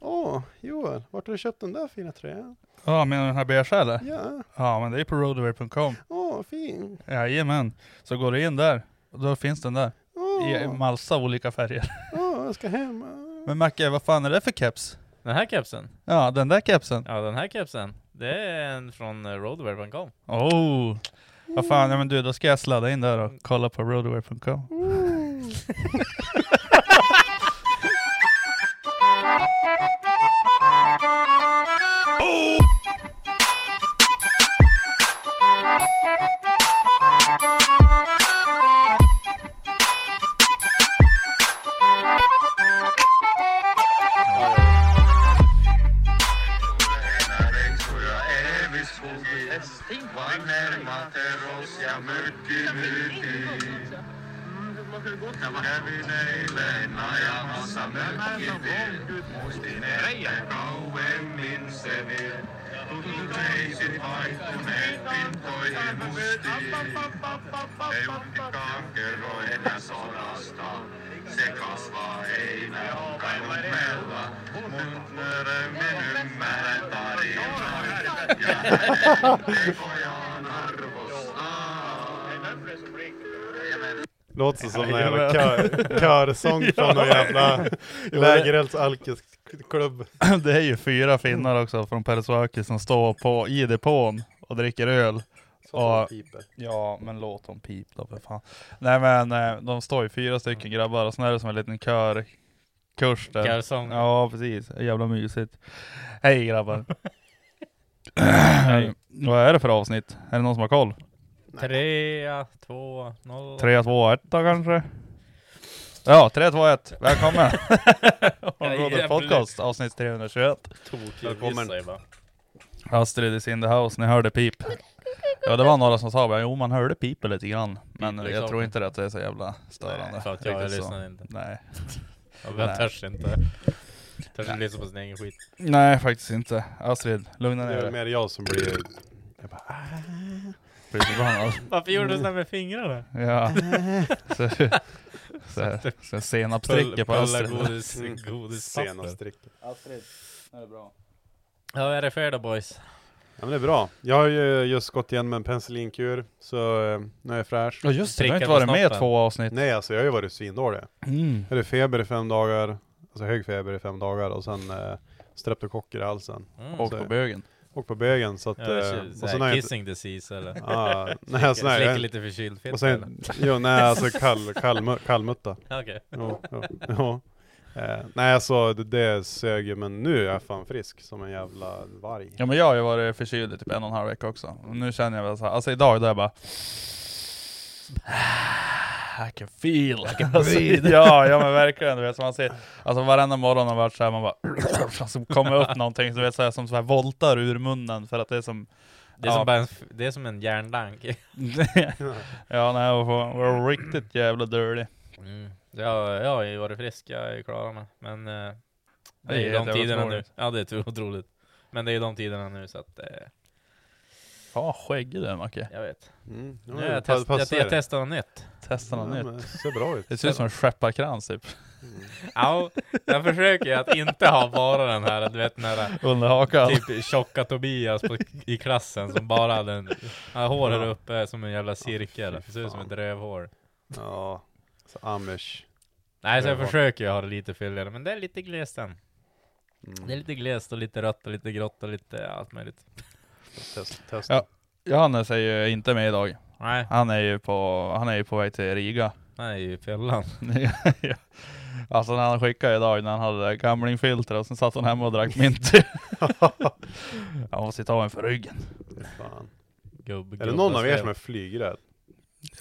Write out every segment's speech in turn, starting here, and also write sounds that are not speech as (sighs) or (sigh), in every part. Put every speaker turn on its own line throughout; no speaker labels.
Åh, Joel, vart har du köpt den där fina tröjan?
Ja, men den här beigea eller?
Ja,
Ja, men det är på roadaway.com.
åh, fin.
Jajamän. Så går du in där, och då finns den där. I
Åh,
massa olika färger.
åh, jag ska hem.
Men Macke, vad fan är det för keps?
Den här kepsen?
Ja, den där kepsen.
Ja, den här kepsen. Det är en från eh, roadwear.com.
Oh! Vad fan, ja men du, då ska jag sladda in där och kolla på roadaway.com.
Låter som en
Jajamän.
jävla kör, (laughs) körsång från någon jävla lägerelds alkisklubb.
(laughs) Det är ju fyra finnar också från Pärlesuaki som står på, i depån och dricker öl. Ja. Ja, men låt dem pip då för fan. Nej men eh, de står ju fyra stycken grabbar och sen är det som en liten körkurs där.
Körsång.
Ja precis, jävla mysigt. Hej grabbar. Vad är det för avsnitt? Är det någon som har koll?
Trea, två, noll.
3, 2, 1 då kanske? Ja, 3, 2, 1. Välkommen!
jävlar.
Området Podcast avsnitt 321.
Välkommen. Jag bara.
Astrid is in the house, ni hörde pip. Ja det var några som sa bara, jo man hörde pipet lite grann. Men
Pipet är
jag
klart.
tror inte att det är så jävla störande.
Nej, för att jag, jag
Riktigt så.
lyssnar inte.
Nej.
Jag
Nej.
bara törs inte. Törs inte lyssna på sin egen skit.
Nej faktiskt inte. Astrid,
Det
lugna ner
är väl
dig.
mer jag som blir... Jag bara,
Bli förbannad.
Varför gjorde du sådär med fingrarna?
Ja. Så, så, så senapsdricka på
Pulla
Astrid.
godis,
Mm.
godispapper.
senast dricker.
Astrid, är det bra?
Ja, vad är det för er då boys?
Ja men det är bra. Jag har ju just gått igen med en penicillinkur, så eh, nu är jag fräsch.
Ja just det, du har
Prickar
inte
på
varit med i
snoppen.
två avsnitt.
Nej alltså jag har ju varit svindålig.
Mm.
Jag hade feber i fem dagar, alltså hög feber i fem dagar och sen eh, streptokocker i halsen.
Mm.
Och på bögen.
Och på bögen så att...
Ja, det
eh,
är
och sen
såhär
har jag inte...
kissing disease eller? (laughs)
Ah, nej, alltså, nej,
Slicker
jag,
lite förkyld
och
fitta eller?
sen, jo, nej alltså kall, kall, kallmutta.
(laughs) Ja, Okej.
Jo, jo, jo. Eh, nej alltså det, det sög ju, men nu är jag fan frisk som en jävla varg.
Ja men jag har ju varit förkyld i typ en och en halv vecka också. Och nu känner jag väl såhär, alltså idag då är jag bara (sighs) I can feel, I can alltså, ja, ja men verkligen. Du vet, som man ser, alltså varenda morgon har varit såhär, man bara (clears throat) alltså, kommer upp någonting så vet, så här, som så här voltar ur munnen för att det är som
Det är
Ja.
som bara en f- Det är som en (laughs) järndank.
(laughs) Ja nej, jag var, var riktigt jävla dirty.
Mm. Jag, jag har ju varit frisk, jag är klar med. Men eh, det är ju
är
de
helt
tiderna nu.
otroligt.
Ja det är otroligt. Men det är ju de tiderna nu så att eh,
Fan skäggig du är Macke.
Jag vet.
Mm.
Nu har jag, test, jag, jag testar något nytt.
Testa något nytt.
Det ser bra ut.
Det ser ut som en skepparkrans typ.
Ja, jag försöker ju att inte ha bara den här, du vet den här eh,
Under hakan.
typ tjocka Tobias på, i klassen som bara hade en, ja, håret uppe som en jävla cirkel. Det ser ut som ett rövhår.
Ja, så amish.
Nej, så jag
Rövhår.
försöker ju ha det lite fylligare, men det är lite glest än.
Mm,
Det är lite glest och lite rött och lite grått och lite allt möjligt.
Test, test. (laughs)
Ja. Johannes är ju inte med idag.
Nej,
Han är ju på, han är ju på väg till Riga.
han är ju i fällan.
(laughs) Ja. alltså när han skickade idag när han hade gamlingfilter och sen satt han hemma och drack
(laughs)
mint. han måste ta en för ryggen.
Fan.
Gubb,
Är det någon av er som är flygrädd?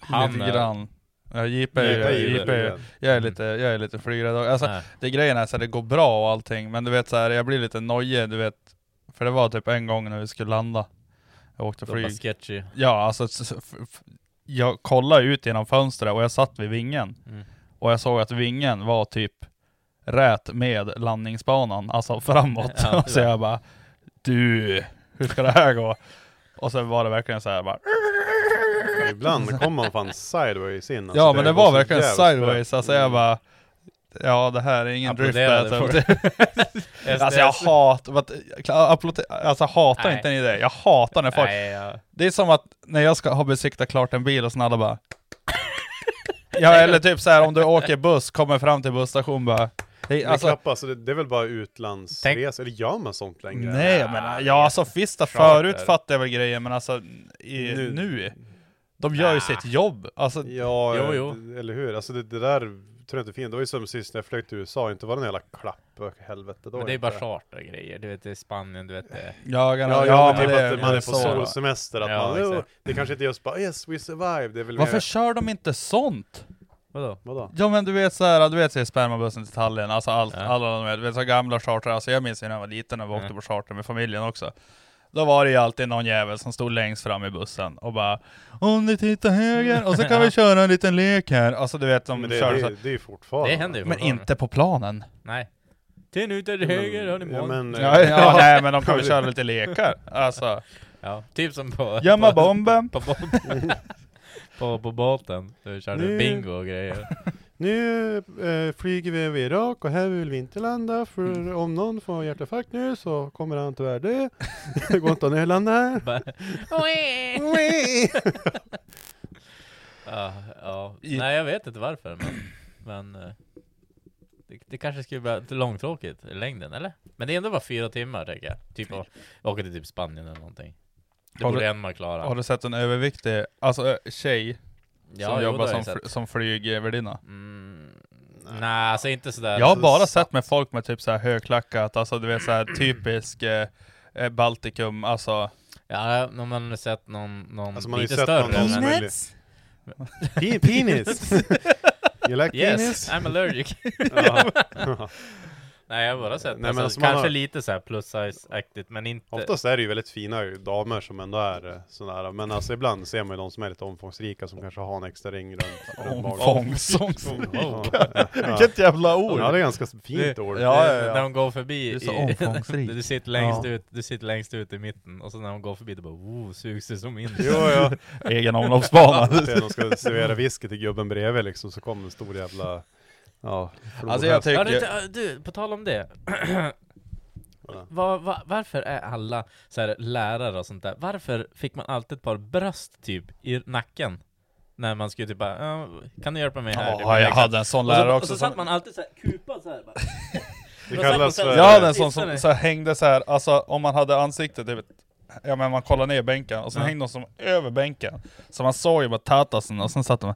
Han
lite
är-
grann. Ja, JP,
JP är
är-
ju
JP, är- (laughs) jag är lite, jag är lite flygrädd. Alltså,
Nej.
det grejen är så här, det går bra och allting, men du vet så här, jag blir lite nojig, du vet. För det var typ en gång när vi skulle landa. Jag åkte
Det var
flyg.
sketchy.
Ja, alltså s- s- f- f- jag kollade ut genom fönstret och jag satt vid vingen.
Mm.
Och jag såg att vingen var typ rät med landningsbanan, alltså framåt.
Ja,
så jag bara, du, hur ska det här gå? Och sen var det verkligen så här bara,
Ja, Ibland kommer man fan sideways in. alltså.
ja men det
går
var
så
verkligen
jävla snabbt. Mm.
sideways, alltså jag bara, ja det här är ingen drift.
Applåderade
där,
för
typ.
(laughs)
Alltså jag hatar, vad- applåder- alltså jag hatar
Nej.
inte ni det? Jag hatar när folk,
Nej, ja.
Det är som att när jag ska ha besiktat klart en bil och sen alla bara... Ja eller typ så här om du åker buss, kommer fram till busstation bara... Det,
Det,
är- alltså,
klappar, så det, det är väl bara utlandsresor? Eller gör man sånt längre?
nej jag menar, ja alltså Fista förut fattade jag väl grejen men alltså i,
Nu.
nu. De gör ju sitt jobb. Alltså,
Ja,
Jo,
eh,
jo.
d- eller hur? Alltså det, det där tror jag inte finns. Det var ju som sist när jag flög till USA, inte var det någon jävla klapp och helvete då.
Men det är
inte.
bara chartergrejer, du vet i Spanien, du vet det.
jag,
Ja, ja, men typ att man är på
så.
solsemester, att
Ja,
man, "Jo,
exakt.
det kanske inte är just bara yes we survived, det är väl
Varför
mer,
kör de inte sånt?
Vadå?
vadå?
Ja men du vet såhär, du vet så här spermabussen till Tallinn, alltså allt,
Ja.
alla de här, du vet så här gamla charter, alltså jag minns ju när jag var liten när vi åkte
Mm.
på charter med familjen också. Då var det ju alltid någon jävel som stod längst fram i bussen och bara Om ni tittar höger, och så kan
(laughs)
vi köra en liten lek här. Alltså du vet de
Men det,
kör
det,
så,
det, är ju fortfarande.
Det händer ju
men
fortfarande.
inte på planen.
Nej. Till nu till höger, har ni
ja,
mål?
men, eh,
Ja, ja
(laughs)
nej men de kan väl köra lite lekar. Alltså,
Ja, typ som på...
gömma
på,
bomben.
(laughs) på, båten. på, på båten. Du körde
Nu-
bingo och grejer.
Nu eh, flyger vi över Irak och här vill vi inte landa för
Mm.
om någon får hjärtinfarkt nu så kommer han tyvärr dö. (laughs) Det går inte att nödlanda här.
Bara-
(laughs) Wee!
ja, ja.
I-
Nej, jag vet inte varför, men... men eh, det, det kanske skulle bli lite långtråkigt i längden, eller? Men det är ändå bara fyra timmar, tänker jag. Typ att åka till typ Spanien eller någonting. Det
Har
borde
du-
Enmar klara.
Har du sett en överviktig, alltså eh, tjej som
jo,
jobbar
det
som,
har jag
fl-
sett.
som eh, flygvärdinna?
Mm, nej, alltså inte sådär.
Jag har
Alltså,
bara sett med folk med typ så här högklackat, alltså du vet så här typisk eh, eh, Baltikum, alltså
Ja, om man har sett någon, någon
Alltså, man har ju
lite
sett någon-
större.
någon som
men,
är- Peanuts? Pe-
(laughs)
Penis! You like
yes,
penis?
I'm allergic. (laughs)
(laughs) Ja.
Nej, jag har bara
Nej,
sett.
men
alltså,
alltså, man
kanske
har-
lite så här plus size-aktigt, men inte...
Oftast är det ju väldigt fina damer som ändå är sådana men alltså ibland ser man ju de som är lite omfångsrika som kanske har en extra ring runt, runt
(laughs)
magen. Ja, ja.
Vilket jävla ord!
Ja, det är ganska fint ord.
Ja, ja, ja.
När de går förbi...
Du är så
i- (laughs)
omfångsrik.
du, sitter längst
Ja.
ut, du sitter längst ut i mitten, och så när de går förbi, det bara oh, sugs det som in.
Jo, (laughs) ja.
Egen omloppsbana!
Det är De ska servera whisky till gubben bredvid liksom, så kommer en stor jävla... Ja,
alltså jag
Har du,
tycker...
inte- du, på tal om det.
Vadå?
Var, var, varför är alla så här, lärare och sånt där, varför fick man alltid ett par bröst typ i nacken? När man skulle typ bara, "Ja, kan du hjälpa mig här? Typ,
Ja, jag
liksom.
hade en sån
och så,
lärare
och
också
så satt
som...
man alltid såhär kupad såhär bara.
det
Då satt man
kallas
så här-
för...
Jag hade en sån som
Tittar
så här, hängde så här, alltså om man hade ansiktet typ Ja men man kollar ner bänken och sen
Ja.
hängde de som över bänken Så man såg ju bara tatasen och sen satt de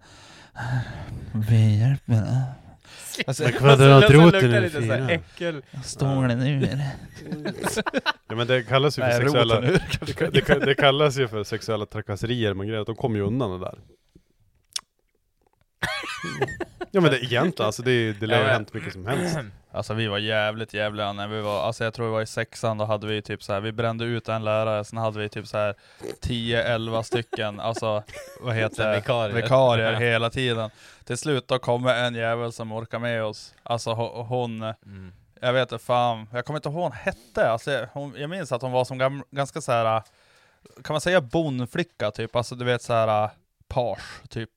Vi hjälper Alltså,
Men kvadratroter
luktar det
är
lite så här
fina.
äckel.
stolen ur
Ja, men det kallas ju för
Nej,
sexuella...
roten ur
Det, ka- det, ka- det kallas ju för sexuella trakasserier, men grejen är att de kommer ju undan det där. Ja men det egentligen, alltså det, är- det lär ju
Ja,
ha
ja.
hänt mycket som (clears throat) helst.
Alltså vi var jävligt jävliga när vi var, alltså jag tror vi var i sexan, då hade vi typ så här, vi brände ut en lärare, sen hade vi typ så här 10-11 stycken, alltså vad
Så
heter
här
det?
vikarier.
vikarier hela tiden. Till slut då kommer en jävel som orkar med oss, alltså ho- hon,
Mm.
jag vet inte fan, jag kommer inte ihåg vad hon hette, alltså jag- hon, jag minns att hon var som gam, ganska så här kan man säga bonflicka typ? Alltså du vet såhär äh, page typ.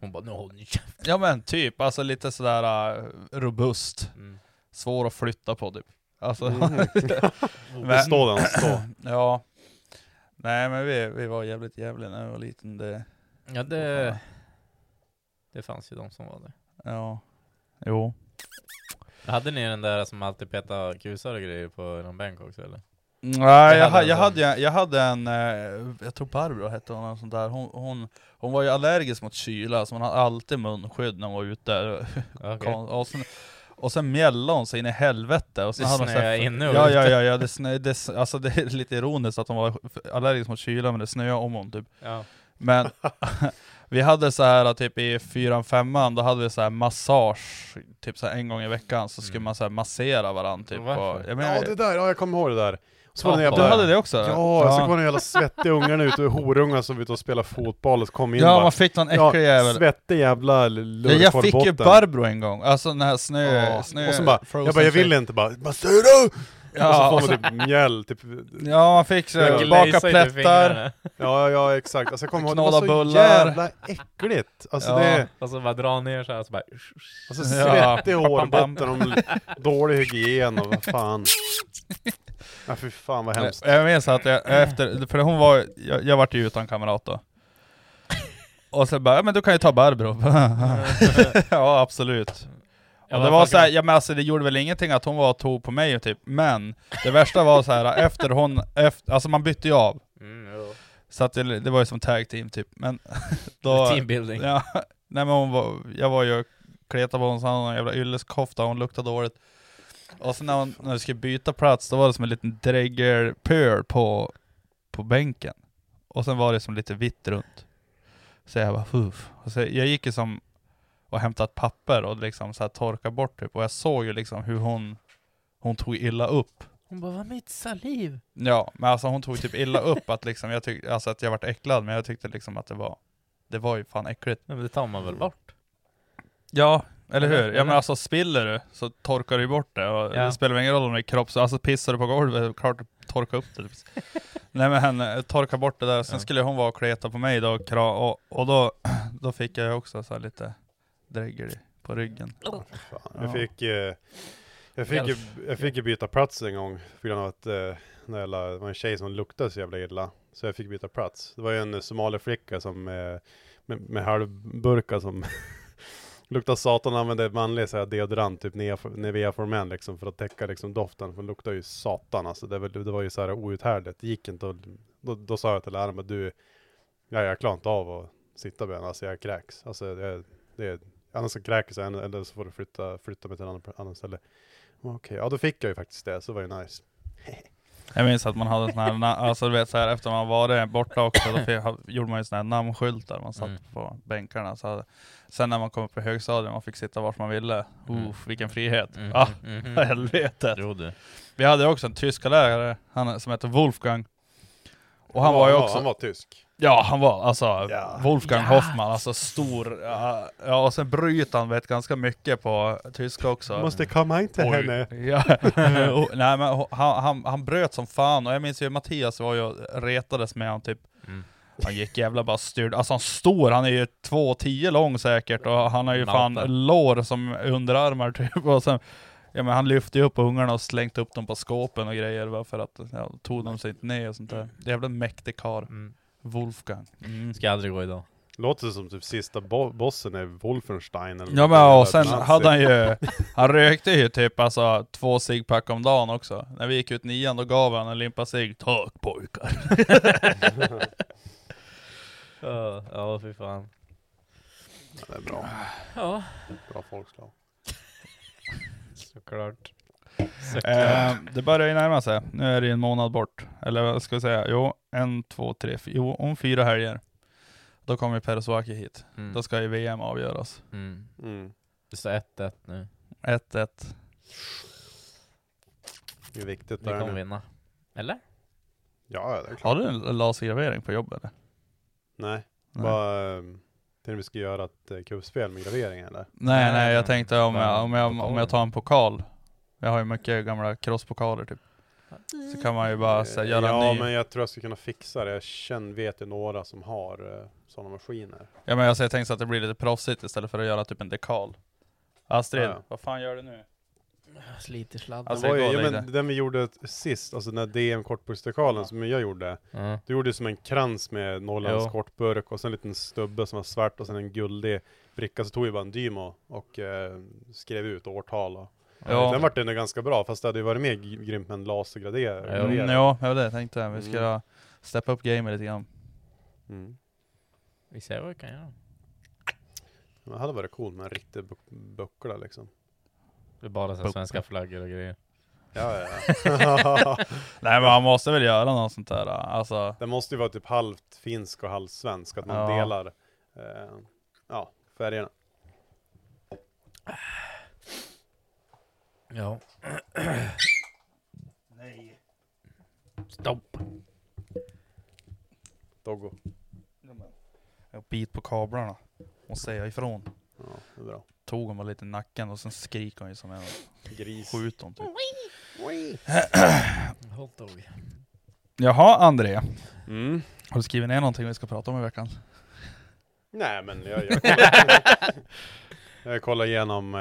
Hon bara, nu håll ni
Ja men typ, alltså lite sådär äh, robust.
mm.
Svår att flytta på typ. Alltså,
Mm.
(laughs)
Det står den, står.
ja. Nej men vi, vi var jävligt jävliga när jag var liten. Det,
Ja det, det fanns ju de som var det.
ja. Jo.
Hade ni den där som alltid petade kusar och grejer på någon bänk också eller?
Mm, Nej,
Jag
jag,
hade
ha-
en
jag,
sån.
hade, jag, jag hade en, eh, jag tror Barbro hette hon, eller sånt där. Hon, hon, hon var ju allergisk mot kyla, så hon hade alltid munskydd när hon var ute. (laughs)
Okej.
Och, sen, och sen mjällade hon sig in i helvete. Och sen
Det
hade hon så här-
snöade inne och
ja,
ute.
ja, ja, ja, det, snö, det, s- alltså det är lite ironiskt att hon var allergisk mot kyla, men det snöade om hon typ.
Ja. (laughs)
Men (laughs) vi hade så här typ i fyran, femman, då hade vi så här massage, typ så här en gång i veckan, så skulle
Mm.
man så här massera varandra typ.
Varför?
Och, jag menar,
Ja det där, ja jag kommer ihåg det där. Och Så var den
Ja,
du
jävla...
hade det också?
Ja, alltså, så kom den jävla svettiga ungarna ut och horungar som var ute och spelade fotboll och så kom in
Ja,
bara,
man fick någon äcklig jävel.
Svettig jävla
Ja, jag fick ju
lurkkorvbotten.
Barbro en gång, alltså den här snö...
Ja,
snö
och så bara,
frozen
jag bara, jag vill
shit.
inte bara, vad säger du?
Ja,
och
och
så får man typ mjäll, typ,
Ja, man fick så,
Jag
här,
glazade
baka
Glazade i
plättar,
(laughs) fingrarna.
ja, ja exakt. Alltså jag kommer ihåg, det
Knåda
var så
bullar.
jävla äckligt. Alltså
Ja.
det,
Och så bara dra ner såhär, så bara...
och så
Ja.
svettig
Bam, bam,
hårbotten och dålig hygien och vad fan. Ja fy fan vad hemskt.
jag minns att jag
Mm.
efter, för hon var, jag, jag vart ju utan kamrat
(laughs)
då. Och så bara, ja, men du kan ju ta Barbro. ja absolut.
Ja,
Och det
vad
var
fan
så här,
kan-
ja men alltså det gjorde väl ingenting att hon var och tog på mig typ, men det värsta var så här efter hon, efter, alltså man bytte ju av.
Mm, jo.
Så att det, det var ju som tag team typ, men (laughs) då...
Teambuilding.
Ja, nej men hon var, jag var ju och kletade på hon, så hade hon en jävla ylleskofta, hon luktade dåligt. Och sen när, hon, när vi skulle byta plats, då var det som en liten dräggelpöl på, på bänken. Och sen var det som lite vitt runt. Så jag bara Huff. Och så Jag gick ju som och hämtade ett papper och liksom så här torkade bort typ. Och jag såg ju liksom hur hon, hon tog illa upp.
Hon bara, vad mitt saliv?
Ja, men alltså hon tog typ illa upp att liksom, jag tyckte, alltså att jag vart äcklad, men jag tyckte liksom att det var, det var ju fan äckligt.
Nej men det tar man väl bort?
Ja, eller
Eller?
hur? Ja
Eller?
men alltså spiller du så torkar du ju bort det och
Ja.
det spelar väl ingen roll om det är kropp, så alltså pissar du på golvet, klart du torkar upp det. (laughs) Nej men eh, torka bort det där, sen
Ja.
skulle hon vara och kleta på mig då och, kra- och, och då, (clears throat) då fick jag ju också så här lite dregel i- på ryggen.
Fan. Jag
Ja.
fick, eh, jag fick, ju, jag fick ju byta plats en gång på grund av att eh, när jag la- det var en tjej som luktade så jävla illa. Så jag fick byta plats. Det var ju en somaliflicka som eh, med, med halvburkar som (laughs) luktade satan och använde manlig så här, deodorant, typ Nea- Nivea for Men liksom för att täcka liksom doften. För det luktade ju satan alltså. Det, var- det var ju så här outhärdligt. Det gick inte att, då, då sa jag till läraren att du, ja, jag klarar inte av att sitta med henne. Alltså jag kräks. Alltså det, det Annars så kräker jag henne, eller så får du flytta, flytta mig till en annan, annan ställe. Men Okej, ja då fick jag ju faktiskt det, så det var ju nice.
Jag minns att man hade sån här, na- alltså du vet så här efter man varit borta också, då fick, ha- gjorde man ju sån här namnskyltar man satt
Mm.
på bänkarna. Så hade, sen när man kom upp i högstadiet, man fick sitta vart man ville.
Mm.
Uff, vilken frihet!
Mm,
Ah,
mm, mm.
(laughs) helvete!
Jo du.
Vi hade också en tyska lärare, han som hette Wolfgang. Och han
Ja,
var ju
ja,
också,
Han var tysk.
ja han var alltså
Ja.
Wolfgang
Ja.
Hoffmann, alltså stor, ja, ja och sen bryter han vet ganska mycket på tyska också.
Måste komma in till
Oj.
henne.
Ja. och, nej men ho- han, han, han bröt som fan, och jag minns ju Mattias var ju retades med han typ
Mm.
Han gick jävla bara styrd, alltså han står, han är ju 2,10 lång säkert och han har ju
Nata.
fan lår som underarmar typ och sen Ja men han lyfte ju upp ungarna och slängt upp dem på skåpen och grejer va, för att ja, tog de sig inte ner och sånt där. Jävla mäktig karl.
Mm.
Wolfgang.
Ska aldrig gå idag.
Låter som typ sista bo bossen är Wolfenstein eller
Ja
något
men
jävla
och sen
nazi.
hade
(laughs)
han
(laughs)
ju, han rökte ju typ alltså två cigpack om dagen också. När vi gick ut nian då gav han en limpa cigg, tack pojkar.
(laughs) Ja, ja fy fan.
Ja, det är bra.
Ja.
Bra folkslag.
Såklart.
Eh, det börjar ju närma sig, nu är det ju en månad bort. Eller vad ska vi säga, jo en, två, tre, fyra, jo om fyra helger. Då kommer ju Persuaki hit,
Mm.
då ska ju VM avgöras.
Mm.
Mm.
Det står 1-1 nu.
1-1.
Det är viktigt
Vi
där
kommer
nu.
vinna. Eller?
Ja, ja, det är klart.
Har du en lasergravering på jobbet eller?
Nej,
Nej.
bara eh, till vi ska göra ett eh, kubbspel med graveringen eller?
Nej nej,
Nej,
jag tänkte om jag, om, jag, om
pokalen.
jag tar en pokal. Jag har ju mycket gamla crosspokalen typ. Så kan man ju bara så här, göra
Eh, ja,
en ny.
men jag tror jag skulle kunna fixa det. Jag känner, vet ju några som har sådana maskiner.
Ja men alltså, jag tänkte så att det blir lite proffsigt istället för att göra typ en dekal. Astrid,
Ja, ja.
vad fan gör du nu?
Sliter sladden.
Alltså,
det var ju,
jag
ja,
går
men
lite.
den vi gjorde sist, alltså den här DM kortburksdekalen
Ja.
som jag gjorde.
Ja.
Du gjorde som en krans med Norrlands
Jo.
kortburk och sen en liten stubbe som var svart och sen en guldig bricka. Så tog vi bara en Dymo och eh, skrev ut årtal. Och.
Ja.
Den vart den ju ganska bra, fast det hade ju varit mer gr- grymt med en lasergraderare.
Ja,
Mm, ja, det var det jag tänkte. Vi ska
Mm.
steppa upp gamet lite grann.
Mm.
Vi ser vad vi kan göra.
Men Det hade varit coolt med en riktig bu- buckla liksom.
Det är bara så här
Boop.
svenska flaggor och grejer.
Ja, ja, ja.
Nej men man måste väl göra något sånt där. Alltså,
Det måste ju vara typ halvt finsk och halvt svensk, att man
Ja.
delar eh, ja, färgerna.
Ja. Nej. Stopp.
Doggo.
jag bit på kablarna och säga ifrån.
Ja, det är bra.
Tog hon bara lite i nacken och sen skriker hon ju som en
Gris.
skjut dem typ.
Hot dog.
Jaha André,
Mm.
har du skrivit ner någonting vi ska prata om i veckan?
Nej men jag, jag, kollar, jag kollar igenom eh,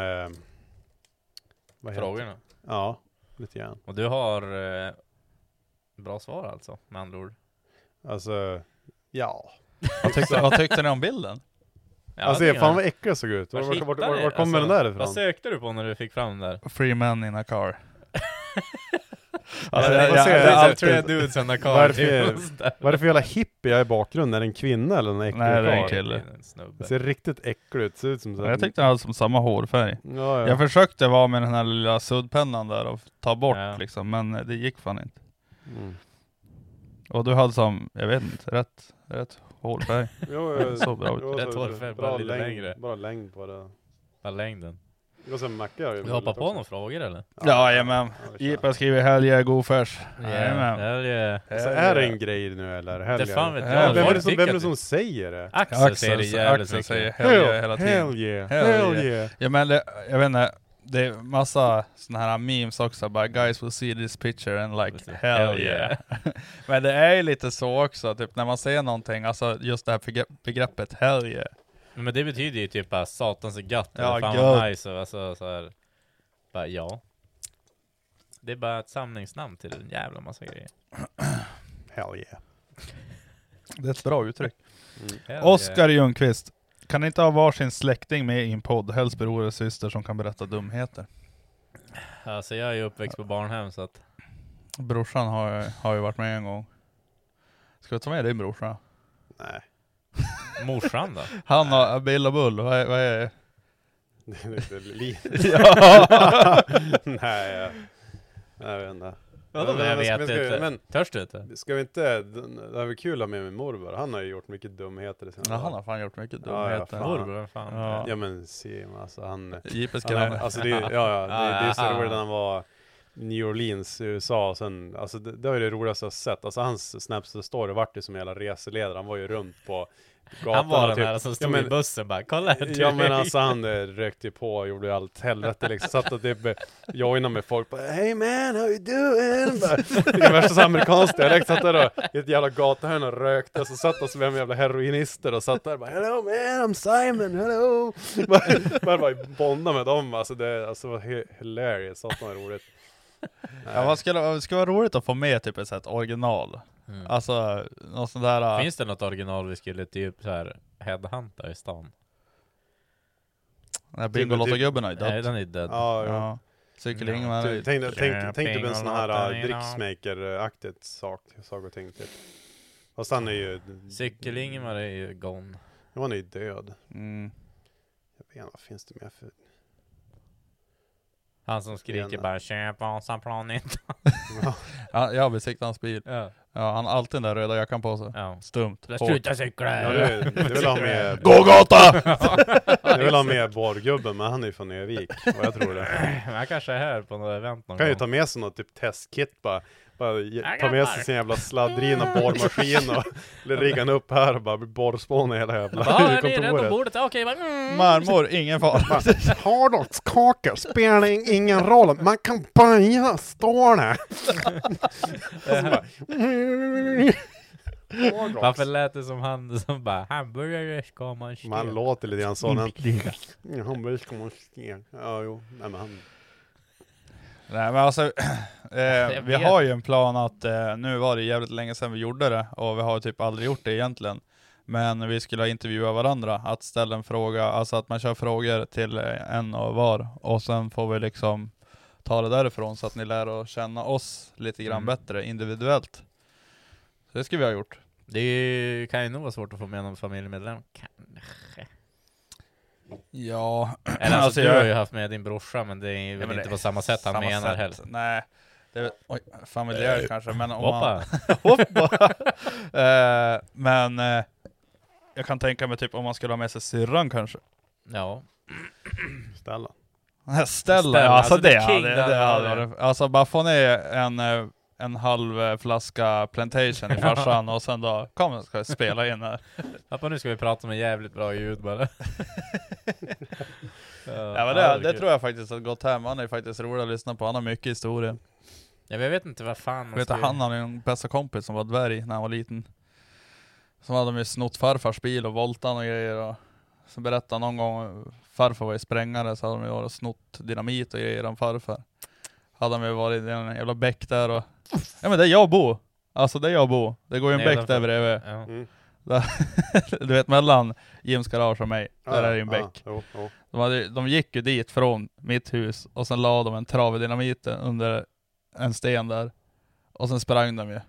vad heter-
Frågorna.
Ja, lite grann.
Och du har eh, bra svar alltså, med andra ord.
Alltså, ja.
Vad tyckte, vad tyckte ni om bilden?
Ja,
alltså
det
jag,
är-
fan vad äcklig jag såg ut. Var,
Vart
var, var,
hittar
var,
ni-
var kommer
alltså,
den där
Vad
ifrån?
sökte du på när du fick fram den där?
Free man in a car.
Alltså,
Alltså, jag,
vad
jag,
säger
jag,
du?
jag,
alltid-
tre dudes and a car.
Varför-
typ, och sånt där.
typ- Vad är det för jävla hippie jag är i bakgrunden? Är det en kvinna eller en äcklig
Nej, det är en
karl?
kille.
En
Det
snubbe.
ser riktigt äcklig ut. Ser ut som så här-
jag tyckte han hade som samma hårfärg.
Ja, Mm. ja.
Jag försökte vara med den här lilla suddpennan där och ta bort
Ja.
liksom, men det gick fan inte.
Mm.
Och du hade som, jag vet inte, rätt, rätt hårfärg. (laughs)
Jo, jo,
Så bra.
jo,
Rätt
så-
hårfärg, bara
bra
lite
längd-
längre.
Bra längd på det.
Vad är längden?
Det var som Macke har ju
Vi hoppar
bildat
på
också.
några frågor eller?
Jajamän.
Ja, vi kör.
Jippa skriver helg, jag är god färs.
Det
Jajamän.
här är-
Alltså, är det en grej nu eller?
Det
Helger?
fan vet
Ja,
jag.
Vem är
Folk
det som,
tycker
vem är det
att
som säger det?
Axel säger det jävligt
Axel
mycket.
säger helg
Hell,
hela tiden.
Hell yeah,
Hell
hell
yeah.
yeah.
Ja men det, jag vet inte, det är massa sådana här memes också, bara guys will see this picture and
Just
like
det.
hell,
Hell
yeah.
yeah.
(laughs) men det är ju lite så också, typ när man säger någonting, alltså just det här begre- begreppet hell yeah.
Men det betyder ju typ bara satans är gött,
Ja,
eller fan vad
gött.
nice, och alltså så här. Bara ja. Det är bara ett samlingsnamn till en jävla massa grejer.
Hell yeah.
Det är ett bra uttryck.
Mm. Hell
Oskar Ljungqvist. Kan ni inte ha varsin släkting med i en podd? Helst bror eller syster som kan berätta dumheter.
yeah. Alltså jag är ju uppväxt på barnhem så att,
Brorsan har, har ju varit med en gång. Ska vi ta med din brorsa?
Nej,
morsan då?
Han har Bill och Bull, vad är, vad är
det är inte li-
Ja.
(laughs) Nej, jag, jag vet inte.
Vadå,
men- men-
jag vet
men ska-
inte.
men-
Törs du inte?
Ska vi inte, det här var kul att ha med min morbror. Han har ju gjort mycket dumheter i sina
Ja, han
dagar.
har fan gjort mycket
Ja, ja,
dumheter.
fan.
Morbror, vem fan?
Ja.
Ja men Sim alltså han...
JP
han
skrev
är,
han.
alltså det, är- ja, ja, det, det är så
Ah.
roligt när han var i New Orleans i USA och sen, alltså det, det var ju det roligaste jag har sett. Alltså hans Snapchat-story vart ju som en jävla reseledare. Han var ju runt på gatorna.
Han var den
typ.
här som stod
ja, men,
i bussen bara, kolla här,
Ja
du
men
är-
alltså han eh, rökte ju på och gjorde allt helvete liksom. Satt och typ eh, joinade med folk bara Hey man, how you doing? Bara, Det värsta så amerikanskt dialekt. Satt där och, i ett jävla gatuhörn och rökte. Så satt han som en jävla heroinister och satt där och bara Hello man, I'm Simon, hello! Bara- Bara bara bonda med dem alltså. Det alltså, det var hy- hilarious. Satan vad roligt.
Ja, vad skulle, vad skulle vara roligt att få med typ ett sånt original. Alltså, något sånt där...
Mm. Finns det något original vi skulle typ såhär headhunta i stan?
när Bingolotto-gubben har ju
typ- Nej,
dött.
den är död.
Ja, ja.
Ja. Cykel-Ingmar är
Ty-
ju-
Tänk, dig- tänk, tänk dig på en
Köping
sån
och
här uh,
Lappalina.
dricksmaker-aktigt sak, sak och ting typ. Fast han är ju,
Cykel-Ingemar är ju gone.
han är ju död.
Mm.
Jag vet inte, vad finns det mer för...
Han som skriker
Gena.
bara 'Köp Vasaplanet'
Ja, jag besiktade hans bil.
Ja,
Ja, han har alltid den där röda jackan på sig.
ja.
Stumt. Hårt.
Sluta cykla!
Ja, det, det vill ha med...
(laughs) Gågata!
Jag vill ha med borrgubben, men han är ju från Övik, vad jag tror det.
Men Han kanske är här på något event någon
Kan ju
gång.
ta med sig något typ testkit bara. Bara ge- ta med sig sin jävla sladdrina borrmaskin
(laughs)
och rigga den upp här och bara bli borrspån i hela jävla
Ja, det är rätt på
kontoret. (laughs)
bordet. Ja, Okej, bara, mm.
Marmor, ingen fara.
Hårdrockskakor spelar ingen roll, man kan baja (laughs)
(laughs)
stålet!
(laughs)
Alltså,
Varför lät det som han som bara hamburgare ska man steka?
Man låter lite grann så. Han bara, ska man steka? Ja, jo. Nej, men han...
Nej men alltså, (clears throat) eh,
Jag
vi
vet.
har ju en plan att, eh, nu var det jävligt länge sedan vi gjorde det, och vi har typ aldrig gjort det egentligen. Men vi skulle intervjua varandra, att ställa en fråga, alltså att man kör frågor till eh, en och var, och sen får vi liksom ta det därifrån så att ni lär att känna oss lite grann
Mm.
bättre individuellt. Så det skulle vi ha gjort.
Det är ju- kan ju nog vara svårt att få med
(clears throat)
någon familjemedlem. Kanske.
Ja,
Eller alltså,
Alltså,
du
jag-
har ju haft med din brorsa, men det är ju
Ja,
väl
men
inte
det-
på samma sätt han
samma
menar
sätt.
heller.
Nej, det är, oj, Eh, familjärt kanske, men om man,
Hoppa!
Hoppa! (laughs) Eh, men eh, jag kan tänka mig typ om man skulle ha med sig syrran kanske.
Ja.
Stellan.
Stellan,
Stellan,
alltså,
alltså
alltså det,
the
hade-
king,
det,
där
det hade
var det.
varit- Alltså bara få ner en, eh, en halv eh, flaska (laughs) Plantation i farsan och sen då, kom ska jag spela in här.
Pappa, nu ska vi prata med jävligt bra
(laughs)
ljud bara.
Ja, men det, det tror jag faktiskt har gått hem, han är faktiskt rolig att lyssna på, han har mycket historia.
Ja, men jag vet inte vad fan man
Jag vet
ska
att han
göra.
hade en bästa kompis som var dvärg när han var liten. Som hade med snott farfars bil och voltan och grejer. Och så berättade han någon gång, farfar var ju sprängare så hade de ju varit och snott dynamit och grejer om farfar. Hade de ju varit i en jävla bäck där och... Ja men där jag bor! Alltså där jag bor, det går ju en
Nej,
bäck
varför?
där bredvid.
Ja.
(laughs)
Mm.
Du vet mellan Jims garage och mig, där är ju en
Ja,
bäck.
jo, jo.
De, hade, de gick ju dit från mitt hus och sen la de en trave dynamit under en sten där. Och sen sprang de ju.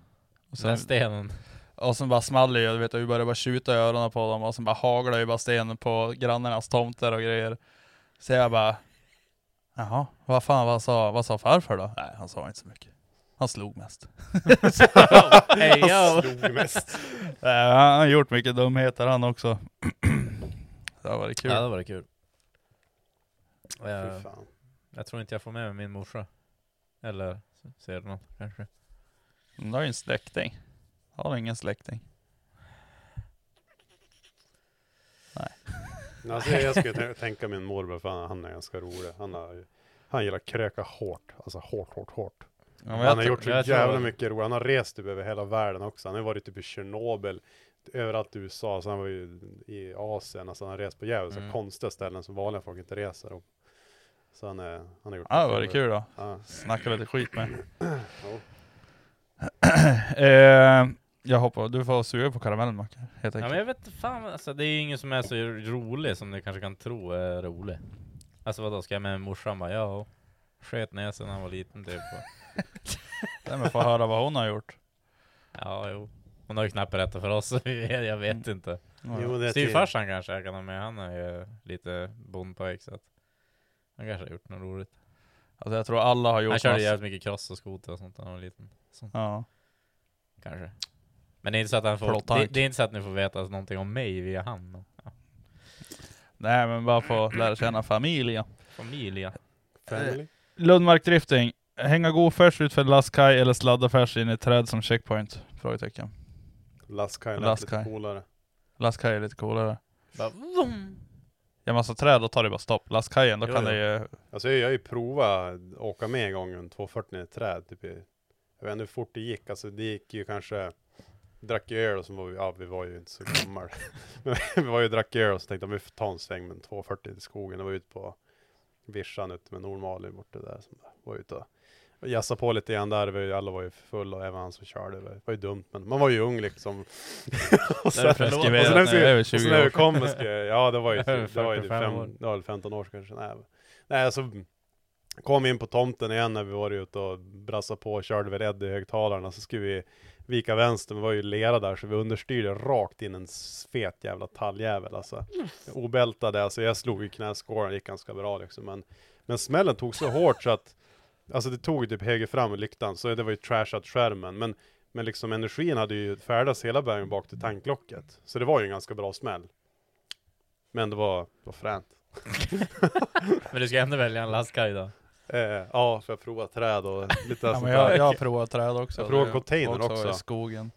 Och sen,
Den stenen.
och sen bara small det ju, du vet, och vi började bara tjuta i öronen på dem och sen bara haglade ju bara sten på grannarnas tomter och grejer. Så jag bara, jaha, vad fan, vad sa, vad sa farfar då? Nej, han sa inte så mycket. Han slog mest.
(laughs) Hey, yo.
Slog mest.
Nej, han har gjort mycket dumheter han också. (clears throat) det har varit kul.
Ja, det var det kul.
Fy
Jag,
fan.
jag tror inte jag får med mig min morsa. Eller ser du någon kanske?
Men Du har ju en släkting. Har du ingen släkting?
Nej, Alltså, jag skulle tä- tänka min morbror, för han, han är ganska rolig. Han, har, ju- han gillar att kröka hårt, alltså hårt, hårt, hårt.
Ja, men jag
Han har
tror-
gjort så
jag tror-
jävla mycket roligt. Han har rest typ över hela världen också. Han har varit typ i Tjernobyl, överallt i USA, så han var ju i Asien. Alltså han har rest på jävligt
Mm.
så konstiga ställen som vanliga folk inte reser. Och, så han, är, han har gjort
Ja,
mycket
var det
roligt.
kul då?
Ja.
Snacka lite skit med.
Jo.
(clears throat) eh, jag hoppar, du får suga på karamellen Macke, helt
Ja,
enkelt.
men jag vet inte fan, alltså, det är ju ingen som är så rolig som du kanske kan tro är rolig. Alltså vadå, ska jag med morsan bara ja, sköt näsan när han var liten typ.
(laughs)
Och,
Nej, men få höra vad hon har gjort.
ja, jo. Hon har ju knappt berättat för oss, (laughs) jag vet inte.
Jo, Mm. det är
Styvfarsan kanske jag kan ha med, han är ju lite bondpojk så att han kanske har gjort något roligt.
Alltså jag tror alla har gjort
Han körde
massa-
jävligt mycket cross och skoter och sånt när han var liten. Sånt,
Ja.
kanske. Men det är inte så att han
Förlåt,
får, det,
tack.
det är inte så att ni får veta någonting om mig via han. Ja.
Nej men bara få lära känna familjen.
Familja.
Family.
Lundmark Drifting. Hänga god färs ut för lastkaj eller sladda färs in i ett träd som checkpoint? Frågetecken.
Laskaj lät
Laskaj.
lite coolare.
Lastkaj är lite coolare.
Bara, vroom.
Ja massa träd, då tar det bara stopp. Lastkajen, då
Jo,
kan
jo.
det ju...
Alltså jag jag har ju provat att åka med en gång en 240 i ett träd. Typ. i- Jag vet inte hur fort det gick. Alltså det gick ju kanske, drack ju öl och så var vi, ja vi var ju inte så
(laughs)
gammal. men vi var ju och drack öl och så tänkte jag, vi får ta en sväng med en 240 i skogen. Det var ute på vischan ute med Nordmalin borta där. Som var ute och- och jassade på lite grann där. Vi var ju- alla var ju fulla och även han som körde. Det var ju dumt men man var ju ung liksom. (laughs) och sen,
Förlåt.
preskriberat
Och sen när vi
när det är över
och
20
så när vi
år.
kom och skrev, ja det (laughs) var ju
Över
typ, det var ju typ
45 år.
fem, det var väl 15 år sedan kanske. Nej, men- nej alltså, kom in på tomten igen när vi var ute och brassade på och körde vid Eddie i högtalarna så skulle vi vika vänster, men det var ju lera där så vi understyrde rakt in en s- fet jävla talljävel alltså. Obältade, alltså jag slog i knäskålen, det gick ganska bra liksom. Men, men smällen tog så hårt så att, alltså det tog ju typ höger fram i lyktan, så det var ju trashat skärmen. Men, men liksom energin hade ju färdats hela vägen bak till tanklocket. Så det var ju en ganska bra smäll. Men det var, det var fränt.
Men du ska ändå välja en lastkaj då?
Eh, ja, för jag prova träd och lite
(laughs) Ja,
sånt
men
där.
jag, jag har provat träd också.
Jag provar
Det-
containern också.
I skogen.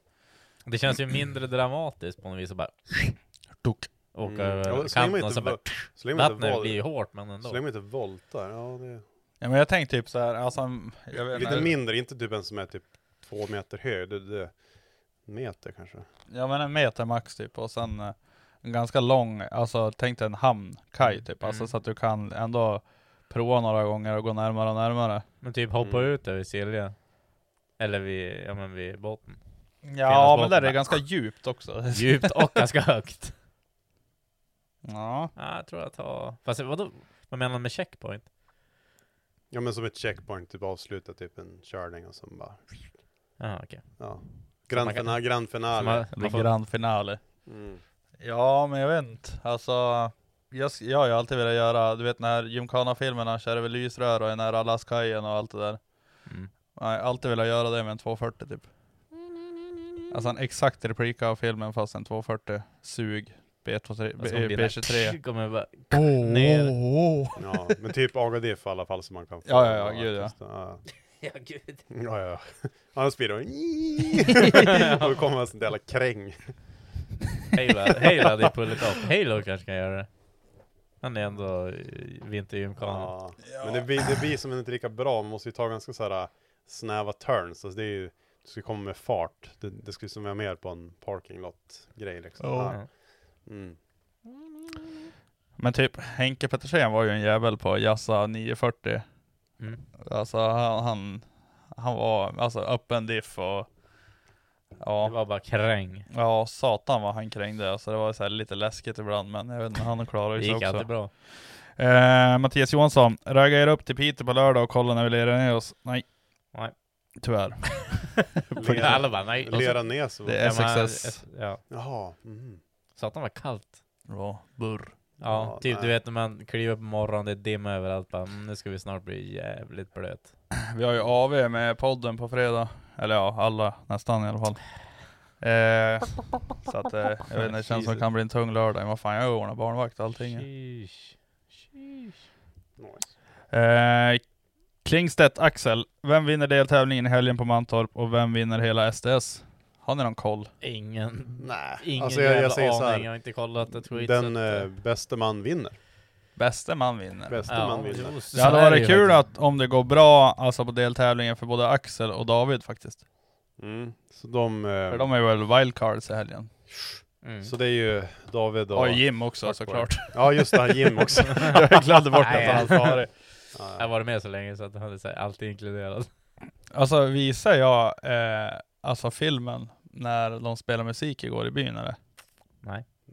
Det känns ju mindre dramatiskt på något vis att bara
Tok.
åka
Mm. Ja,
över
så länge man
kanten och
inte
så bara
vå- Så länge man inte
Vattnet
val-
blir ju hårt men ändå.
så länge man inte voltar. Ja, det
Ja, men jag tänkte typ så här, alltså, jag vet
Lite
inte.
mindre, inte typ en som är typ två meter hög. Det, det, en meter kanske.
Ja men en meter max typ och sen eh, en ganska lång, alltså tänk dig en hamn, kaj typ, alltså
Mm.
så att du kan ändå prova några gånger och gå närmare och närmare.
Men typ hoppa
Mm.
ut där vid Silja. Eller vid, ja men vid botten.
Ja men
båten
där är det
där.
ganska (laughs) djupt också.
Djupt
(laughs)
och ganska högt.
Ja.
Ja, jag tror jag tar... Fast vadå? Vad menar du med checkpoint?
Ja men som ett checkpoint, typ avsluta typ en körning och sen bara,
Jaha okej.
ja.
man
Grand,
kan-
fina, grand
Så
finale.
man-
Eller
man får-
grand finale.
Mm.
Ja men jag vet inte, alltså jag, s- jag har ju alltid velat göra, du vet när Gymkhana-filmerna kör över lysrör och är nära lastkajen och allt det där.
Mm.
Jag har alltid velat göra det med en 240 typ. Alltså en exakt replika av filmen fast en 240 sug B23,
Alltså, man blir
B23.
där- (laughs) Kommer bara...
Ner.
Ja, men typ Agadiff i alla fall som man kan få.
Ja, ja, ja, gud, ja.
just det, ja.
Ja gud.
Ja, ja. (laughs) Annars blir det
(laughs)
Och då kommer en sån där jävla kräng.
Halo, Halo hade ju pullat upp. Halo kanske kan göra det. Han är ändå i vintergymkanon.
Ja. Men det blir, det blir som inte lika bra, man måste ju ta ganska så här äh, snäva turns. Alltså det är ju, du ska komma med fart. Det, det skulle som vara mer på en parking lot grej liksom.
Ja.
Ja.
(laughs)
Mm.
Men typ Henke Pettersén var ju en jävel på Jassa 940.
Mm.
Alltså han, han, han var alltså öppen diff och
Det
ja,
var bara kräng.
ja satan vad han krängde. Alltså det var så här lite läskigt ibland men jag vet inte, han klarade ju
Det
sig
gick
också.
alltid bra.
Eh, Mattias Johansson, ragga er upp till Piteå på lördag och kolla när vi lirar ner oss. Nej.
Nej.
Tyvärr.
Lera-
Alla bara nej.
Lera ner så.
Det
Ja,
är
men-
success.
Ja.
Jaha. Mm.
Satan vad kallt.
Ja, burr.
Ja,
Ja,
typ
nej.
du vet när man kliver upp på morgonen, det är dimma överallt bara, mm, nu ska vi snart bli jävligt blöt.
Vi har ju AV med podden på fredag. Eller ja, alla nästan i alla fall. Eh, så att eh, jag vet inte, det känns som det kan bli en tung lördag. Men vad fan, jag ordnar barnvakt och allting.
Sheesh. Sheesh.
Nice.
Eh, Klingstedt, Axel. Vem vinner deltävlingen i helgen på Mantorp och vem vinner hela SDS? Har ni någon koll? Mm.
Ingen,
Nej.
ingen
Alltså, jag- jag
jävla
säger så
aning,
här.
jag har inte kollat, jag tror inte
Den
så att, äh,
eh, bäste man vinner.
Bäste man vinner.
Bäste man vinner.
jo,
Det
så
hade
är det
varit
ju
kul
faktiskt.
att, om det går bra alltså på deltävlingen för både Axel och David faktiskt.
Mm. Så de, eh,
För de är väl wildcards i helgen.
Mm.
Så det är ju David och...
Och Jim också såklart.
Ja just det, han Jim också.
(laughs) jag glömde bort att
Nej.
han sa det.
Jag har varit med så länge så att han är så här, alltid inkluderad.
Alltså visar jag eh, alltså filmen när de spelar musik igår i byn eller?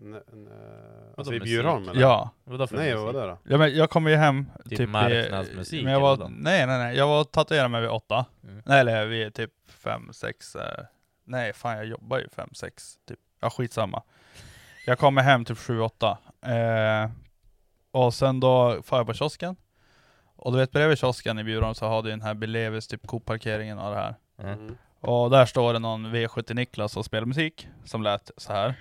N- n- eh,
Vadå
alltså i
musik?
Bjurholm eller?
Ja.
Vadå för
Nej,
musik?
vad var det då?
ja men jag kom ju hem
Typ
typ,
marknadsmusik
i, men jag var,
eller något.
Nej nej nej, jag var och tatuerade mig vid åtta.
Mm.
Nej eller vid typ fem, sex. Eh, nej fan jag jobbar ju fem, sex. Typ. Ja skitsamma. Jag kommer hem typ sju, åtta. Eh, och sen då far jag på kiosken. Och du vet bredvid kiosken i Bjurholm så har du den här Belevis typ Coop-parkeringen och det här.
Mm.
Och där står det någon V70 Niklas och spelar musik som lät så här.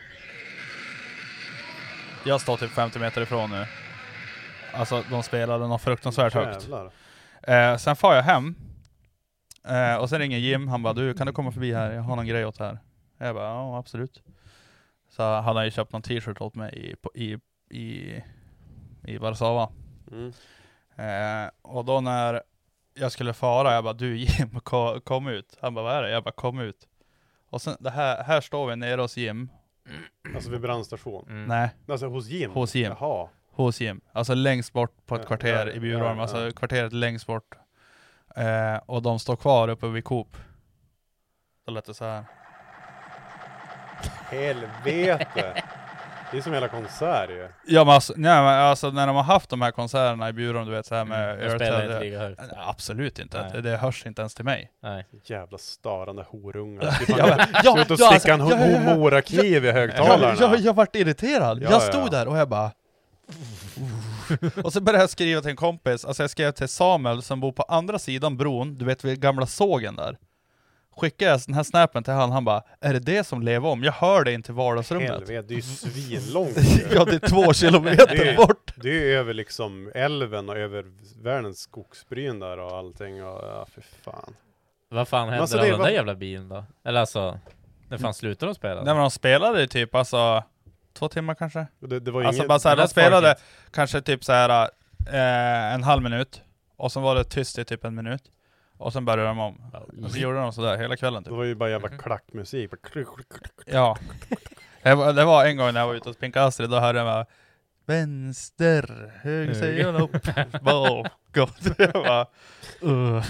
Jag står typ 50 meter ifrån nu. Alltså de spelade något fruktansvärt högt.
Jävlar.
Eh, sen far jag hem. Eh, och sen ringer Jim, han bara du kan du komma förbi här, jag har någon grej åt det här. Jag bara ja absolut. Så hade han ju köpt någon t-shirt åt mig i, på, i, i, i Warszawa.
Mm.
Eh, och då när jag skulle fara, jag bara du Jim, (laughs) ko- kom ut. Han bara vad är det? Jag bara kom ut. Och sen det här, här står vi nere hos Jim.
Alltså vid brandstation?
Mm.
Nej,
Alltså hos Jim?
Hos Jim.
Jaha.
hos Jim. Alltså längst bort på ett
Ja,
kvarter
ja,
i Bjurholm,
ja, ja.
alltså kvarteret längst bort. Eh, och de står kvar uppe vid Coop. Då lät det så här.
Helvete! Det är som hela konsert ju.
Ja men alltså, nej, men alltså när de har haft de här konserterna i Bjurholm, du vet så här med
Jag spelar inte lika högt.
Nej, Absolut inte,
Nej.
det, det hörs inte ens till mig.
Nej.
Jävla störande
(laughs)
horungar. Typ
Ja,
han
men- ja,
ser ut att
ja,
sticka en
alltså, ja, ja, ja.
homorakniv i högtalarna.
Jag, jag, jag vart irriterad.
Ja,
jag
ja,
stod
ja.
där och jag bara... (laughs) och så började jag skriva till en kompis, alltså jag skrev till Samuel som bor på andra sidan bron, du vet vid gamla sågen där. skickar jag den här snappen till han, han bara Är det det som lever om? Jag hör det in till vardagsrummet.
Helvete, det är ju svinlångt ju.
(laughs) ja, det är två
Det
kilometer
är-
bort.
Det är ju över liksom älven och över världens skogsbryn där och allting och ja, för fan.
Vad fan händer
alltså,
av
det
den
var- Mm.
där jävla bilen då? Eller alltså, när fan slutar de spela?
Nej men de spelade ju typ alltså två timmar kanske?
Och Det, det var ju
Alltså
inget,
bara såhär,
Men
de
att folk
spelade
inte-
kanske typ såhär eh, en halv minut, och sen var det tyst i typ en minut, och sen började de om.
Mm.
alltså,
Och så gjorde de sådär hela kvällen
det
typ.
var ju bara jävla klackmusik. Bara-
Ja. Det var, det var en gång när jag var ute hos Pink Astrid, då hörde jag bara Vänster, höger, sidan upp, bakåt. (laughs) Jag bara, "Ugh."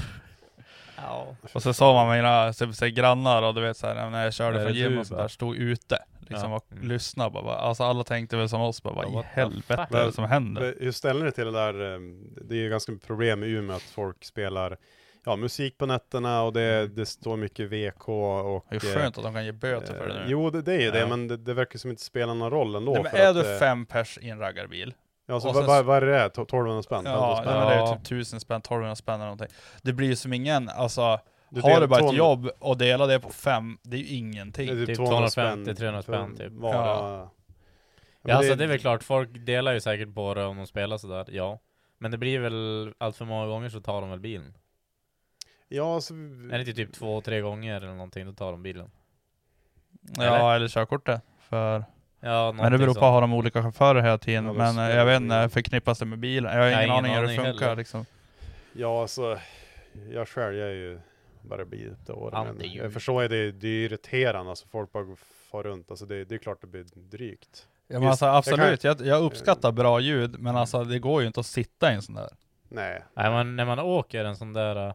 Ja.
Och så såg man mina så, så, grannar och du vet såhär, när jag körde
Är
från
det
gym
du
och
bara?
sådär, stod ute liksom
Ja.
och
Mm.
lyssnade bara, bara. Alltså alla tänkte väl som oss bara, vad
Ja,
i
what the
helvete
fuck?
är det som händer?
Men Hur ställer ni till det där? ehm, Det är ju ganska mycket problem i Umeå att folk spelar ja, musik på nätterna och det, det står mycket VK och...
Mm. Det är ju
eh,
skönt att de kan ge böter för det
eh,
nu.
Jo, det, det är ju det,
Ja.
men det, det verkar som inte spelar någon roll ändå.
Nej, men
för
är
att,
du
eh,
fem pers i en raggarbil,
Ja, alltså,
och
vad,
sen
vad,
s-
vad är det? 1200 spänn?
ja,
1500
nej,
spänn?
men det är
Ja.
ju typ tusen spänn, 1200 spänn eller någonting. Det blir ju som ingen, alltså,
Du
har
delar
du bara ett
200
jobb och delar det på fem, det är ju ingenting.
Det är
Typ
200
250, 300 spänn,
för
typ.
Var,
Ja.
ja.
Ja, alltså det är väl klart, folk delar ju säkert på det om de spelar sådär, ja. Men det blir väl, allt för många gånger så tar de väl bilen?
Ja, alltså,
Är det inte typ två, tre gånger eller någonting, då tar de bilen?
ja, eller körkortet. För,
Ja,
men det beror på, har de olika chaufförer hela tiden?
Ja, det
men eh,
spelar
jag vet
ingen
inte,
roll.
förknippas det med bilen? Jag har
Jag har
ingen aning
ingen
hur det
aning
funkar
heller.
liksom.
ja, alltså, jag själv jag är ju bara blir det åren. Men
Anti-jul.
jag förstår ju, det, är- det är ju irriterande, alltså folk bara far runt. Alltså det, det är klart det blir drygt.
Ja, men
Visst,
alltså,
jag kan-
absolut, jag, jag uppskattar bra ljud, men alltså det går ju inte att sitta i en sån där.
Nej,
Nej, men när man åker en sån där, eh,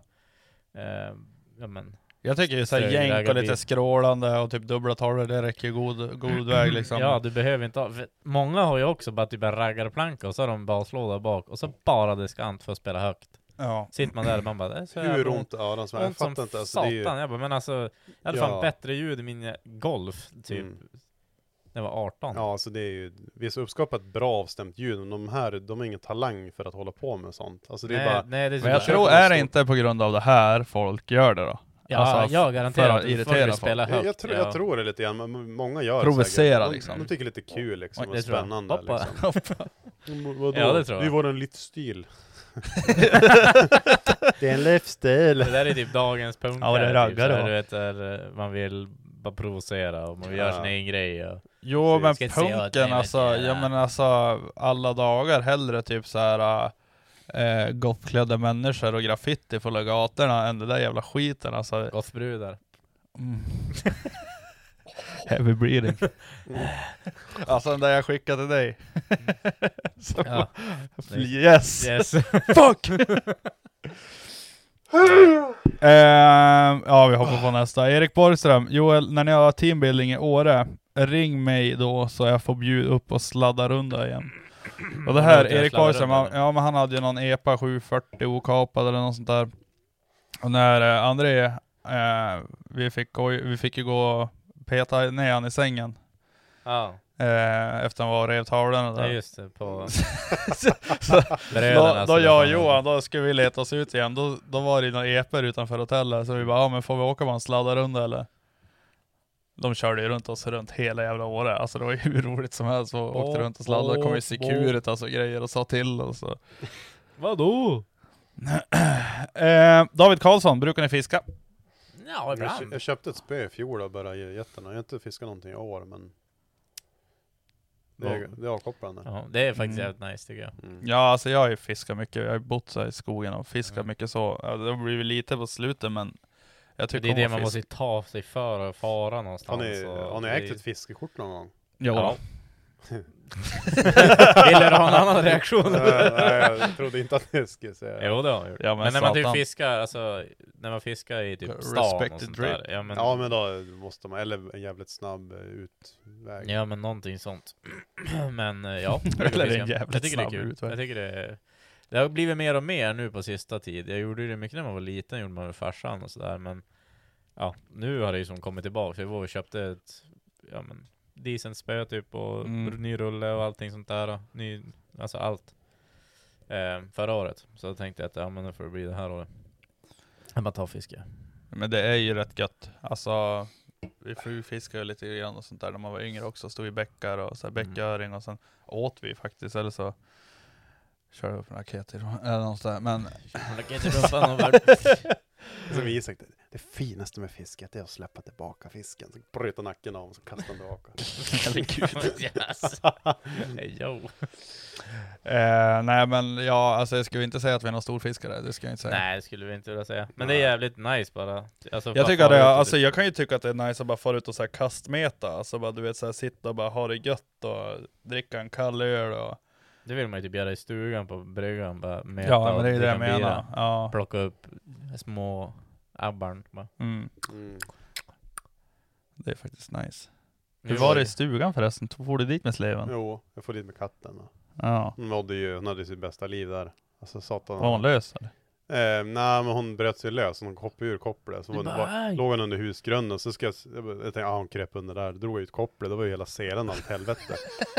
ja men,
Jag tycker ju såhär
Strög
jänk och lite
raggarbil.
skrålande och typ dubbla tolvor, det räcker ju god, god (clears throat) väg liksom.
ja du behöver inte ha, för många har ju också bara typ en raggarplanka och så har de baslåda bak och så bara diskant för att spela högt.
ja.
Sitter man där och man Alltså, bara, det är så
hur
jävla
ont i öronen som helst.
Ont
Jag fattar
som
inte. Alltså, det
satan.
är ju,
Jag bara, men alltså, jag hade
Ja.
fan bättre ljud i min golf, typ,
Mm.
när jag var 18.
ja, alltså det är ju, vi har så uppskapat bra avstämt ljud, men de här, de har ingen talang för att hålla på med sånt. Alltså det är
nej,
bara,
nej, det är så
Men jag
där.
tror,
köper
är det
en
inte på grund av det här folk gör det då?
Ja,
Alltså,
jag
för
garanterar
att
att du
irritera
får spela
jag,
högt.
jag, tror,
ja.
jag tror det lite grann, men många gör
Provocera,
säkert. De-
liksom.
De tycker det är lite kul liksom,
Oj,
och
det tror jag.
spännande.
Hoppa.
Liksom. Mm, Vadå?
Ja, det tror jag.
Det är vår livsstil. det är en livsstil.
Det där är typ dagens punkter.
Ja, det är
typ,
raggare,
såhär,
va?
du vet, där, eh, man vill bara provocera och man vill göra
Ja.
sin egen grej. Och...
Jo men
Ska inte säga åt dig,
punken
men
alltså,
ja.
ja men alltså alla dagar hellre typ så här äh, goffklädda människor och graffiti på gatorna än den där jävla skiten alltså.
Gothbrudar.
Mm. Heavy breathing. alltså den där jag skickade till dig. (laughs) Så
Mm. Ja.
bara, yes!
Yes.
Fuck! (laughs) Ehm, ja, vi hoppar på nästa. Erik Borgström, Joel, när ni har teambuilding i Åre, ring mig då så jag får bjuda upp och sladda runda igen. Och det
Jag
här,
vet inte, jag
Erik
sladdar
Borgström,
runda
han,
den.
ja men han hade ju någon E EPA 740 okapad eller något sånt där. Och när eh, André, eh, vi, fick gå, vi fick ju gå och peta ner han i sängen
ja,
eh, efter han var och rev tavlorna
ja,
där.
just det. På alltså,
Så- (laughs) så-
bröderna.
då, då
som
jag och
fan-
Johan, då skulle vi leta oss ut igen, då, då var det ju några epor utanför hotellet, så vi bara ja men får vi åka på en sladdarrunda eller? De körde ju runt oss runt hela jävla Åre, alltså det var ju (laughs) hur roligt som helst, och åkte runt och sladdade, kom ju Securitas alltså, och grejer och sa till och så.
Vadå?
(clears throat) Eh, David Karlsson, brukar ni fiska?
Ja,
Jag, kö-
ibland.
jag köpte ett spö i fjol och började ge jätterna. Jag har inte fiskat någonting i år, men det är, det är avkopplande.
Ja, det är faktiskt
Mm.
jävligt nice tycker jag.
Mm.
Ja alltså jag har ju fiskat mycket, jag har ju bott så här i skogen och fiskat mycket så, Ja, det har blivit lite på slutet men jag
För
tycker
det är
om
det
att
man
fiska.
måste ta sig för och fara
Har
någonstans.
ni,
och
har ni
det är
ägt
ju-
ett fiskekort någon gång?
Ja.
(laughs) Vill du ha en annan reaktion?
Nej, nej, jag trodde inte att ni skulle säga det.
Jo det har jag gjort.
Ja, men
men när man
satan.
typ fiskar, alltså när man fiskar i typ
Respect
stan
the
och sånt
drip.
där. Ja men,
Ja, men då måste man, eller en jävligt snabb eh, utväg.
ja, men någonting sånt. (clears throat) men eh,
(laughs)
ja,
Eller
fiskar.
en jävligt
jag tycker det är
snabb
kul.
utväg.
Jag tycker det är... Det har blivit mer och mer nu på sista tid. Jag gjorde ju det mycket när man var liten, gjorde man med farsan och sådär men Ja, nu har det ju som kommit tillbaka. Vi var och köpte ett, ja men, decent spö typ och
Mm.
ny rulle och allting sånt där. och Ny, alltså allt. Eh, förra året. Så då tänkte jag att ja men nu får det bli det här året. Jag bara tar fiske.
Men det är ju rätt gött. Alltså, vi fruvfiskade ju lite grann och sånt där när man var yngre också. Stod i bäckar och så här
Mm.
bäcköring och sen åt vi faktiskt, eller så körde upp en raket i rumpan (laughs) eller något sådär. Men
Raket i rumpan och
Det är Som Isak, det, det finaste med fisket är att släppa tillbaka fisken. Så bryter nacken av honom, så kastar han tillbaka.
Herregud. Yes.
(laughs)
Jo.
(laughs) eh, nej men ja, alltså jag skulle inte säga att vi är någon storfiskare, det ska jag inte säga.
Nej, det skulle vi inte vilja säga. Men det är jävligt nice bara. Alltså, bara
Jag, tycker att
fara
det,
ut och
alltså,
typ-
jag kan ju tycka att det är nice att bara fara ut och så här kastmeta, alltså bara, du vet så här, sitta och bara ha det gött och dricka en kall öl och...
Det vill man ju typ göra i stugan på bryggan. Bara mäta
Ja men det är
och
ju det jag
dricka bira.
menar. Ja.
Plocka upp små abborren. bara.
Mm.
Mm.
Det är faktiskt nice.
Nu
Hur var det i stugan förresten? For du dit med sleven?
Jo, jag får dit med katten. då.
Ja.
Hon mådde ju, hon hade ju sitt bästa liv där. Alltså satan.
Var hon lös eller?
Eh, nej men hon bröt sig lös, hon hoppade ur kopplet. Så
Du
hon
bara,
var,
"Aj."
låg hon under husgrunden, så ska jag, s- jag, bara- jag tänkte, ah, hon kröp under där, drog jag ut kopplet, då var ju hela selen allt helvete.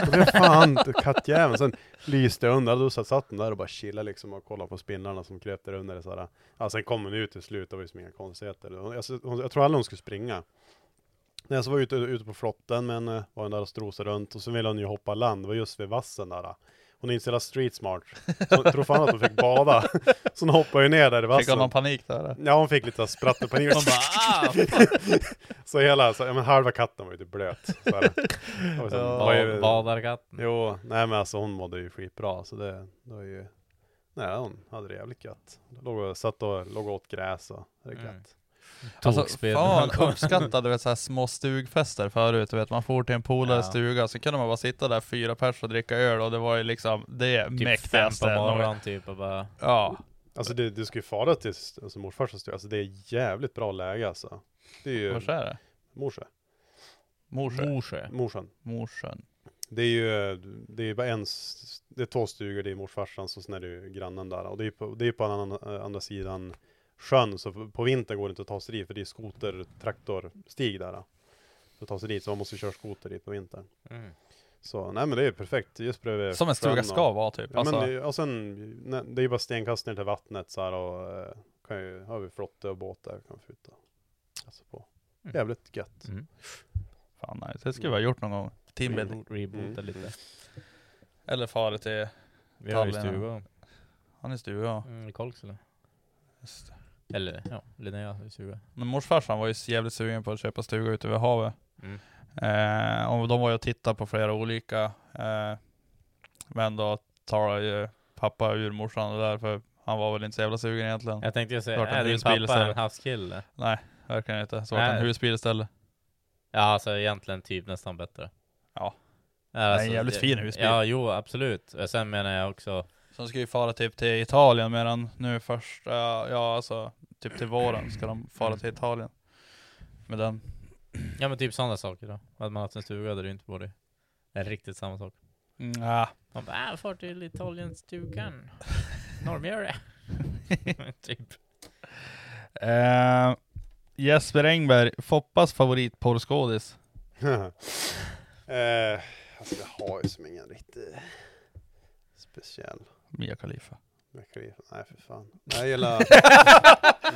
Och det fan kattjäveln, sen lyste jag under, då satt, satt hon där och bara chillade liksom och kollade på spinnarna som kröp där under. Så här. Ja, sen kom hon ut till slut, det var ju som inga konstigheter. Hon, jag, hon, jag tror aldrig hon skulle springa. Nej, så var jag ute, ute på flotten, men eh, var hon där och strosade runt, och så ville hon ju hoppa land, det var just vid vassen där. eh. Hon är inte så jävla street smart, så hon tror fan att hon fick bada. (laughs) Så hon hoppade ju ner där i vassen.
Fick hon någon panik där? eller?
Ja, hon fick lite sprattelpanik.
Hon bara ah!
så hela, så, ja, men halva katten var ju typ blöt. Så
(laughs)
(laughs)
här. Och sen var
Ba-
ju-
Badarkatten.
Jo, nej men alltså hon mådde ju skitbra, så det, det var ju... Nej, hon hade det jävligt gött. Låg och, satt och låg och åt gräs och det är gött.
Mm.
Alltså (laughs)
Tokspel.
fan
(laughs)
uppskattade du vet, så här små stugfester förut, du vet man for till en polares
Ja.
stuga, så kunde man bara sitta där fyra pers och dricka öl och det var ju liksom det
Typ fem på
mäktigaste. någon-
morgonen typ och bara...
Ja.
Alltså det, du ska ju fara till s- alltså, morfarsans stuga, alltså det är jävligt bra läge alltså. Det är ju...
Vars är det?
Morsö?
Morsjö?
Morsjö.
Morsön.
Morsjön.
Det är ju, det är bara en, s- det är två stugor, det är morfarsans och sen är det ju grannen där. Och det är på, det är på annan, eh, andra sidan sjön, så på vintern går det inte att ta sig dit, för det är skoter, traktorstig där. För att ta sig dit, så man måste köra skoter dit på vintern.
Mm.
Så nej men det är ju perfekt, just bredvid
Som
sjön
en stuga
och-
ska vara typ.
Ja, men,
Alltså,
det- och sen, nej, det är ju bara stenkast ner till vattnet så här och eh, kan ju, har vi flotte och båtar kan vi futa. Alltså på.
Mm.
Jävligt gött.
Mm.
fan nice. Det skulle vi ha gjort någon gång. Teambuilding.
Reboot- Reboota
Mm.
lite.
Eller fara till,
Vi har ju
Tallinn.
stuga
han är i stuga.
mm, i Kolksele.
Just det.
Eller ja, Linnea har ju stuga.
Men morsfarsan var ju jävligt sugen på att köpa stuga ute vid havet.
Mm.
Eh, och de var ju och tittade på flera olika. Eh, men då tar ju pappa ur morsan det där för han var väl inte så jävla sugen egentligen.
Jag tänkte ju säga,
Klart att
är
det är
din
en bil
pappa
istället.
en havskille?
Verkligen inte. Så vart han
Nej.
husbil istället.
Ja, alltså egentligen typ nästan bättre.
Ja.
Ja,
är en
Alltså,
jävligt
det-
fin husbil.
Ja, jo absolut. Och Sen menar jag också,
Så ska ju fara typ till Italien medan nu först, eh, ja alltså typ till våren ska de fara till Italien. Med den.
ja men typ sådana saker då. Att man haft en stuga där du inte bor i. Det är riktigt samma sak.
Mm, ah.
Man bara, äh, far
(laughs)
till Italienstugan. Normgöra. typ.
eh, Jesper Engberg, Foppas favoritporrskådis.
(laughs) eh, alltså jag har ju som ingen riktigt speciell.
Mia
(laughs)
Khalifa.
Jag kan ju- Nej för fan. Nej jag gillar,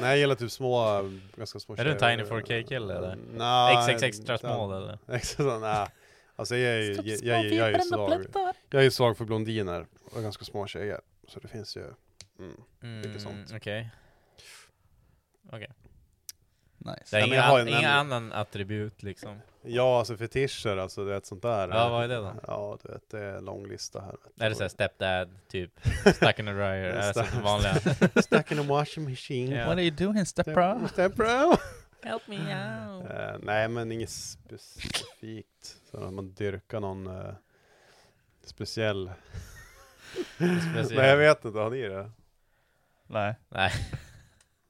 nej, jag gillar typ små, eh, ganska små
Är du en Tiny 4K kille, eller? XX extra small eller?
(laughs) Extra, nej. Alltså jag är ju, jag, jag, jag, är ju svag. Jag är ju svag för blondiner och ganska små tjejer. Så det finns ju. Mm.
Mm,
Mycket sånt.
Okej. Okej. Det
Nice.
är
Ja, men
inga,
jag har
an-
ju en
inga
nämnd-
annan attribut liksom.
Ja, alltså fetischer, alltså det är ett sånt där.
Ja, vad är det då?
Ja, du vet, det är en lång lista här. vet du.
Är det såhär stepdad,
(laughs)
typ stuck in a dryer, är det så
Stuck-
vanliga?
(laughs) Stuck in a washing machine.
Ja.
What are you doing Stepra?
Step bro.
Help me out!
Eh, nej, men inget specifikt. Så att man dyrkar någon eh, speciell. (laughs)
Speciellt.
Nej, jag vet inte. Har ni det?
Nej.
Eh,
Nej.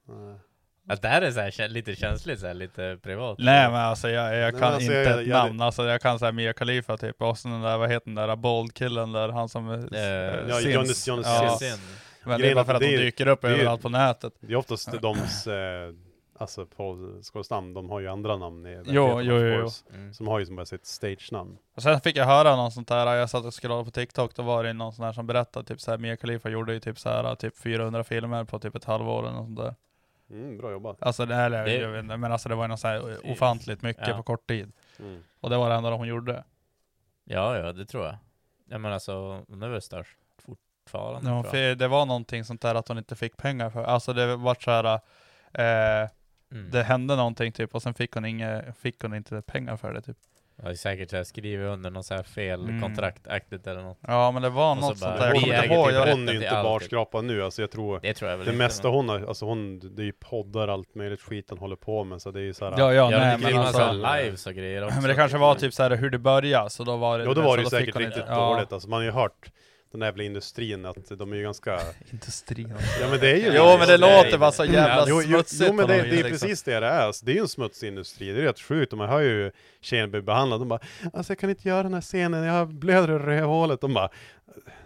(laughs) Att det här är så här, kä- lite känsligt, så här, lite privat.
Nej men alltså jag,
Nej,
jag
men
kan
alltså,
inte
jag-
ett
jag-
namn, alltså jag kan såhär Mia Khalifa typ, och sen den där, vad heter den där bold-killen där, han som... eh,
Eh,
Ja,
syns.
Johnny- Johnny
ja,
Sins.
Synd.
Men det
Grejen
är bara för
är
att
att
de
det är-
dyker upp
det är-
överallt på nätet.
Det är oftast doms, eh, alltså på skådesnamn, de har ju andra namn i
Jo,
verkligheten,
jo,
of
jo, jo.
course.
Mm.
Som har ju som bara sitt stage-namn.
Och sen fick jag höra någon sånt här, jag satt och scrollade på TikTok, då var det någon sån här som berättade typ såhär, Mia Khalifa gjorde ju typ såhär, typ 400 filmer på typ ett halvår eller något sånt där.
Mm, bra jobbat.
Alltså det, eller,
Det-
jag vet inte, men alltså det var ju något så här ofantligt mycket
Ja.
på kort tid.
Mm.
Och det var det enda hon gjorde.
Ja, ja, det tror jag. Ja, men alltså, hon är väl störst fortfarande.
Ja,
tror jag.
för det var någonting sånt där att hon inte fick pengar för. Alltså det vart så här, eh,
Mm.
det hände någonting typ och sen fick hon, inge, fick hon inte pengar för det typ.
Jag har säkert så här skrivit under någon så här fel
Mm.
kontraktaktigt eller något.
Ja men det var
Och så
något sånt
bara,
där.
vi
Jag kommer inte
äger
ihåg.
typ
Jag,
rätt.
hon är
rätten
ju
till
inte
allt.
barskrapad nu, alltså jag tror
Det tror jag väl
det
inte,
mesta
men-
hon har, alltså hon, det är ju poddar allt möjligt skit hon håller på med så det är ju såhär
ja, ja,
Ja,
nej,
det
men
men
alltså.
massa lives och grejer också.
Men det kanske var typ så här hur det började, så då var det...
Ja då
men
var
så
det ju
fick
säkert
hon
riktigt
inte, ja.
dåligt alltså, man har ju hört den där jävla industrin att de är ju ganska,
Industrin.
ja men det är ju
Jo men det
Nej.
låter bara så jävla
Ja,
jo, jo,
smutsigt
jo
på
men
något
det,
vis,
det är
liksom.
precis det det är, alltså, det är ju en smutsig industri, det är rätt sjukt, och man hör ju tjejer bli behandlade, de bara Alltså jag kan inte göra den här scenen, jag blöder i rövhålet, de bara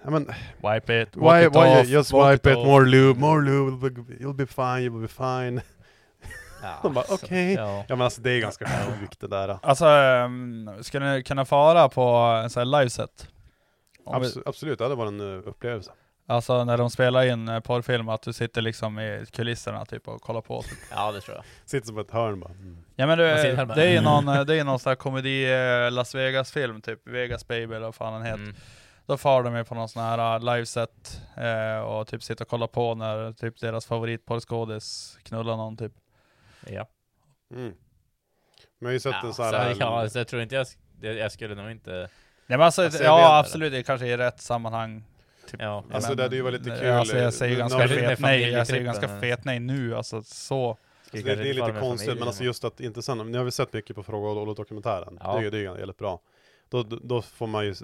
Ja men,
Wipe it, walk
why,
it
why
off,
you just
walk
wipe it,
off.
more lube, more lube, you'll be- you'll be fine, you'll be fine
Ja,
(laughs) De bara,
alltså,
okej.
Ja.
Ja men alltså det är ganska sjukt det där
Alltså, ehm, skulle ni kunna fara på en sån här liveset? Om vi-
Abs- Absolut, ja, det var en eh, upplevelse
Alltså när de spelar in eh, porrfilm, att du sitter liksom i kulisserna typ och kollar på. Typ.
ja, det tror jag.
Sitter som ett hörn bara mm.
Ja men du,
Man sitter här
eh,
bara-
det är ju
(laughs)
någon, eh, det är ju någon sån här komedi eh, Las Vegas film typ, Vegas Baby eller vad fan den heter.
Mm.
Då far de ju på någon sån här eh, liveset eh, och typ sitter och kollar på när typ deras favoritporrskådis knullar någon typ.
Ja.
Mm. Men jag har ju sett
Ja,
en
så,
sån här
ja, alltså, jag tror inte jag, sk- det- jag skulle nog inte...
Nej men alltså,
Alltså, jag vet
ja
inte.
absolut, det kanske är i rätt sammanhang. typ.
Ja.
Alltså,
men-
det hade ju varit lite
eh,
kul,
Alltså
eh,
jag säger
nu-
ganska
när-
fet
när
nej, jag säger
familjetrippen-
ganska fet nej nu alltså så.
Alltså, det, det är lite konstigt, men alltså just att inte sen, nu har vi sett mycket på Fråga och Olof-dokumentären,
Ja.
det är ju det är ju jävligt bra. Då, då- då får man ju, s-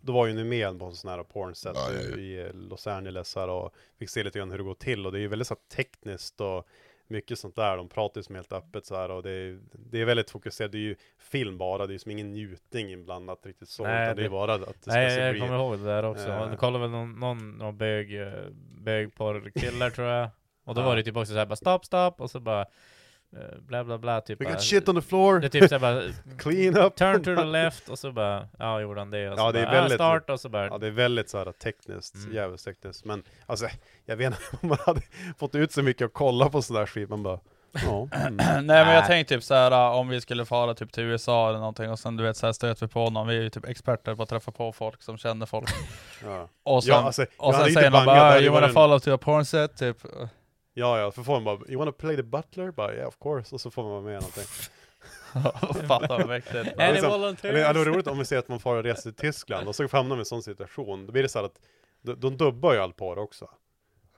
då var ju ni med på en sån här pornset i eh, Los Angeles här och fick se lite grann hur det går till och det är ju väldigt så här tekniskt och mycket sånt där, de pratar ju som helt öppet så här och det är, det är väldigt fokuserat, det är ju film bara, det är ju som ingen njutning inblandat riktigt så,
Nej,
utan det är
det-
bara att det ska
Nej,
se
jag
bli-
kommer ihåg det där också.
Eh.
Uh. kollade väl någon, någon, någon bög, eh, bögporrkillar tror jag. Och då
Ja.
var det typ också såhär bara stopp, stopp, och så bara eh, bla bla bla, typ
We
bara,
got shit on the floor,
Det är typ såhär bara
(laughs) clean up!
turn to the left, och så bara, ja gjorde han det, och så
Ja, det är
bara,
väldigt-
ah, start, och så bara,
Ja det är väldigt såhär tekniskt,
Mm.
jävligt tekniskt. Men alltså, jag vet inte (laughs) om man hade fått ut så mycket att kolla på sån där skit, man bara ja. Mm.
(clears throat) Nej men jag
Nej.
tänkte typ såhär äh, om vi skulle fara typ till USA eller någonting och sen du vet såhär stöter vi på någon, vi är ju typ experter på att träffa på folk som
(laughs)
känner folk.
ja.
Och sen,
Ja, alltså, jag
och
hade
sen
inte
säger någon
bangat, det
bara
hade
"Ah, you
varit
wanna
en-
follow to a porn set typ. (laughs)
ja, ja, för får man bara, you wanna play the butler? Bara, yeah of course, och så får man vara med i någonting.
Fattar vad mäktigt.
är ni
liksom-
volunteers?
Eller, ja, det är roligt om vi ser att man far och reser till Tyskland, och så hamnar man i en sån situation, då blir det så här att de, de dubbar ju all porr också.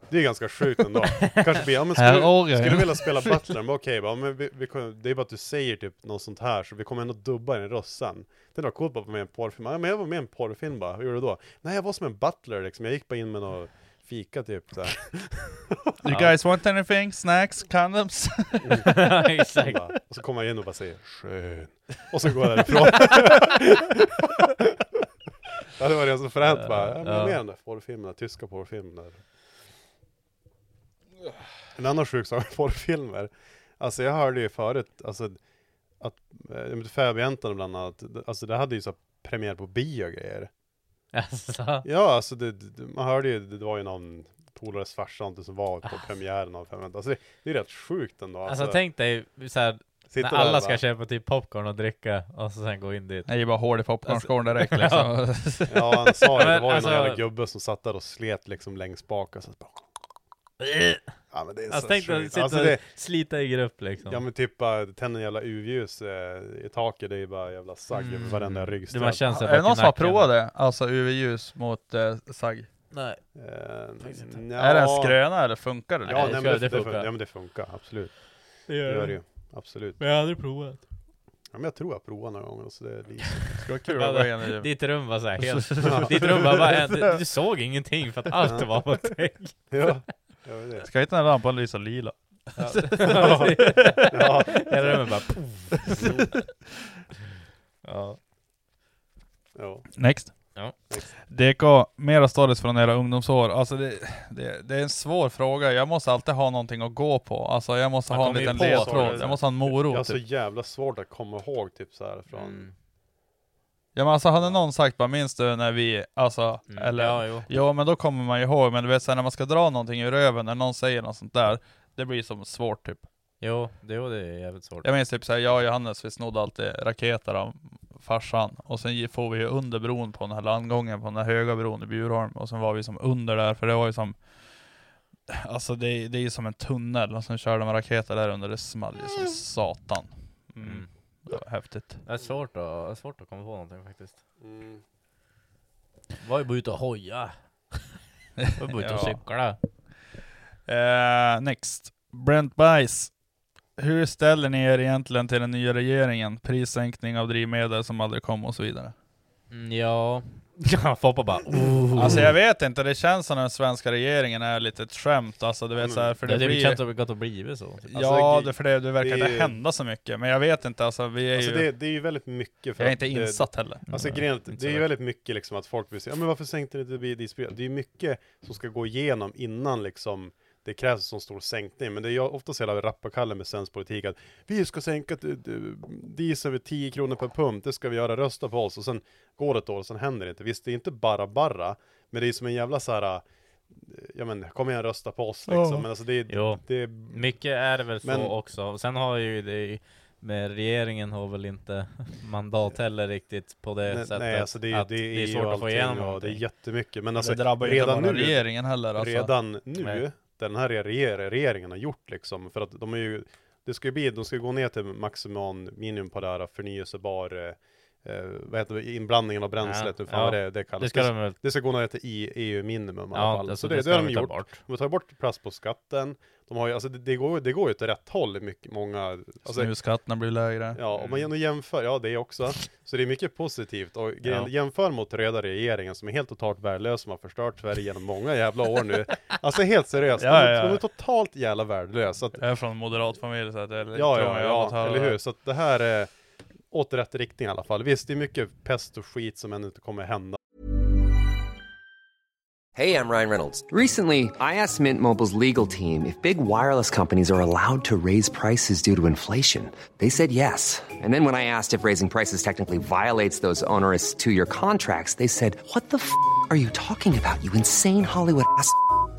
Det är ganska sjukt ändå. Kanske blir, ja men
Här
skulle,
orgar jag.
skulle du vilja spela Butler? Men okej, bara, men vi, vi, kommer- det är bara att du säger typ något sånt här, så vi kommer ändå dubba din röst sen. Det är något coolt bara att vara med i en porrfilm. Ja, men jag var med i en porrfilm bara, hur gjorde du då? Nej, jag var som en butler liksom, jag gick bara in med något fika typ så här.
You guys want anything? Snacks?
(laughs)
Condoms? (laughs)
Exakt. (laughs)
Bara, och så kommer jag in och bara säger skön. Och så går jag därifrån. ja, det var det så fränt bara. Ja, men jag är med i den där porrfilmen, tyska porrfilmer. En annan sjuk sak med porrfilmer. Alltså jag hörde ju förut, alltså att äh, Fäbodjäntan bland annat, alltså det hade ju så här premiär på bio och grejer.
Alltså,
Ja, alltså det, det, man hörde ju, det var ju någon polares farsa inte som var på premiären av Fäbodjäntan. Alltså det, det är rätt sjukt ändå.
Ah. alltså tänk dig såhär,
sitta
när
där
alla
bara.
ska köpa typ popcorn och dricka, och så sen gå in dit.
Nej det är bara hål i popcornskålen direkt
Alltså, (laughs)
(laughs) liksom.
Ja, han sa det. Det
Men
var ju
alltså-
någon jävla gubbe som satt där och slet liksom längst bak. Och så bara... Ja, men det är
Alltså
så
tänk dig att
sjukt.
sitta
Alltså,
och
det,
slita i grupp liksom.
ja men typ bara tända en jävla UV-ljus eh, i taket. Det är ju bara jävla sagg över varenda
Mm. det
ryggstöd.
man känner sig
Är det någon som har
nacken.
provat det? Alltså UV-ljus mot eh, sagg?
Nej. Faktiskt
Eh,
inte.
nja,
Är det en skröna eller funkar det?
Ja,
Nej,
nej, men
det tror
det, det
jag det
funkar.
funkar.
Ja men det funkar, absolut.
Det
Det
gör
gör det
det
ju. Absolut.
Men jag har aldrig provat.
Ja, men jag tror jag provade några gånger. Så det lyser.
Skulle vara kul att gå in i
Ditt rum var
(laughs)
såhär helt... ditt rum var bara... Du, du såg ingenting för att allt var
(laughs)
(laughs) mot dig.
ja, jag vet det.
Ska inte den här lampan lysa lila?
(laughs) Hela rummet bara...
(laughs)
Ja.
Ja.
Next.
Ja.
Liksom. DK, mera stories från era ungdomsår. Alltså det, det, det är en svår fråga. Jag måste alltid ha någonting att gå på. Alltså jag måste
Man
ha en
kommer ju
liten
på
stories.
ledtråd. Jag måste ha en
Jag har
morot.
så
Typ.
jävla svårt att komma ihåg typ så här från...
Mm.
Ja, men alltså hade någon sagt bara minns du när vi, alltså,
Mm.
eller
Ja, jo.
Ja men då kommer man ju ihåg, men du vet såhär när man ska dra någonting ur röven, när någon säger något sånt där det blir som svårt typ.
Jo, det, jo, det är jävligt svårt.
Jag minns typ såhär, jag och Johannes vi snodde alltid raketer av farsan, och sen gi- får vi ju under bron på den här landgången, på den här höga bron i Bjurholm, och sen var vi som under där, för det var ju som Alltså det, det är ju som en tunnel, och sen körde de raketer där under, det small ju som satan. Mm.
Mm.
Det var häftigt.
Det är svårt att, det är svårt att komma på någonting faktiskt.
Mm.
Var ju bara ute och (laughs) hoja. Var ju bara ute och
Ja.
cykla.
Eh, next. Brent Bice. Hur ställer ni er egentligen till den nya regeringen? Prissänkning av drivmedel som aldrig kom och så vidare.
(laughs)
Mm, ja. Ja, Foppa bara oh.
Alltså jag vet inte, det känns som den svenska regeringen är lite ett skämt. Alltså du vet så här, för det,
Mm. det, det
blir...
känns som det gått att bli så.
ja,
Alltså,
det, för det, det verkar
det är
inte
ju-
hända så mycket. Men jag vet inte, alltså vi är
Alltså
ju...
det, det är ju väldigt mycket för
jag är
att
inte
det-
insatt heller.
Alltså
Nej,
grejen är att det är
inte så
ju
väl.
väldigt mycket liksom att folk vill säga, ja men varför sänkte ni inte dieselpriset? Det är ju mycket som ska gå igenom innan liksom det krävs en sån stor sänkning, men det är ju ofta så jävla rappakallen med svensk politik att vi ska sänka d- d- diesel vid 10 kronor per pump, det ska vi göra, rösta på oss och sen går det ett år och sen händer det inte. Visst, det är inte bara bara, men det är som en jävla så här, eh, ja men kom igen rösta på oss liksom, men alltså det är,
Jo.
det är
Mycket är det väl
Men-
så också. Sen har ju det med regeringen har väl inte (laughs) mandat heller riktigt på det
Nej,
sättet.
nej, alltså det, är-
att
det, är ju
svårt att få
allting
igenom
och det är
någonting.
jättemycket. Men alltså,
det drabbar ju inte
redan
bara
nu,
regeringen heller. Alltså.
redan nu,
Nej.
den här reger- regeringen har gjort liksom, för att de är ju, det ska ju bli, de ska gå ner till maximum minimum på det här förnyelsebar, eh, eh, vad heter det, inblandningen av bränslet,
Ja,
hur fan
ja.
vad det, det kallas.
det ska de väl...
det ska gå ner till E- i- EU-minimum i alla
Ja,
fall.
alltså,
så det, det,
ska
har
de
de
ta
gjort.
bort.
De har tagit bort press på skatten. De har ju, alltså det, det, går, det går ju åt rätt håll, mycket, många, alltså,
Snusskatterna blir lägre.
Ja, om man ändå jämför, ja det också. Så det är mycket positivt. Och grejen-
Ja.
jämför mot röda regeringen som är helt totalt värdelös, som har förstört Sverige genom många jävla år nu. Alltså helt seriöst,
Ja,
de, är-
ja, ja.
de är totalt jävla värdelösa. Så att,
Jag är från en moderat familj så att det är lite
ja,
vad
ja,
jag har fått
ja,
höra.
eller hur? Så att det här är åt rätt riktning i alla fall. Visst, det är mycket pest och skit som ännu inte kommer hända.
Hey, I'm Ryan Reynolds. Recently, I asked Mint Mobile's legal team if big wireless companies are allowed to raise prices due to inflation. They said yes. And then when I asked if raising prices technically violates those onerous two year contracts, they said, What the f are you talking about, you insane Hollywood ass? f- a-"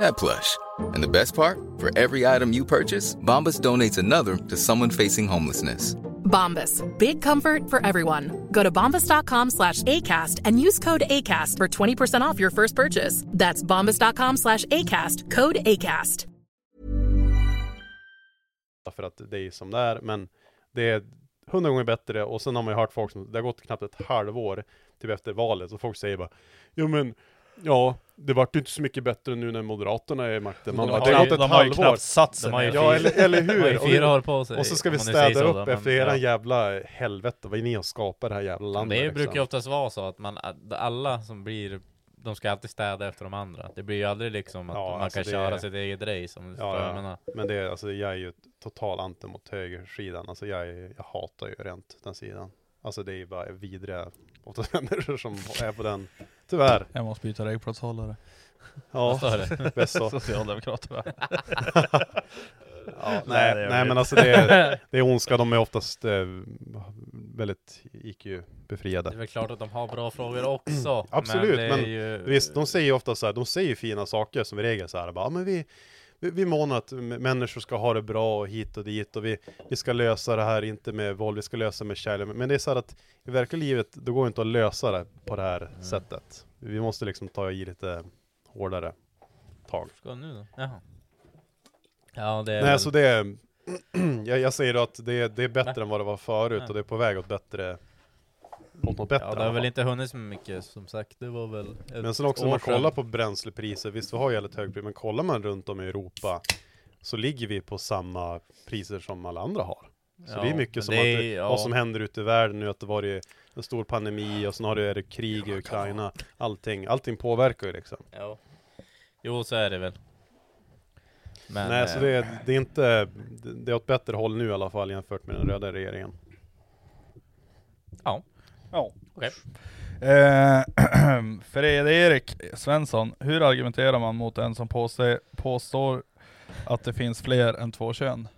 that plush. And the best part? For every item you purchase, Bombas donates another to someone facing homelessness.
Bombas. Big comfort for everyone. Go to bombas.com slash ACAST and use code ACAST for 20% off your first purchase. That's bombas.com slash ACAST. Code ACAST.
för att det är som det är, men det är hundra gånger bättre och sen har man ju hört folk som, det har gått knappt ett halvår typ efter valet, så folk säger bara Jo men, ja, det vart ju inte så mycket bättre nu när Moderaterna är i makten. Man
De
bara,
har
det har
knappt-
gått ett
de har ju
halvår.
knappt satt sig
De har ju
ner.
Ja, eller, eller
De har ju
hur?
fyra
Och-
år på sig.
och så ska vi
om man nu säger
städa
så,
upp er
då, men
efter era
ja.
jävla helvete, vad ni har skapat det här jävla landet.
Det brukar ju
liksom.
oftast vara så att man, att alla som blir, de ska alltid städa efter de andra. Det blir ju aldrig liksom att
Ja,
man
alltså
kan
det-
köra sitt eget race om du förstår vad jag
Ja,
menar.
ja. Men det är, alltså jag är ju total anti mot högersidan, alltså jag, är, jag hatar ju rent den sidan. Alltså det är ju bara vidriga åtta människor (laughs) som är på den, tyvärr.
Jag måste byta regplåtshållare.
(laughs) Ja,
Vad sa du?
bäst så.
(laughs)
Socialdemokraterna.
Ja,
Nej,
nej,
det gör
nej, men
vi inte.
alltså det är, det är ondska, de är oftast eh, väldigt IQ-befriade.
Det är väl klart att de har bra frågor också.
(clears throat) Absolut,
men, det
men
är ju,
Visst, de säger ju ofta så här, de säger ju fina saker som regel så här, bara, "Ja, men vi, vi, vi månar att m- människor ska ha det bra och hit och dit och vi, vi ska lösa det här, inte med våld, vi ska lösa med kärlek. Men det är så här att i verkliga livet, det går inte att lösa det på det här sättet. Vi måste liksom ta i lite hårdare tag.
Ska nu då? Jaha. Ja, det är
Nej,
väl-
alltså det är, (clears throat) jag, jag säger då att det, är- det är bättre än vad det var förut och det är på väg åt bättre, åt något bättre.
Ja,
i
det
alla
har
fall.
väl inte hunnit så mycket som sagt. Det var väl ett
Men sen också när
år
man kollar
sedan.
på bränslepriser, visst vi har ju väldigt höga priser, men kollar man runt om i Europa så ligger vi på samma priser som alla andra har. Så
Ja,
det är
men
mycket som
det
att,
är-
det-
ja.
vad som händer ute i världen nu, att det var ju en stor pandemi och sen har det, är det krig i Ukraina, allting, allting påverkar ju liksom.
Ja. Jo, så är det väl. Men,
Nej, så
eh,
det är, det är inte, det är åt bättre håll nu i alla fall jämfört med den röda regeringen.
Ja.
Ja.
Okej.
Eh, (clears throat) Fredrik Svensson, hur argumenterar man mot en som påstår, påstår att det finns fler än två kön?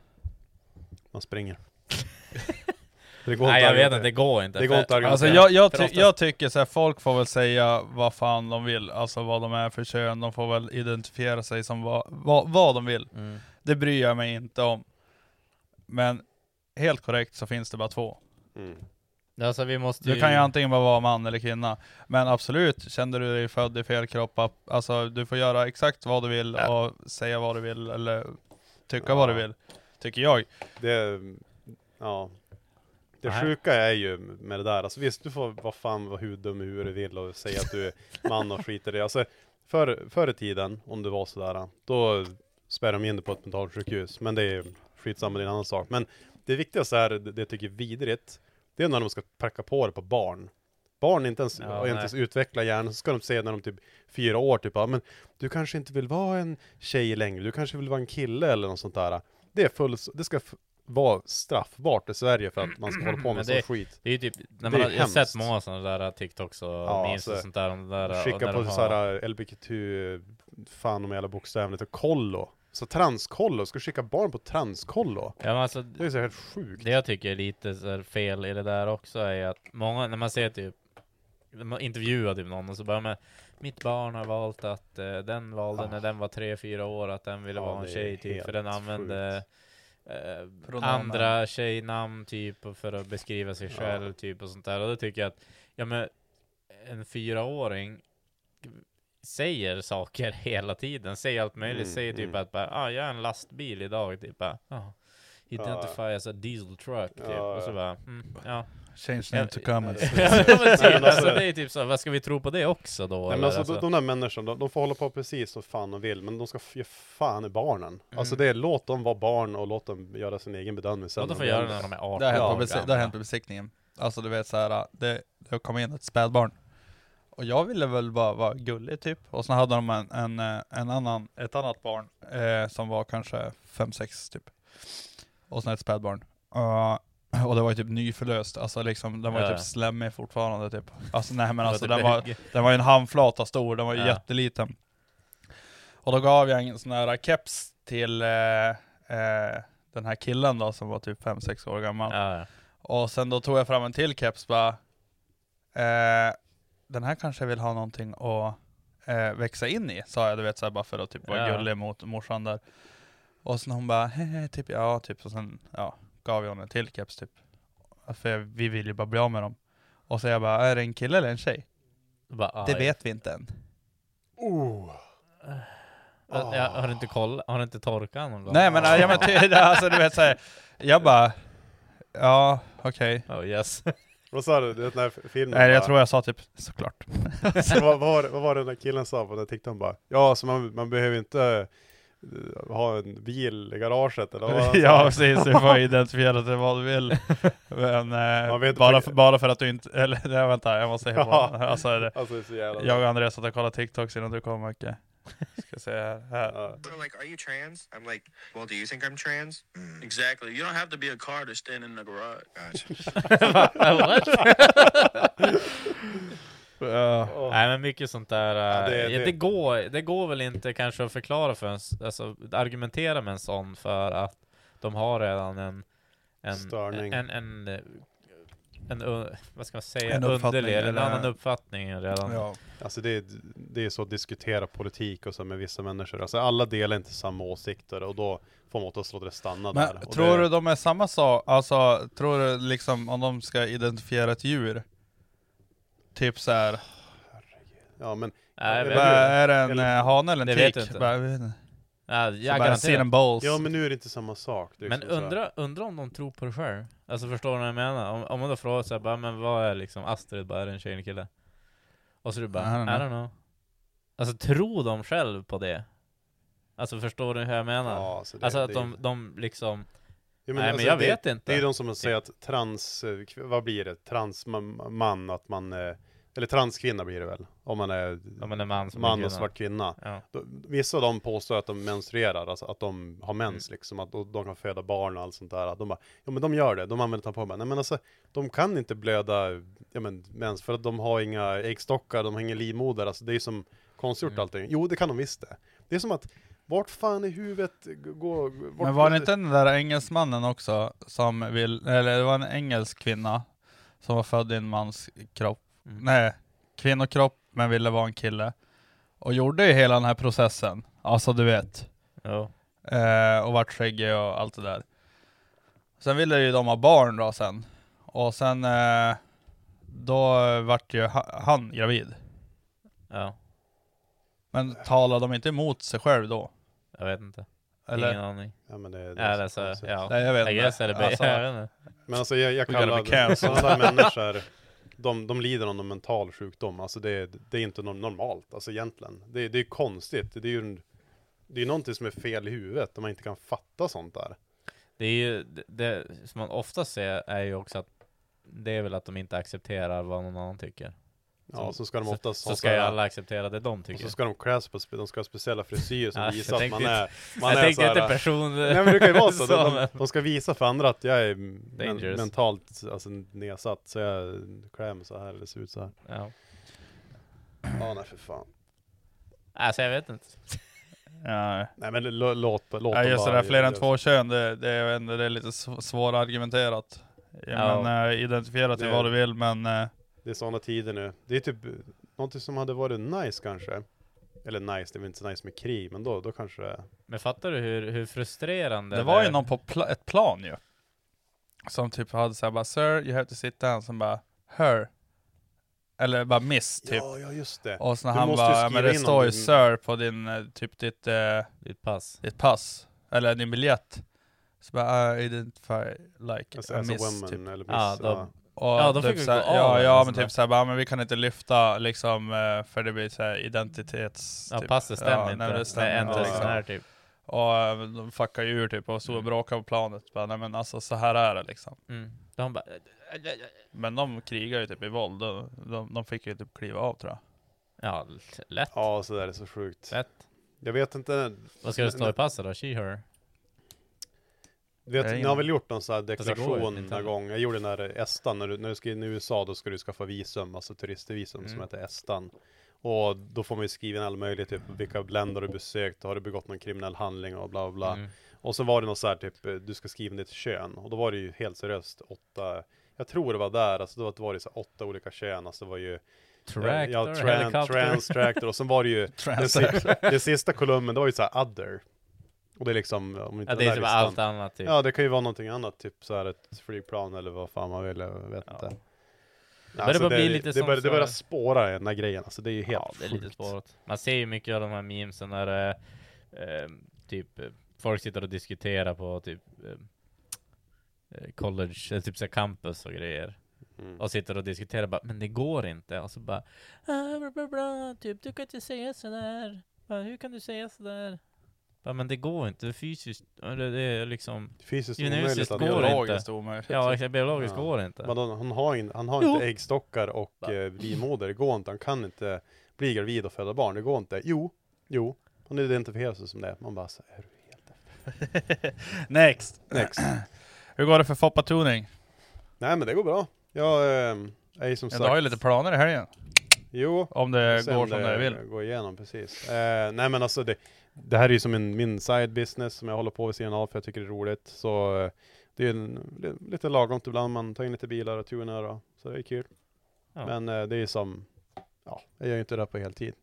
Man
(laughs)
springer. det går inte
Nej, jag
att
vet
argumentera.
inte. Det går inte.
Det går
För-
inte att argumentera.
Alltså jag, jag,
För
ty,
ofta-
jag tycker så här, folk får väl säga vad fan de vill, alltså vad de är för kön, de får väl identifiera sig som vad, vad, vad de vill.
Mm.
Det bryr jag mig inte om. Men helt korrekt så finns det bara två.
Mm.
Alltså vi måste ju...
Du kan ju antingen bara vara man eller kvinna. Men absolut, känner du dig född i fel kropp, ab- alltså du får göra exakt vad du vill och säga vad du vill eller tycka
Ja.
vad du vill. Tycker jag.
Det, ja. Det
Nej.
sjuka är ju med det där, alltså visst du får vad fan vara hur dum i huvudet du vill och säga att du är man och skit i det. Alltså förr, förr i tiden, om du var sådär, då spärrar de in dig på ett mentalsjukhus. Men det är skitsamma, det är en annan sak. Men det viktigaste är, det det jag tycker är vidrigt, det är när de ska pracka på det på barn. Barn är inte ens,
Ja,
har inte
nej.
ens utveckla hjärnan, så ska de säga när de typ fyra år typ, ja men du kanske inte vill vara en tjej längre, du kanske vill vara en kille eller något sånt där. Det är full, det ska f- vara straffbart i Sverige för att man ska hålla på
Men
med sån skit.
Det är ju typ, när
Det
man
är
har, jag har sett
hemskt.
många sådana där TikToks och
Ja,
memes och
alltså,
sånt där. om det där och
Skicka
där
på eh,
de har-
såhär LBQT, fan om jävla bokstäverna, till kollo. Så transkollo, ska skicka barn på transkollo?
Ja, men alltså,
Det är så helt sjukt. (laughs)
Det jag tycker är lite så här fel i det där också är att många, när man ser typ, när man intervjuar typ någon och så börjar man Mitt barn har valt att eh, den valde när den var tre fyra år att den ville
Ah. Ja,
vara en
det är
tjej typ, för den
helt
använde eh,
Pronomen.
andra tjejnamn typ och för att beskriva sig
Ja.
själv typ och sånt där. Och då tycker jag att, ja men en fyraåring säger saker (laughs) hela tiden, säger allt möjligt,
Mm,
säger typ
mm.
att bara, ah, jag är en lastbil idag, typ bara, ah, identify as a diesel truck, typ.
Ja,
och så
ja.
bara, mm, ja.
Change name to comedy.
(laughs) ja men typ,
men alltså-
alltså, det är typ så, vad ska vi tro på det också då?
Nej, men
eller?
alltså,
Alltså,
De, de där människorna, de, de får hålla på precis så fan de vill, men de ska f- ge fan i barnen.
Mm.
Alltså det är, låt dem vara barn och låt dem göra sin egen bedömning sen.
Låt dem få
om
göra
vill.
det när de är 18
Det har hänt
år
på besi- det har hänt på besiktningen. Alltså du vet såhär, det, det kom in ett spädbarn. Och jag ville väl bara vara gullig typ. Och sen hade de en, en, eh, en annan, ett annat barn eh, som var kanske 5-6 typ. Och sen ett spädbarn. Ja, och det var ju typ nyförlöst, alltså liksom, den var ju
Ja,
typ
ja.
slemmig fortfarande typ. Alltså nej men
Ja,
alltså
det
den var,
blir-
den var ju en handflata stor, den var ju
Ja.
jätteliten. Och då gav jag en sån här keps till eh, eh, den här killen då som var typ 5-6 år gammal.
Ja, ja.
Och sen då tog jag fram en till keps bara eh, Den här kanske vill ha någonting att eh, växa in i sa jag du vet såhär bara för att typ vara
Ja.
gullig mot morsan där Och sen hon bara hehe typ ja typ och sen ja gav jag henne en till keps typ För jag- vi vill ju bara bli av med dem Och så jag bara är det en kille eller en tjej?
Bara, ah,
det
ja.
vet vi inte än
Oh.
Ja, ja, har du inte koll, har du inte torkat någon gång?
Nej men,
(laughs)
ja, men ty, (laughs) alltså du vet såhär Jag bara Ja okej
Oh yes.
Vad sa du, du vet den här filmen?
(laughs) Nej jag
bara-
tror jag sa typ såklart
Så vad, vad, var det- vad var det den där killen sa på den TikTok bara? Ja, alltså man, man behöver inte eh, ha en bil i garaget eller vad var
(laughs)
det
(laughs) Ja
han sa?
precis, du får identifiera dig vad du vill.
(laughs)
Men, eh,
Man vet
bara,
inte-
för, bara för att du inte, eller (laughs) nej, vänta jag måste
Ja.
hemma.
(laughs)
Alltså, är det-
Alltså det är så jävla...
jag och Andreas satt och kollade TikToks innan du kom Micke. Ska se här. här.
Ja. (laughs)
They're like, "Are you trans?" I'm like, "Well, do you think I'm trans?" Exactly. You don't have to be a car to stand in the garage. Gotcha.
(laughs) Ja.
Nej men mycket sånt där, eh,
det-
ja, det,
det-
går, det går väl inte kanske att förklara för en, s- alltså argumentera med en sån för att de har redan en, en
Störning.
en, en, en, en u- vad ska man säga,
En
en
uppfattning
underlig, eller en
eller-
annan uppfattning redan.
Ja.
Alltså det är, det är så att diskutera politik och så med vissa människor. Alltså alla delar inte samma åsikter och då får man oftast låta det stanna där.
Men
Och
tror
det,
du de är samma sak? Alltså tror du liksom om de ska identifiera ett djur? Typ såhär,
Ja men...
Nej,
Eller-
men-
är det en
eller-
eh, hane eller en
Det
tik?
vet jag inte.
Bara, jag vet inte.
Ja,
Så
jag
bara, "Sin and balls."
Ja men nu är det inte samma sak. Det är
Men
liksom så här-
undra, undra om de tror på det själv? Alltså förstår du vad jag menar? Om, om man då frågar såhär bara, men vad är liksom Astrid, bara, är det en tjej eller kille? Och så du bara,
I don't
I
know.
don't know. Alltså tror de själv på det? Alltså förstår du hur jag menar?
Ja, alltså, det-
alltså att
det-
de, de liksom,
Ja,
nej
alltså,
men jag
det,
vet inte.
Det är ju de som säger att trans, eh, kv- vad blir det? Transman, att man, eh, eller transkvinna blir det väl? Om man är,
Om man är man som är
man
kvinna.
och svart kvinna.
Ja.
Då- Vissa av dem påstår att de menstruerar, alltså att de har
Mm.
mens liksom, att de de kan föda barn och allt sånt där. Att De bara, ja men de gör det, de använder tamponger. Nej men alltså, de kan inte blöda, ja men mens, för att de har inga äggstockar, de har ingen livmoder, alltså det är ju som konstgjort
Mm.
allting. Jo, det kan de visst det. Det är som att, vart fan i huvudet g- går... vart-
Men var det inte den där engelsmannen också som vill, eller det var en engelsk kvinna som var född i en mans kropp, nej, kvinnokropp men ville vara en kille. Och gjorde ju hela den här processen, alltså du vet.
Ja.
Eh, och vart skäggig och allt det där. Sen ville ju de ha barn då sen. Och sen, eh, då vart ju ha- han gravid.
Ja,
Men talade de inte emot sig själv då?
jag vet inte.
Eller?
Ingen aning.
Ja men det, det är
Ja,
så
alltså,
konstigt.
ja.
Nej, jag vet
I
inte.
guess, eller be-
(laughs) Alltså-
jag vet inte.
Men alltså jag, jag
We gotta be
kallar
cancelled.
sådana där människor, de, de lider av någon mental sjukdom. Alltså det, är- det är inte no- normalt, alltså egentligen. Det, det är konstigt, det är ju en, det är någonting som är fel i huvudet, om man inte kan fatta sånt där.
Det är ju, det, det som man ofta ser är ju också att det är väl att de inte accepterar vad någon annan tycker.
Ja, så ska de oftast
så,
ha
så ska
sådär-
ju alla acceptera det de
Och
tycker.
så ska de klä sig på, spe- de ska ha speciella frisyrer
Ja,
som
jag
visar att
tänkte
man är,
inte-
man
jag
är
tänkte inte
såhär-
person-
Nej men det kan ju vara
(laughs)
så,
så,
de,
men-
de ska visa för andra att jag är men,
Dangerous.
mentalt alltså, nedsatt, så jag klär mig så här eller ser ut så här.
Ja.
Ja nej för fan.
Alltså jag vet inte.
Ja.
Nej men lå- låt, låt
Ja
dem
just det,
bara
där, fler
göra
än
det.
två kön, det, det, är, ändå- det är lite sv- svårargumenterat.
Ja.
Ja. Men äh, identifiera till
Det-
vad du vill, men eh,
Det är sådana tider nu. Det är typ eh, någonting som hade varit nice kanske. Eller nice, det är väl inte så nice med krig, men då, då kanske det är.
Men fattar du hur, hur frustrerande
det, var
är?
ju någon på pla- ett plan ju. Som typ hade såhär bara Sir, you have to sit down, som bara Her. Eller bara Miss typ.
Ja, ja just det.
Och sen
Du
han
måste ju
bara,
skriva
"Ja, men det
in om
står ju
din-
Sir på din, eh, typ ditt, eh,
Ditt pass.
ditt pass. Eller din biljett. Så
äh,
bara, I identify like
Alltså,
a
as a
miss
woman
typ.
eller miss.
Ja, då-
ja.
Och
Ja, de
typ
fick ju
såhär-
gå av
Ja,
eller
ja
något
men
sånt där.
typ såhär, bara, men vi kan inte lyfta liksom, eh, för det blir såhär identitets...
Ja
typ.
passet stämmer inte.
nej,
Nej,
det stämmer
ändra
inte,
sån
liksom.
här typ.
Och eh, de fuckar ju ur typ och stod och bråkade på planet. Bara, nej men alltså så här är det liksom.
Mm. De bara...
Men de krigar ju typ i våld. De, de, de fick ju typ kliva av tror jag.
Ja, lätt.
ja, så där är så sjukt.
Lätt.
Jag vet inte.
Vad ska det stå i passet då? She, her?
Du vet,
Nej,
ni
men-
har väl gjort någon sån här
det går ju
deklaration
inte.
någon gång? Jag gjorde den där Estan, när du, när du ska in i USA då ska du skaffa visum, alltså turistvisum som
Mm.
heter Estan. Och då får man ju skriva in all möjlig, typ vilka länder du besökt, har du begått någon kriminell handling och bla bla bla.
Mm.
Och så var det något så här typ, eh, du ska skriva in ditt kön. Och då var det ju helt seriöst åtta, jag tror det var där, alltså då var det så här åtta olika kön, alltså det var ju
Tractor,
ja, tran,
helicopter.
trans, tractor och sen var det ju den, si- den sista kolumnen, det var ju så här other. Och det är liksom, om inte
(laughs) ja,
den
det är
där
typ
listan-
allt annat typ.
Ja, det kan ju vara någonting annat, typ så här ett flygplan eller vad fan man vill, jag vet
Ja.
inte. alltså
börjar bara bli lite
det,
som
börjar, det
så-
börjar spåra i den där grejen, alltså det är ju helt
ja, det är lite
sjukt.
spårat. Man ser ju mycket av de här memesen när det är, eh, typ eh, folk sitter och diskuterar på typ eh, eh, college, eller typ så här campus och grejer.
Mm.
Och sitter och diskuterar bara, men det går inte. Och så bara, ah, bla, bla, bla, typ du kan inte säga sådär. Bara, Hur kan du säga sådär? Bara, men det går inte, det är fysiskt, eller det är liksom,
Fysiskt
Genetiskt
omöjligt att
går
göra.
det
Biologiskt omöjligt.
ja exakt, biologiskt
Ja.
går det inte.
Men
(laughs)
han, han har, in, han har
eh. Jo.
inte äggstockar och eh, livmoder, det går inte. Han kan inte bli gravid och föda barn, det går inte. Jo, jo. Han identifierar sig som det. Man bara så här, är du helt...
Next!
(clears throat)
Next.
Hur går det för Foppa Tuning?
Nej men det går bra. Jag eh, är ju som
Ja,
sagt...
du har ju lite planer i helgen.
Jo.
Om det
Sen
Eh, går som det vill.
Går igenom, precis. Eh, nej men alltså det, det här är ju som en, min side business som jag håller på vid sidan av för jag tycker det är roligt. Så eh, det är en, li- lite lagom ibland, man tar in lite bilar och tunar och så det är kul.
Ja.
Men eh, det är som, ja, jag gör ju inte det här på heltid.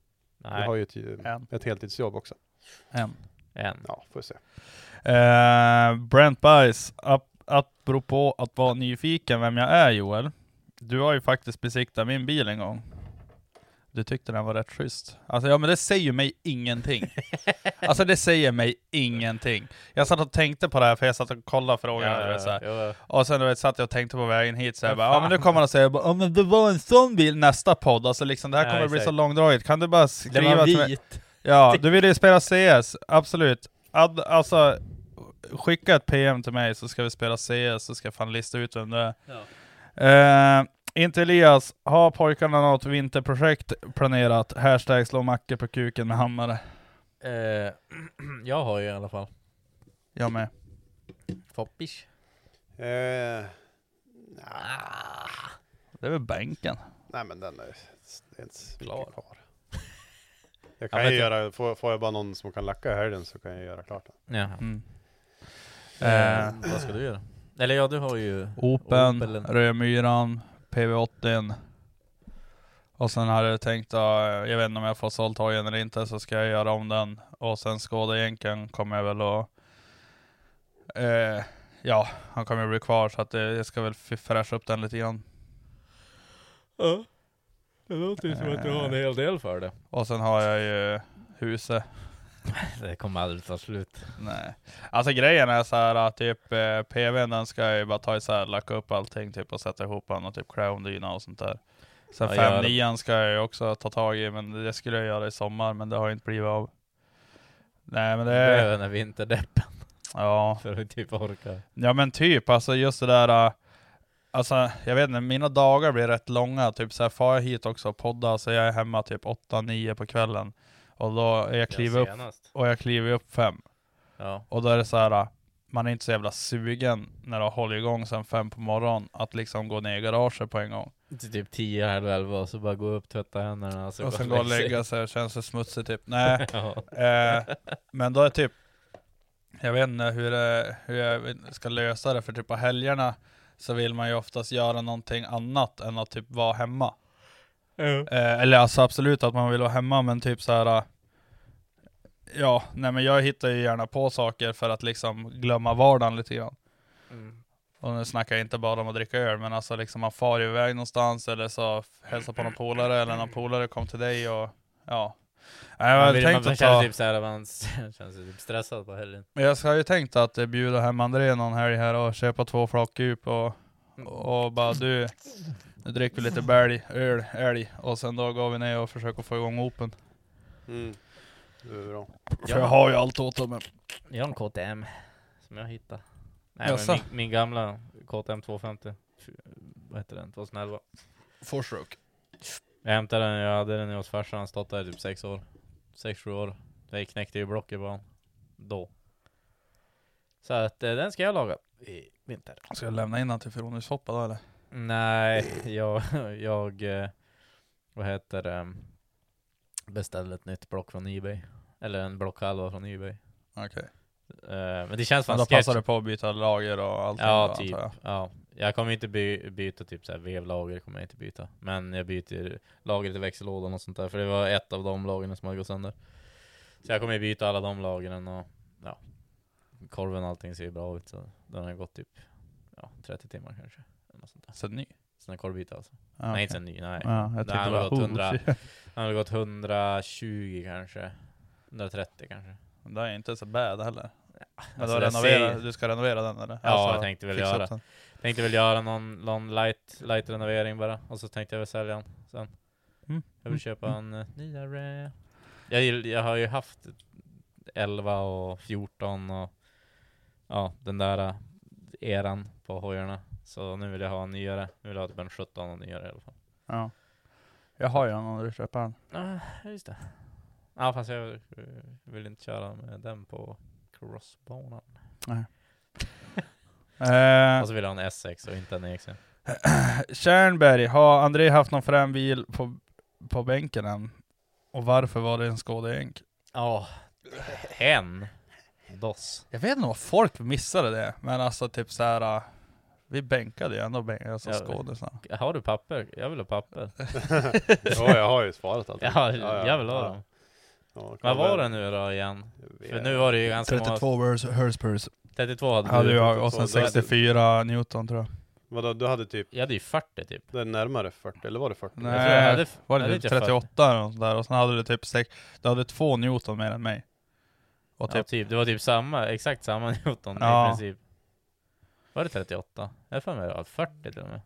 Jag
Nej,
har ju ett, eh,
En.
ett heltidsjobb också.
En.
än.
Ja, får vi se.
Eh, Brent Bice, ap- apropå att vara nyfiken vem jag är Joel. Du har ju faktiskt besiktat min bil en gång.
Du tyckte den var rätt schysst. Alltså ja men det säger mig ingenting. alltså det säger mig ingenting. Jag satt och tänkte på det här för jag satt och kollade frågan.
Ja,
du vet,
ja,
så här.
ja, ja.
Och sen du vet, satt jag och tänkte på vägen hit så här,
Vad
bara, ja men nu kommer han att säga bara, ja men det var en sån bil nästa podd. Alltså liksom det här
Ja,
kommer bli
exakt.
så långdraget. Kan du bara skriva
Den var
till mig?
vit.
Ja, du vill ju spela CS, absolut. Ad, alltså, skicka ett PM till mig så ska vi spela CS, så ska jag fan lista ut vem det är. Eh, inte Elias, har pojkarna något vinterprojekt planerat? Hashtag slå Macke på kuken med hammare.
Eh, (clears throat) jag har ju i alla fall.
Jag med.
Foppish.
Eh,
Det är väl bänken.
nej men den är, det är inte så mycket
Klar.
kvar. Jag kan
men
ju
typ-
göra, får, får jag bara någon som kan lacka i helgen så kan jag göra klart den.
Ja.
Mm.
Eh,
Eh,
vad ska du göra? Eller ja, du har ju...
Open,
Opelen.
Rödmyran, PV80. Och sen hade jag tänkt, eh, jag vet inte om jag får sålt hojen eller inte, så ska jag göra om den. Och sen Skådejänken kommer jag väl att... Eh, ja, han kommer ju bli kvar så att eh, jag ska väl f- fräscha upp den lite grann.
Ja. Det låter ju som att du har en hel del för det.
Eh. Och sen har jag ju huset.
(laughs) Det kommer aldrig ta slut.
Nej. Alltså grejen är så här att typ eh, PVn den ska jag ju bara ta isär, lacka upp allting typ och sätta ihop den och typ klä om dyna och sånt där. Sen
Ja,
fem
gör det.
9 ska jag ju också ta tag i, men det skulle jag göra i sommar, men det har ju inte blivit av. Nej men det
Det
är,
är när vinterdeppen
ja.
(laughs) för att typ orka.
ja men typ alltså just det där, eh, alltså jag vet inte, mina dagar blir rätt långa, typ så här far jag hit också och poddar, så jag är hemma typ 8-9 på kvällen. Och då, jag kliver upp,
senast.
och jag kliver upp fem.
Ja.
Och då är det så här, man är inte så jävla sugen när du håller igång sen fem på morgonen att liksom gå ner i garaget på en gång.
Till typ 10, halv 11 och så bara gå upp, tvätta händerna
och sen gå och lägga sig och känns det
(laughs)
smutsigt typ. Nej,
Ja.
eh, men då är typ, jag vet inte hur, det, hur jag ska lösa det, för typ på helgerna så vill man ju oftast göra någonting annat än att typ vara hemma. Eh, eller alltså absolut att man vill vara hemma, men typ så här. eh, Ja, nej men jag hittar ju gärna på saker för att liksom glömma vardagen lite grann. Och nu snackar jag inte bara om att dricka öl, men alltså liksom man far iväg någonstans eller så hälsar på någon polare eller någon polare kom till dig och ja. Nej, Jag
Man,
hade
vill, man,
tänkt att
känner
ta,
typ såhär, man (laughs) känns typ stressad på helgen.
men jag har ju tänkt att eh, bjuda hem André någon helg här och köpa två flak djup och, och bara du, nu dricker vi lite bälg, öl, älg och sen då går vi ner och försöker få igång open.
Mm. Det är bra.
För jag har ju allt åt dem.
Jag har en KTM som jag hittade. Nej,
Jaså?
men min, min gamla KTM 250. Fy- Vad heter den? 2011.
Forsrook.
Jag hämtade den, jag hade den hos farsan, han stått där i typ 6 år. 6-7 år. Jag knäckte ju blocket på honom. Då. Så att eh, den ska jag laga i vinter.
Ska jag lämna in den till Froniushoppa då eller?
Nej, jag, jag eh, vad heter det, beställde ett nytt block från Ebay. Eller en blockhalva från Ebay.
Okej.
Eh, Men det känns fan
Men då
sketch.
passar det på att byta lager och allt
Ja,
antar
typ.
jag.
Ja. Jag kommer inte by byta typ så här vevlager, kommer jag inte byta. Men jag byter lager till växellådan och sånt där, för det var ett av de lagren som hade gått sönder. Så jag kommer ju byta alla de lagren och ja, korven och allting ser ju bra ut. Så den har gått typ ja, 30 timmar kanske. Eller något sånt där.
Så ny.
Sen en korvbyte alltså.
Ja,
Nej,
okej.
inte sen ny, nej.
Ja, jag
Den
tyckte
har
bara,
gått
oh,
100.
shit.
Den har väl gått 120 kanske. 130 kanske.
Det är inte så bad heller. Men
Alltså,
då
jag
renovera,
ser-
du ska renovera den eller? Alltså,
Ja, jag tänkte väl
fixa upp
göra.
den.
Tänkte väl göra någon, någon light, light renovering bara, och så tänkte jag väl sälja den sen.
Mm.
Jag vill köpa en eh, nyare. Jag, gill- jag har ju haft 11 och 14 och ja, den där eh, eran på hojarna. Så nu vill jag ha en nyare. Nu vill jag ha typ en 17 och nyare i alla fall.
Ja. Jag har ju en om du köper den.
Ja, just det. Ja, fast jag eh, vill inte köra med den på crossbanan.
Eh,
Och så vill jag ha en S6 och inte en E
(clears throat)
EX.
Tjärnberg, har André haft någon frän bil på, på bänken än? Och varför var det en skådejänk?
Ja, en. Dos.
Jag vet inte om folk missade det, men alltså typ såhär, vi bänkade ju ändå bänkade, alltså
Ja.
skådisarna.
Har du papper? Jag vill ha papper.
(laughs) Jo, jag har ju sparat allt.
(laughs) Ja, jag vill ha dem.
Ja, kan
Vad var
väl-
det nu då igen?
jag
För
vet.
nu var det ju ganska många...
Hurspurs.
32 hade
Hade
du.
jag, och sen 64 Newton tror jag.
Vadå, du hade typ?
Jag hade ju 40 typ.
Det är närmare 40, eller var det 40?
Nej,
tror jag hade-
var det
hade
typ
inte jag
38 eller något sånt där? Och sen hade du typ sex, du hade två Newton mer än mig. Och
Ja,
typ,
typ, det var typ samma, exakt samma (laughs) Newton
Ja.
i princip. Var det 38? Jag har för mig det var 40 till och med.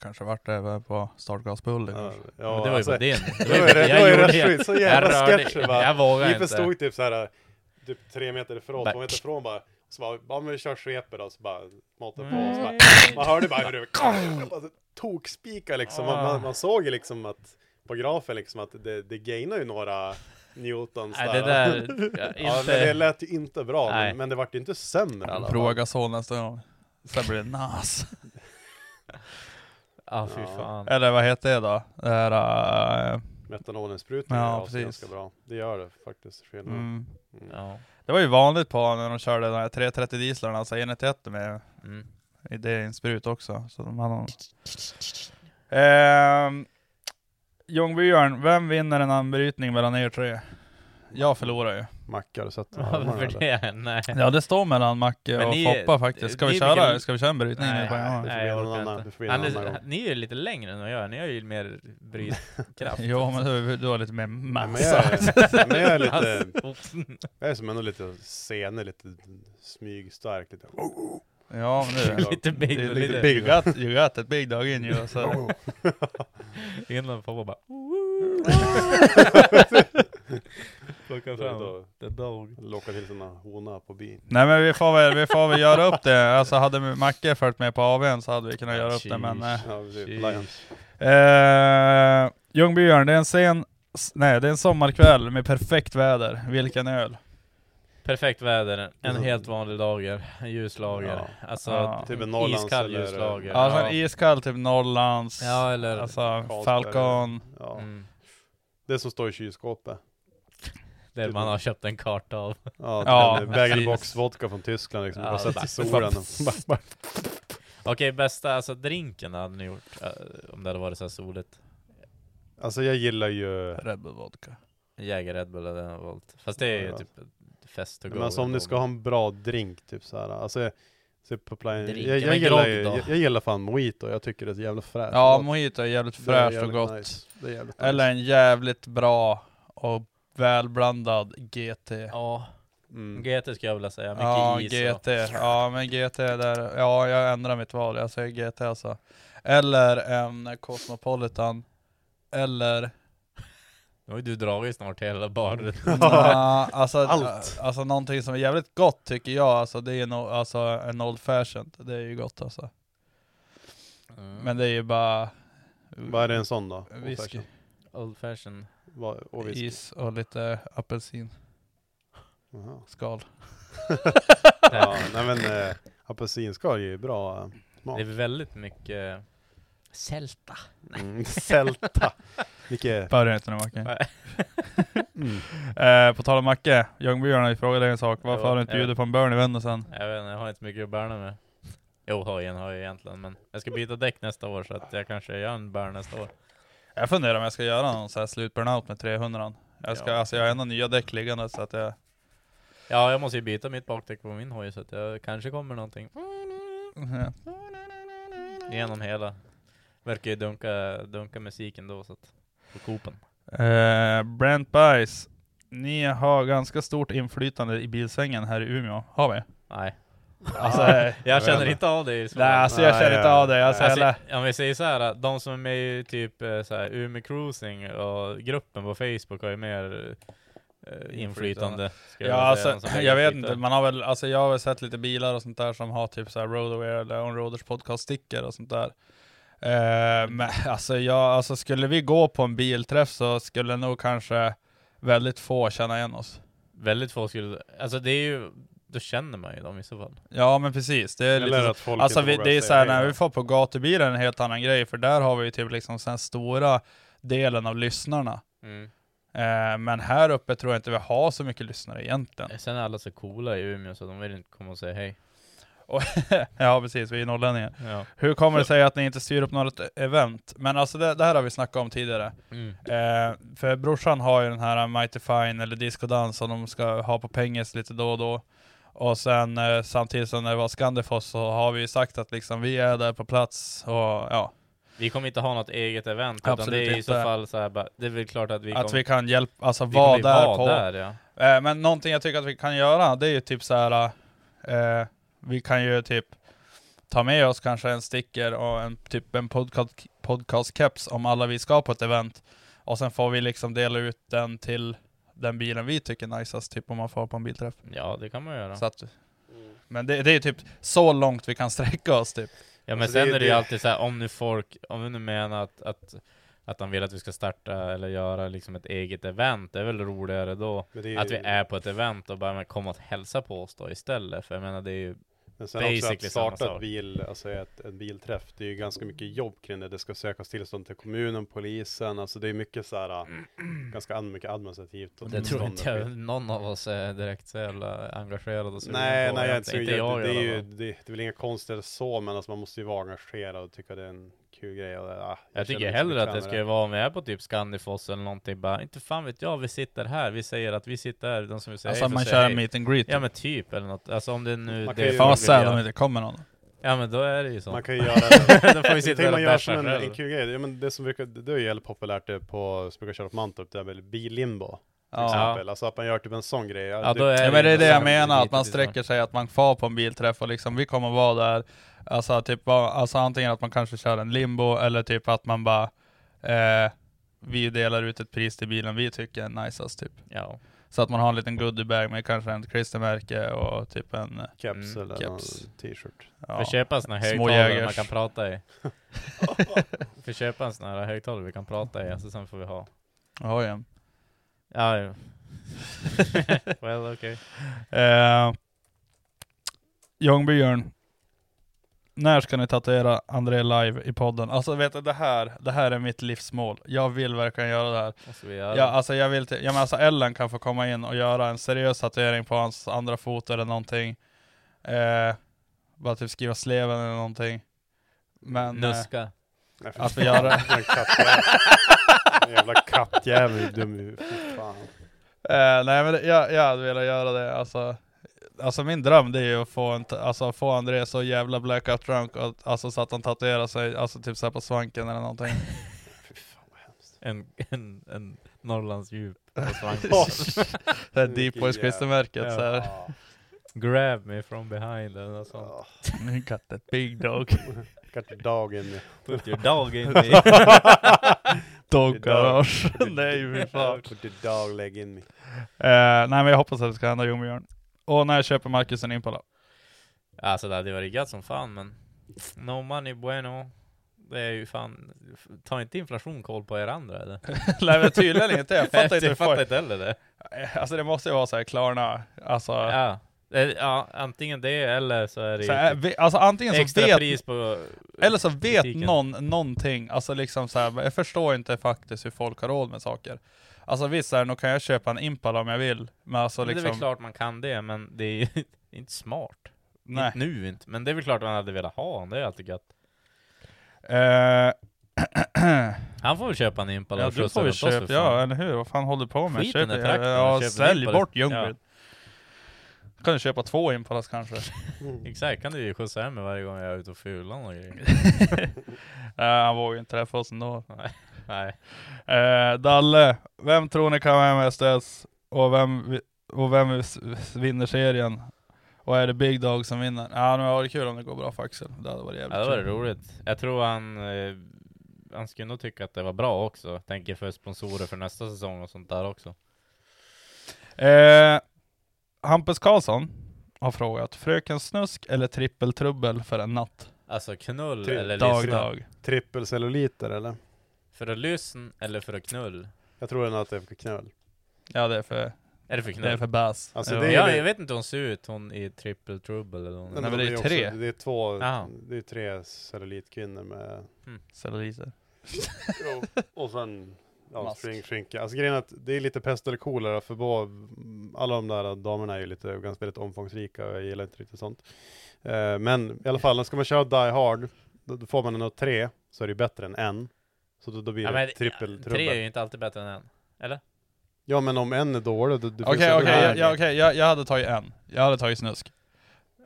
kanske vart det även på startgasbullen
Ja,
kanske.
ja,
Men det var ju
alltså,
på din.
(laughs) Det var
(laughs)
ju det, det var ju rätt skit, så jävla
jag rörde-
sketcher bara.
Jag vågade
Jeepen
inte.
stod typ såhär, typ tre meter ifrån,
Back.
två meter ifrån bara. Så bara, ja men vi kör svepet då, så bara matade på och så bara, man hörde bara
(laughs)
hur det (laughs) alltså, tokspika liksom.
Ah.
Man, man, man såg ju liksom att, på grafen liksom att det, det gainar ju några newtons
Nej, det där, ja,
(laughs) Ja, men
inte,
det lät ju inte bra,
Nej.
men, men det vart ju inte sämre i alla fall.
Prova gasol nästa gång. Sen blir det nas.
ah, fy fan.
Eller vad heter det då? Det här, eh,
Metanolensprutningen
Ja,
ja, är
precis.
ganska bra. Det gör det faktiskt. skillnad.
mm.
Ja.
Det var ju vanligt på när de körde de här 330 dieslarna, alltså 191 med
Mm.
i det är en sprut också. Så de
(laughs)
hade någon... Ehm, Ljungbyarn, vem vinner en anbrytning mellan er tre? Jag förlorar ju.
Mackar och sätter
Ja,
armarna
Varför
eller?
det? Nej.
Ja det står mellan Macke
Men
och
ni-
Foppa faktiskt. Ska vi,
ni
köra,
vilken-
ska vi köra en brytning nu på en gång?
nej.
jag
någon
orkar
annan-
inte.
det får bli någon
Anders,
annan gång.
Ni är ju lite längre än vad jag är, ni har ju mer brytkraft.
(laughs) Jo men du, du har lite mer
Nej, men
massa.
jag är, (laughs) men jag är lite,
Alltså,
jag är som ändå lite senig, lite smygstark.
(laughs)
Lite.
Ja men du.
(laughs) lite big,
det är
och
lite
lite
big. You got, you got that big dog in
(laughs)
you. Så. (laughs)
Innan pappa (laughs) bara Plocka
Så
fram
då
the dog.
lockar till sina hona på bin.
Nej men vi får, väl, vi får väl göra upp det. Alltså hade Macke följt med på AWn så hade vi kunnat göra upp det men... eh,
Ja, precis.
Sheesh.
Lion.
Eh, Ljungbyarn, det är en sen... s- Nej, det är en sommarkväll med perfekt väder. Vilken öl?
Perfekt väder, en
Mm.
helt vanlig lager, en ljuslager. Alltså
Ja.
Typ en Norrlands
iskall
eller-
ljuslager.
Alltså en iskall, typ Norrlands,
ja eller...
alltså
Carlsberg.
Falcon.
Ja.
mm,
Det som står i kylskåpet.
det man har köpt en karta av.
Ja,
Ja,
den
precis.
bagelbox vodka från Tyskland liksom.
Ja,
bara
bara-
sätter i solen. och
(laughs)
bara-
Okej, bästa alltså drinken hade ni gjort eh, om det hade varit så här soligt.
Alltså jag gillar ju...
Red Bull Vodka.
Jäger Red Bull hade jag valt. Fast det är ju
Ja.
typ fest och
Men alltså om ni ska ha en bra drink, typ såhär. Alltså, jag- typ på plan...
Drink,
jag,
men
jag, gillar
grogg
ju,
då?
jag, jag gillar fan mojito, jag tycker det är så jävla fräscht.
Ja,
och gott.
mojito är jävligt
Det är
fräscht och
jävligt
gott.
nice. Det är jävligt
Eller
nice.
en jävligt bra och välblandad GT.
Ja,
Mm.
GT skulle jag vilja säga. Mycket
Ja,
is
GT. Ja, men GT där. Ja, jag ändrar mitt val. Jag säger GT alltså. Eller en Cosmopolitan. Eller
(laughs) Nu har ju du dragit snart
(laughs)
hela baren.
Nja, alltså,
Allt.
alltså någonting som är jävligt gott tycker jag, alltså det är no, alltså, en old fashioned, det är ju gott alltså.
Mm.
Men det är ju bara
Vad är det en sån då?
whisky, (laughs)
Old fashion.
Vad- Och whisky.
is och lite apelsinskal.
Jaha. (laughs) Ja, nej men äh, apelsinskal är ju bra eh,
Det är
smak.
väldigt mycket sälta.
Mm, (laughs) sälta. Vilket...
Börja inte
(laughs)
nu Macke.
Nej.
Mm.
Eh, på tal om Macke, Ljungbyarn har ju frågat dig en sak, varför
Ja,
har du inte
jag
bjudit på en burn i Vännäsen?
Jag vet inte, jag har inte mycket att bärna med. Jo, hojen har jag egentligen, men jag ska byta däck nästa år så att jag kanske gör en bär nästa år.
Jag funderar om jag ska göra någon sån här slutburnout med 300 jag, ska,
Ja.
alltså, jag har ändå nya däck liggande så att jag...
Ja, jag måste ju byta mitt bakdäck på min hoj så att jag kanske kommer någonting genom hela. Verkar ju dunka, dunka musiken då så att, på Coopen.
Eh, Brent Bice, ni har ganska stort inflytande i bilsvängen här i Umeå, har vi?
Nej,
Alltså,
(laughs) jag
vet
känner
inte.
inte av det i så
nej,
fall.
alltså jag känner inte av det. Alltså,
Alltså,
eller,
om vi säger så här, de som är med i typ eh, så här, Umeå Cruising och gruppen på Facebook har ju mer eh, inflytande. ska
ja,
jag säga, än
alltså,
som lägger
jag vet
ut
inte,
där.
man har väl, alltså, jag har väl sett lite bilar och sånt där som har typ så här Roadaware eller Onroaders podcast-stickor och sånt där. Eh, men alltså, jag, alltså skulle vi gå på en bilträff så skulle nog kanske väldigt få känna igen oss.
Väldigt få skulle, alltså det är ju, då känner man ju dem i så fall.
Ja men precis, det är lite så-
Eller att folk
Alltså
inte
vi,
vågar
det är
säga
såhär,
hej
när
då.
vi får på gatubilen är en helt annan grej, för där har vi ju typ liksom den stora delen av lyssnarna.
Mm.
Eh, men här uppe tror jag inte vi har så mycket lyssnare egentligen.
Sen är alla så coola i Umeå så de vill inte komma och säga hej.
(laughs) ja precis, vi är norrlänningar.
Ja.
Hur kommer det sig att ni inte styr upp något event? Men alltså det, det här har vi snackat om tidigare.
Mm.
Eh, för brorsan har ju den här Mighty Fine eller Disco Dance som de ska ha på penges lite då och då. Och sen eh, samtidigt som det var Scandifoss så har vi ju sagt att liksom vi är där på plats och ja.
Vi kommer inte ha något eget event, utan
Absolut
det är i så
inte.
fall så här, bara- det är väl klart att vi
att
kommer-
vi kan hjälpa, alltså
vi
vara
kommer ju
där
vara
på.
där, ja.
Eh, men någonting jag tycker att vi kan göra, det är ju typ så här. Eh, vi kan ju typ ta med oss kanske en sticker och en, typ en podcast, podcastkeps om alla vi ska på ett event. Och sen får vi liksom dela ut den till den bilen vi tycker är najsast, typ om man får på en bilträff.
Ja, det kan man göra.
Så att, men det, det är ju typ så långt vi kan sträcka oss typ.
Ja men sen är Alltså, det ju alltid så här, om nu folk, om nu menar att, att, att de vill att vi ska starta eller göra liksom ett eget event, det är väl roligare då
Men det är ju-
att vi är på ett event och bara men, kom och hälsa på oss då istället, för jag menar det är ju
Men sen också att
basically samma
starta ett
sak.
bil, alltså ett, en bilträff, det är ju ganska mycket jobb kring det. Det ska sökas tillstånd till kommunen, polisen, alltså det är mycket så
(clears throat)
här, ganska an- mycket administrativt. och
Det tror
tillstånd
inte
och
jag,
skit.
någon av oss är direkt så jävla engagerad och sugen
Nej,
på.
nej, jag är inte,
inte
så-
jag
det, det, är
i alla
ju,
fall.
det, det är väl inga konstigheter så, men alltså man måste ju vara engagerad och tycka det är en kul grej. Och, ah,
Jag tycker
känner mig som
hellre att det
bekvämare.
skulle vara om vi är på typ Scandifoss eller någonting bara, inte fan vet jag, vi sitter här, vi säger att vi sitter här, de som vill säga
Alltså,
hej får
man
säga
kör en
hej.
meet and greet.
Ja men typ eller något, alltså om det nu...
Man kan
det
ju-
Fan vad
folk vill
sad
göra.
om det inte kommer någon.
Ja men då är det ju så.
Man kan ju göra
(laughs) då får vi sitta
Tänk
där
man
och
gör
basha
som en, en
själv.
kul grej. Ja, men det som brukar, det är ju jävligt populärt det på, som brukar köra på Mantorp, det är väl billimbo. Till
Ja.
exempel. Alltså att man gör typ en sån grej.
Ja, då är
Ja, men det är det jag
Lite
menar, att man
lite
sträcker sig, att man far på en bilträff och liksom vi kommer vara där. Alltså, typ, bara- alltså antingen att man kanske kör en limbo eller typ att man bara eh, Vi delar ut ett pris till bilen vi tycker är najsast typ.
Ja.
Så att man har en liten goodiebag med kanske ett klistermärke och typ en eh,
Keps eller
keps.
någon t-shirt.
Ja.
Får köpa en sån här
Små
högtalare man
jägers.
kan prata i. Får köpa en sån här högtalare vi kan prata i, alltså sen får vi ha.
Oj, ja.
Ja, ja. (laughs) Well, okay.
Eh, Ljungbybjörn. När ska ni tatuera André live i podden? Alltså vet du, det här, det här är mitt livsmål. Jag vill verkligen göra det här.
Vad ska vi göra?
Ja, alltså jag vill till, ja, men alltså Ellen kan få komma in och göra en seriös tatuering på hans andra fot eller någonting. Eh, bara typ skriva sleven eller någonting. Men... Eh,
Nuska.
Nej, för
Att vi
fan,
gör det.
en kattjävel. En jävla kattjävel, hur dum i- fy fan.
eh, nej men det, jag, jag hade velat göra det alltså. Alltså min dröm det är ju att få, en, ta- alltså, få André så jävla blackout drunk och, alltså, så att han tatuerar sig alltså, typ så här på svanken eller någonting.
(laughs) Fy fan vad hemskt.
En, en, en Norrlands djup
(laughs)
på
(laughs)
svanken.
det här Deep
Vilken
Boys
jävla-
klistermärket så här. (laughs)
Ja.
Grab me from behind eller något sånt.
Ja.
You got that big dog.
Got your dog in you.
Put your
(laughs)
dog in me.
Dog
Dog.
(laughs)
garage. (laughs) (laughs) nej fy fan.
Put your dog leg in me.
Eh, nej men jag hoppas att det ska hända Ljungbybjörn. Och när köper Marcus en Impala?
Alltså det hade varit gött som fan men No money bueno Det är ju fan Ta inte inflation koll på er andra eller?
(laughs) Nej men tydligen inte, jag fattar
(laughs)
inte hur
jag fattar
folk...
inte heller det
Eh, Alltså det måste ju vara såhär Klarna, alltså...
Ja, Eh, ja antingen det eller så är det
Så här,
ju
vi, alltså antingen så
extra
vet,
pris på
eller så vet
butiken.
någon någonting, alltså liksom så här, jag förstår inte faktiskt hur folk har råd med saker. Alltså visst, här, nog kan jag köpa en Impala om jag vill, men alltså
Men Det är väl
liksom...
klart man kan det men det är ju (laughs) inte smart
nej.
Inte nu inte Men det är väl klart man hade velat ha honom, det är ju alltid gött
Eh, (clears throat)
Han får väl köpa en Impala
ja,
och
du
skjutsa
får ju
runt oss för
köpa,
fan.
ja eller hur? Vad fan håller du på med?
Skit i den där
ja,
traktorn,
ja,
köp en
sälj
Impala.
bort
Ja.
Ljungby. Kan du köpa två Impalas kanske?
(laughs) Exakt, kan du ju skjutsa hem mig varje gång jag är ute och fular och grejer
(laughs) Nej, han vågar ju inte träffa oss ändå.
Nej
Eh, Dalle, vem tror ni kan vara MSDS? Och vem, vi- och vem s- s- vinner serien? Och är det Big Dog som vinner? Ja, men det hade varit kul om det går bra för Axel. Det hade varit jävligt
Ja det var
kul.
roligt. Jag tror han, eh, han skulle nog tycka att det var bra också. Tänker för sponsorer för nästa säsong och sånt där också.
Eh, Hampus Karlsson har frågat, Fröken Snusk eller Trippeltrubbel för en natt?
Alltså knull
Typ
eller
Dag,
lyssna.
dag.
Trippelcelluliter eller?
För att lyssna eller för att knull?
Jag tror den att det är för knöl.
Ja, det är för,
Är det för
det är
knull?
för bass.
Alltså,
Ja.
det är-
ja, jag vet inte hur hon ser ut, hon i triple trouble eller något.
men det är
ju
tre.
det är två,
Jaha.
det är tre cellulitkvinnor med
Mm.
Celluliter. Oh. (laughs)
Och, och sen ja,
Mask.
spring, skinka. Alltså grejen är att det är lite pest eller kolera för båda, alla de där damerna är ju lite, ganska väldigt omfångsrika och jag gillar inte riktigt sånt. Eh, men i alla fall, ska man köra Die Hard, då, då får man en av tre, så är det ju bättre än en. Så då, då blir
Ja,
det
men,
trippel
tre är ju
trubbel.
inte alltid bättre än en. Eller?
Ja men om en är dålig, det, det finns
Okej
en-
okej, jag, jag, okej, jag, jag hade tagit en. Jag hade tagit snusk.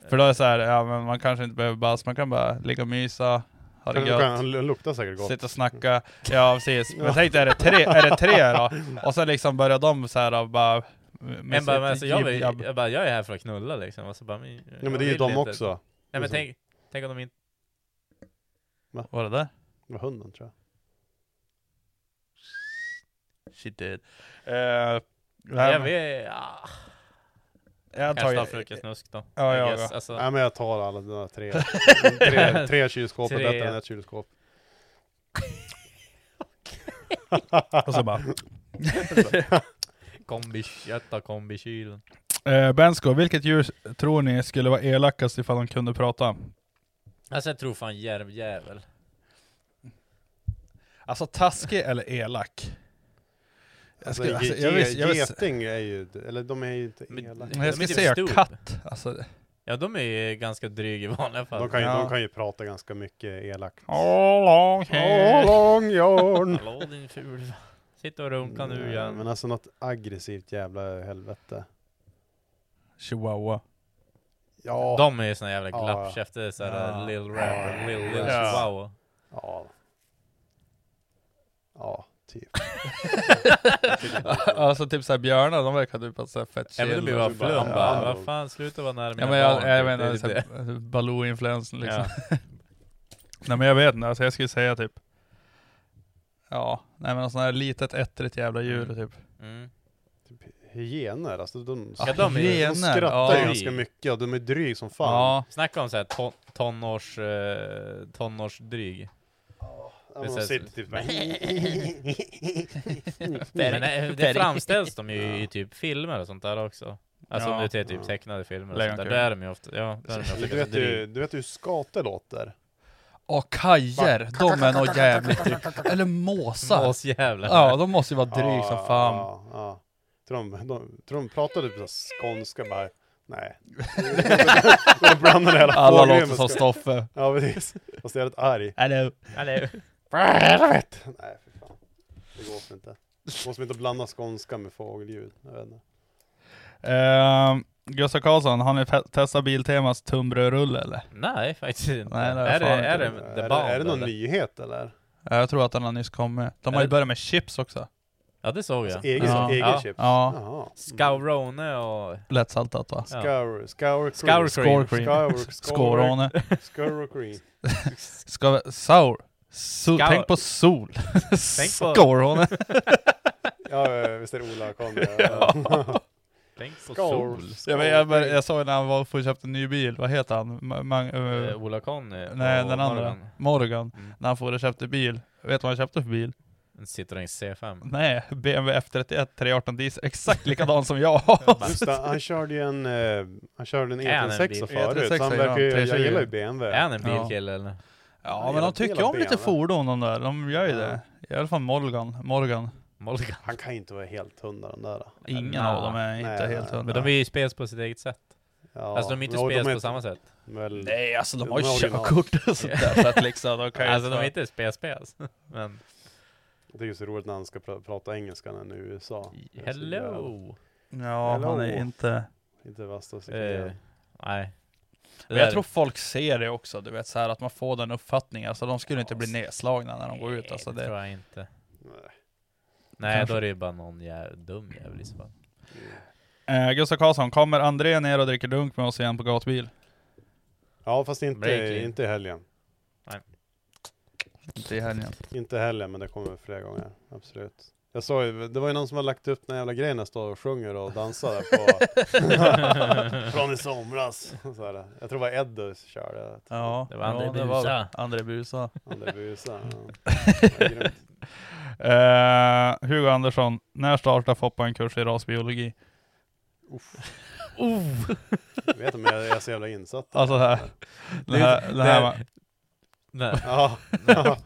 För då är det såhär, ja men man kanske inte behöver bast, man kan bara ligga och mysa, ha det
Han- han-
gött.
han luktar säkert gott.
Sitta och snacka, ja precis. Men tänk dig, är det
(laughs)
tre, är det tre då? Och sen liksom börjar de såhär och bara... med
Men bara, men
sitt
alltså, jag, vill,
jibb-jabb.
jag, bara, jag är här för att knulla liksom. Och så bara, men,
men
jag
det är ju
vill
de
inte.
också.
Nej men
Liksom.
tänk, tänk om de inte...
Vad är det där?
Det var hunden tror jag.
She did. Eh,
Jag
nej, men-
vet... Ah.
jag
Kanske ta
tar
Fröken Snusk då.
Ja,
I
ja,
guess,
ja.
Alltså,
Nej men jag tar alla de där
(laughs)
tre. tre, tre kylskåp är
Tre.
bättre än ett kylskåp.
Och så bara...
kombi, jag tar kombikylen.
Eh, Bensko, vilket djur tror ni skulle vara elakast ifall de kunde prata?
Alltså jag tror fan järvjävel.
Alltså taskig eller elak? Jag,
Alltså,
skulle, alltså,
ge-
jag, visst, jag,
ge-
visst,
geting är ju, eller de är ju inte
Men-
elaka.
jag
de
ska
är typ
säga
stup.
katt. Alltså,
Ja de är ju ganska dryga i vanliga fall.
De kan, ju,
Ja.
de kan ju prata ganska mycket elakt.
oh,
Åh, lång
(laughs)
John!
Hallå din ful. Sitt och runka nu
Nej,
igen.
Men alltså något aggressivt jävla helvete.
Chihuahua.
Ja.
De är ju såna jävla
Ja.
glappkäfter, såhär uh,
Ja.
Lil Rapper, Lil, lil
Ja.
Chihuahua.
Ja. Ja, typ.
alltså typ såhär björnar, de verkar typ att såhär fett
Ja men då
chill.
blir
Ja,
bara
så bara,
flum
ja,
bara,
ja.
vad fan sluta vara nära mina
men jag,
barn.
jag,
typ. Det är
menar
det.
såhär Baloo-influensen liksom. (laughs)
Ja.
Nej men jag vet inte, alltså jag skulle säga typ Ja, nej men något sånt här litet ettrigt jävla djur
Mm.
typ.
Mm.
Typ Hyener, alltså de,
Ja, de är-
de
hyener,
skrattar
ja.
ju ganska mycket och de är dryg som fan.
Ja,
Snacka om såhär ton, tonårs, eh, tonårsdryg.
Ja, men
Det
de
känns-
sitter typ bara... (laughs)
Men eh, det framställs de ju i typ filmer och sånt där också. Alltså
Ja.
om du ser typ tecknade filmer och sånt där,
Lejonkungen.
då är de ju ofta, ja, då är de ju ofta
du,
ganska
vet ju,
dryga.
du vet hur skate låter?
och kajer, de är nog jävligt dryga. Eller måsar.
Måsjävlar.
Ja, de måste ju vara dryg
Ja,
som fan.
Ja, ja. Tror, de, de, tror de pratar typ så här skånska bara?
(laughs)
Nej. de blandar hela
Alla
fågeln
låter
med
som
skå- (laughs)
Stoffe.
Ja precis. Fast jag är rätt arg.
Hello.
Hallå.
Nej, för fan. Det går för inte. Måste inte blanda skånska med fågelljud. Jag vet inte.
Ehm, Gustav Karlsson, har ni fe- testat Biltemas tumbrödrulle eller?
Nej faktiskt inte.
Nej, det har jag
är, det,
fan inte.
är det
är,
The
det,
Band
är det någon
eller? Oh,
nyhet eller?
Ja, jag tror att den har nyss kommit. De
Är
har ju
det-
börjat med chips också.
Ja det såg jag.
Alltså, Egen,
Ja.
egen
Ja.
chips?
Ja,
Jaha.
Scaurone och...
lättsaltat va?
Ja.
Scour, scour,
Scour
cream.
cream.
Score cream.
Scour, scour,
Skåråne.
scour cream.
Ska Sour. So,
Scour.
tänk på sol.
(laughs) Tänk på-
Skåråne.
Ja, eh, visst är det Ola Conny?
(laughs) (laughs) Tänk på
Scour.
sol.
Ja, men jag, bör- jag såg när han var för att köpte en ny bil, vad heter han? Ma- man, eh,
Eh, Ola Conny
nej
och
den andra.
Morgan.
Morgan.
Mm.
När han for och köpte bil. Vet du vad han köpte för bil?
En Citroën C5.
Nej, BMW F31 318
(laughs)
diesel. Exakt likadan som jag
Just det, han körde ju en, eh, han körde en
Är han en
E36
bil?
förut, så
E36,
han verkar ju,
ja,
jag
320.
gillar ju
Är
BMW.
han en
Ja.
bilkille eller?
Ja
Ja,
men
hela
de tycker
delen
om lite
BMW.
fordon de där, de gör ju
Ja.
det. I alla fall Morgan. Morgan.
Molga.
Han kan ju inte vara helt hundra den där.
Ingen
Nej.
av dem är inte
Nej,
helt
nej.
hundra.
Men de är ju spes på sitt eget sätt.
Ja,
alltså de är inte
men- och
spes
är
på samma sätt.
(laughs) Väl,
Nej alltså de
De
har ju
är original.
körkort och sånt där. Så att liksom, de kan ju
Alltså de är
inte-
inte
(laughs)
spes-spes. Men
jag tycker det är så roligt när han ska pra- prata engelska när han är i USA. Det är så jävla-
hello!
Ja han är
Hello.
inte...
Inte värsta
Eh,
sekreteraren.
nej.
Men jag tror folk ser det också, du vet så här att man får den uppfattningen. Alltså de skulle inte bli nedslagna när de går ut. Alltså,
det
det...
tror jag inte.
Nej.
Nej,
Kanske.
då är det ju bara någon jävla dum jävel i så fall.
eh, Gustav Karlsson, kommer André ner och dricker dunk med oss igen på gatbil?
Ja fast inte,
Breaking.
inte i helgen.
Inte i helgen.
Inte i helgen men det kommer flera gånger. Absolut. Jag såg ju, det var ju någon som har lagt upp den jävla grejen när står och sjunger och dansar där
(laughs)
på
(laughs)
(laughs) Från i somras. Så här. Jag tror det var Eddus som körde.
Ja,
Det var André
ja,
Busa.
André (laughs) Busa.
Han där busar. (laughs) Ja. Ja, grymt.
Eh, Hugo Andersson, när startar Foppa en kurs i rasbiologi? (laughs)
Jag vet inte men jag jag är så jävla insatt. där.
Alltså det här, det här, det här var...
Nej.
Ja. Ja.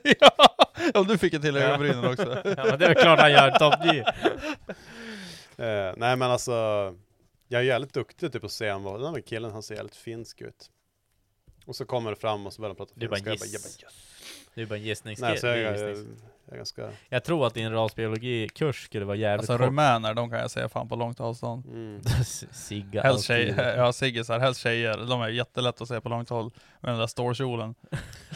(laughs) ja, om du fick ett till ögonbrynen också.
(laughs) Ja, men det är klart han gör Top G.
(laughs) Eh, nej men alltså. Jag är jävligt duktig typ att se honom. Den här killen han ser jävligt finsk ut. Och så kommer det fram och så börjar de prata
Det är bara en
finska. Jag jag
giss. Det är bara en gissningsgrej.
Nej, så jag,
Det är
jag,
gissnings-
jag, är ganska...
Jag tror att din rasbiologikurs skulle vara jävligt
Alltså
kort.
rumäner, de kan jag säga fan på långt avstånd.
Mm.
(laughs) Sigga
Helst
alltid.
tjejer, (laughs) ja siggisar, helst tjejer. De är jättelätt att se på långt håll. Med den där stålkjolen.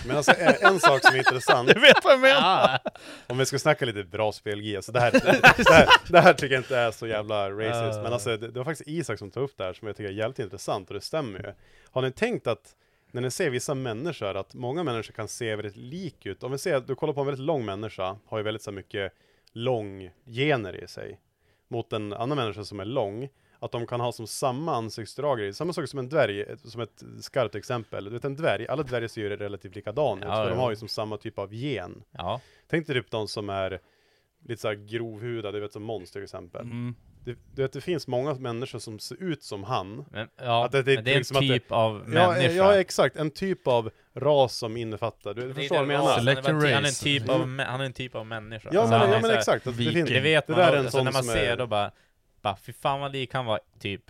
Men alltså en, en sak som är
(laughs)
intressant,
Du vet vad jag menar?
Ja.
om vi ska snacka lite bra spelgi, alltså det här, (laughs) det, här, det här tycker jag inte är så jävla racist, men alltså det, det var faktiskt Isak som tog upp det här som jag tycker är jävligt intressant, och det stämmer ju. Har ni tänkt att när ni ser vissa människor, att många människor kan se väldigt lik ut. Om vi ser att du kollar på en väldigt lång människa, har ju väldigt så här mycket lång gener i sig. Mot en annan människa som är lång, att de kan ha som samma ansiktsdrag, i- samma sak som en dvärg, ett- som ett skarpt exempel. Du vet en dvärg, alla dvärgar ser ju relativt likadana ut,
Ja,
för de
ja.
har ju som samma typ av gen.
Ja.
Tänk dig typ de som är lite såhär grovhudade, du vet som Måns till exempel.
Mm.
Du, du vet, det finns många människor som ser ut som han.
Men, ja,
Att det-
det,
det-
men det är en
liksom att det-
typ av
Ja,
människa.
eh, ja, exakt. En typ av ras som innefattar, du, du
Det är
förstår vad jag
inte en ras,
menar?
Select
han är bara-
race.
Han är en typ av, mä- han är en typ av människa.
Ja,
Alltså,
men,
han är
ja, men
så här-
exakt. Att det,
viking.
finns,
Det vet
det
man.
där
då.
är en
alltså,
sån
när man
som
ser
är...
då bara, bara, fy fan vad lik han var typ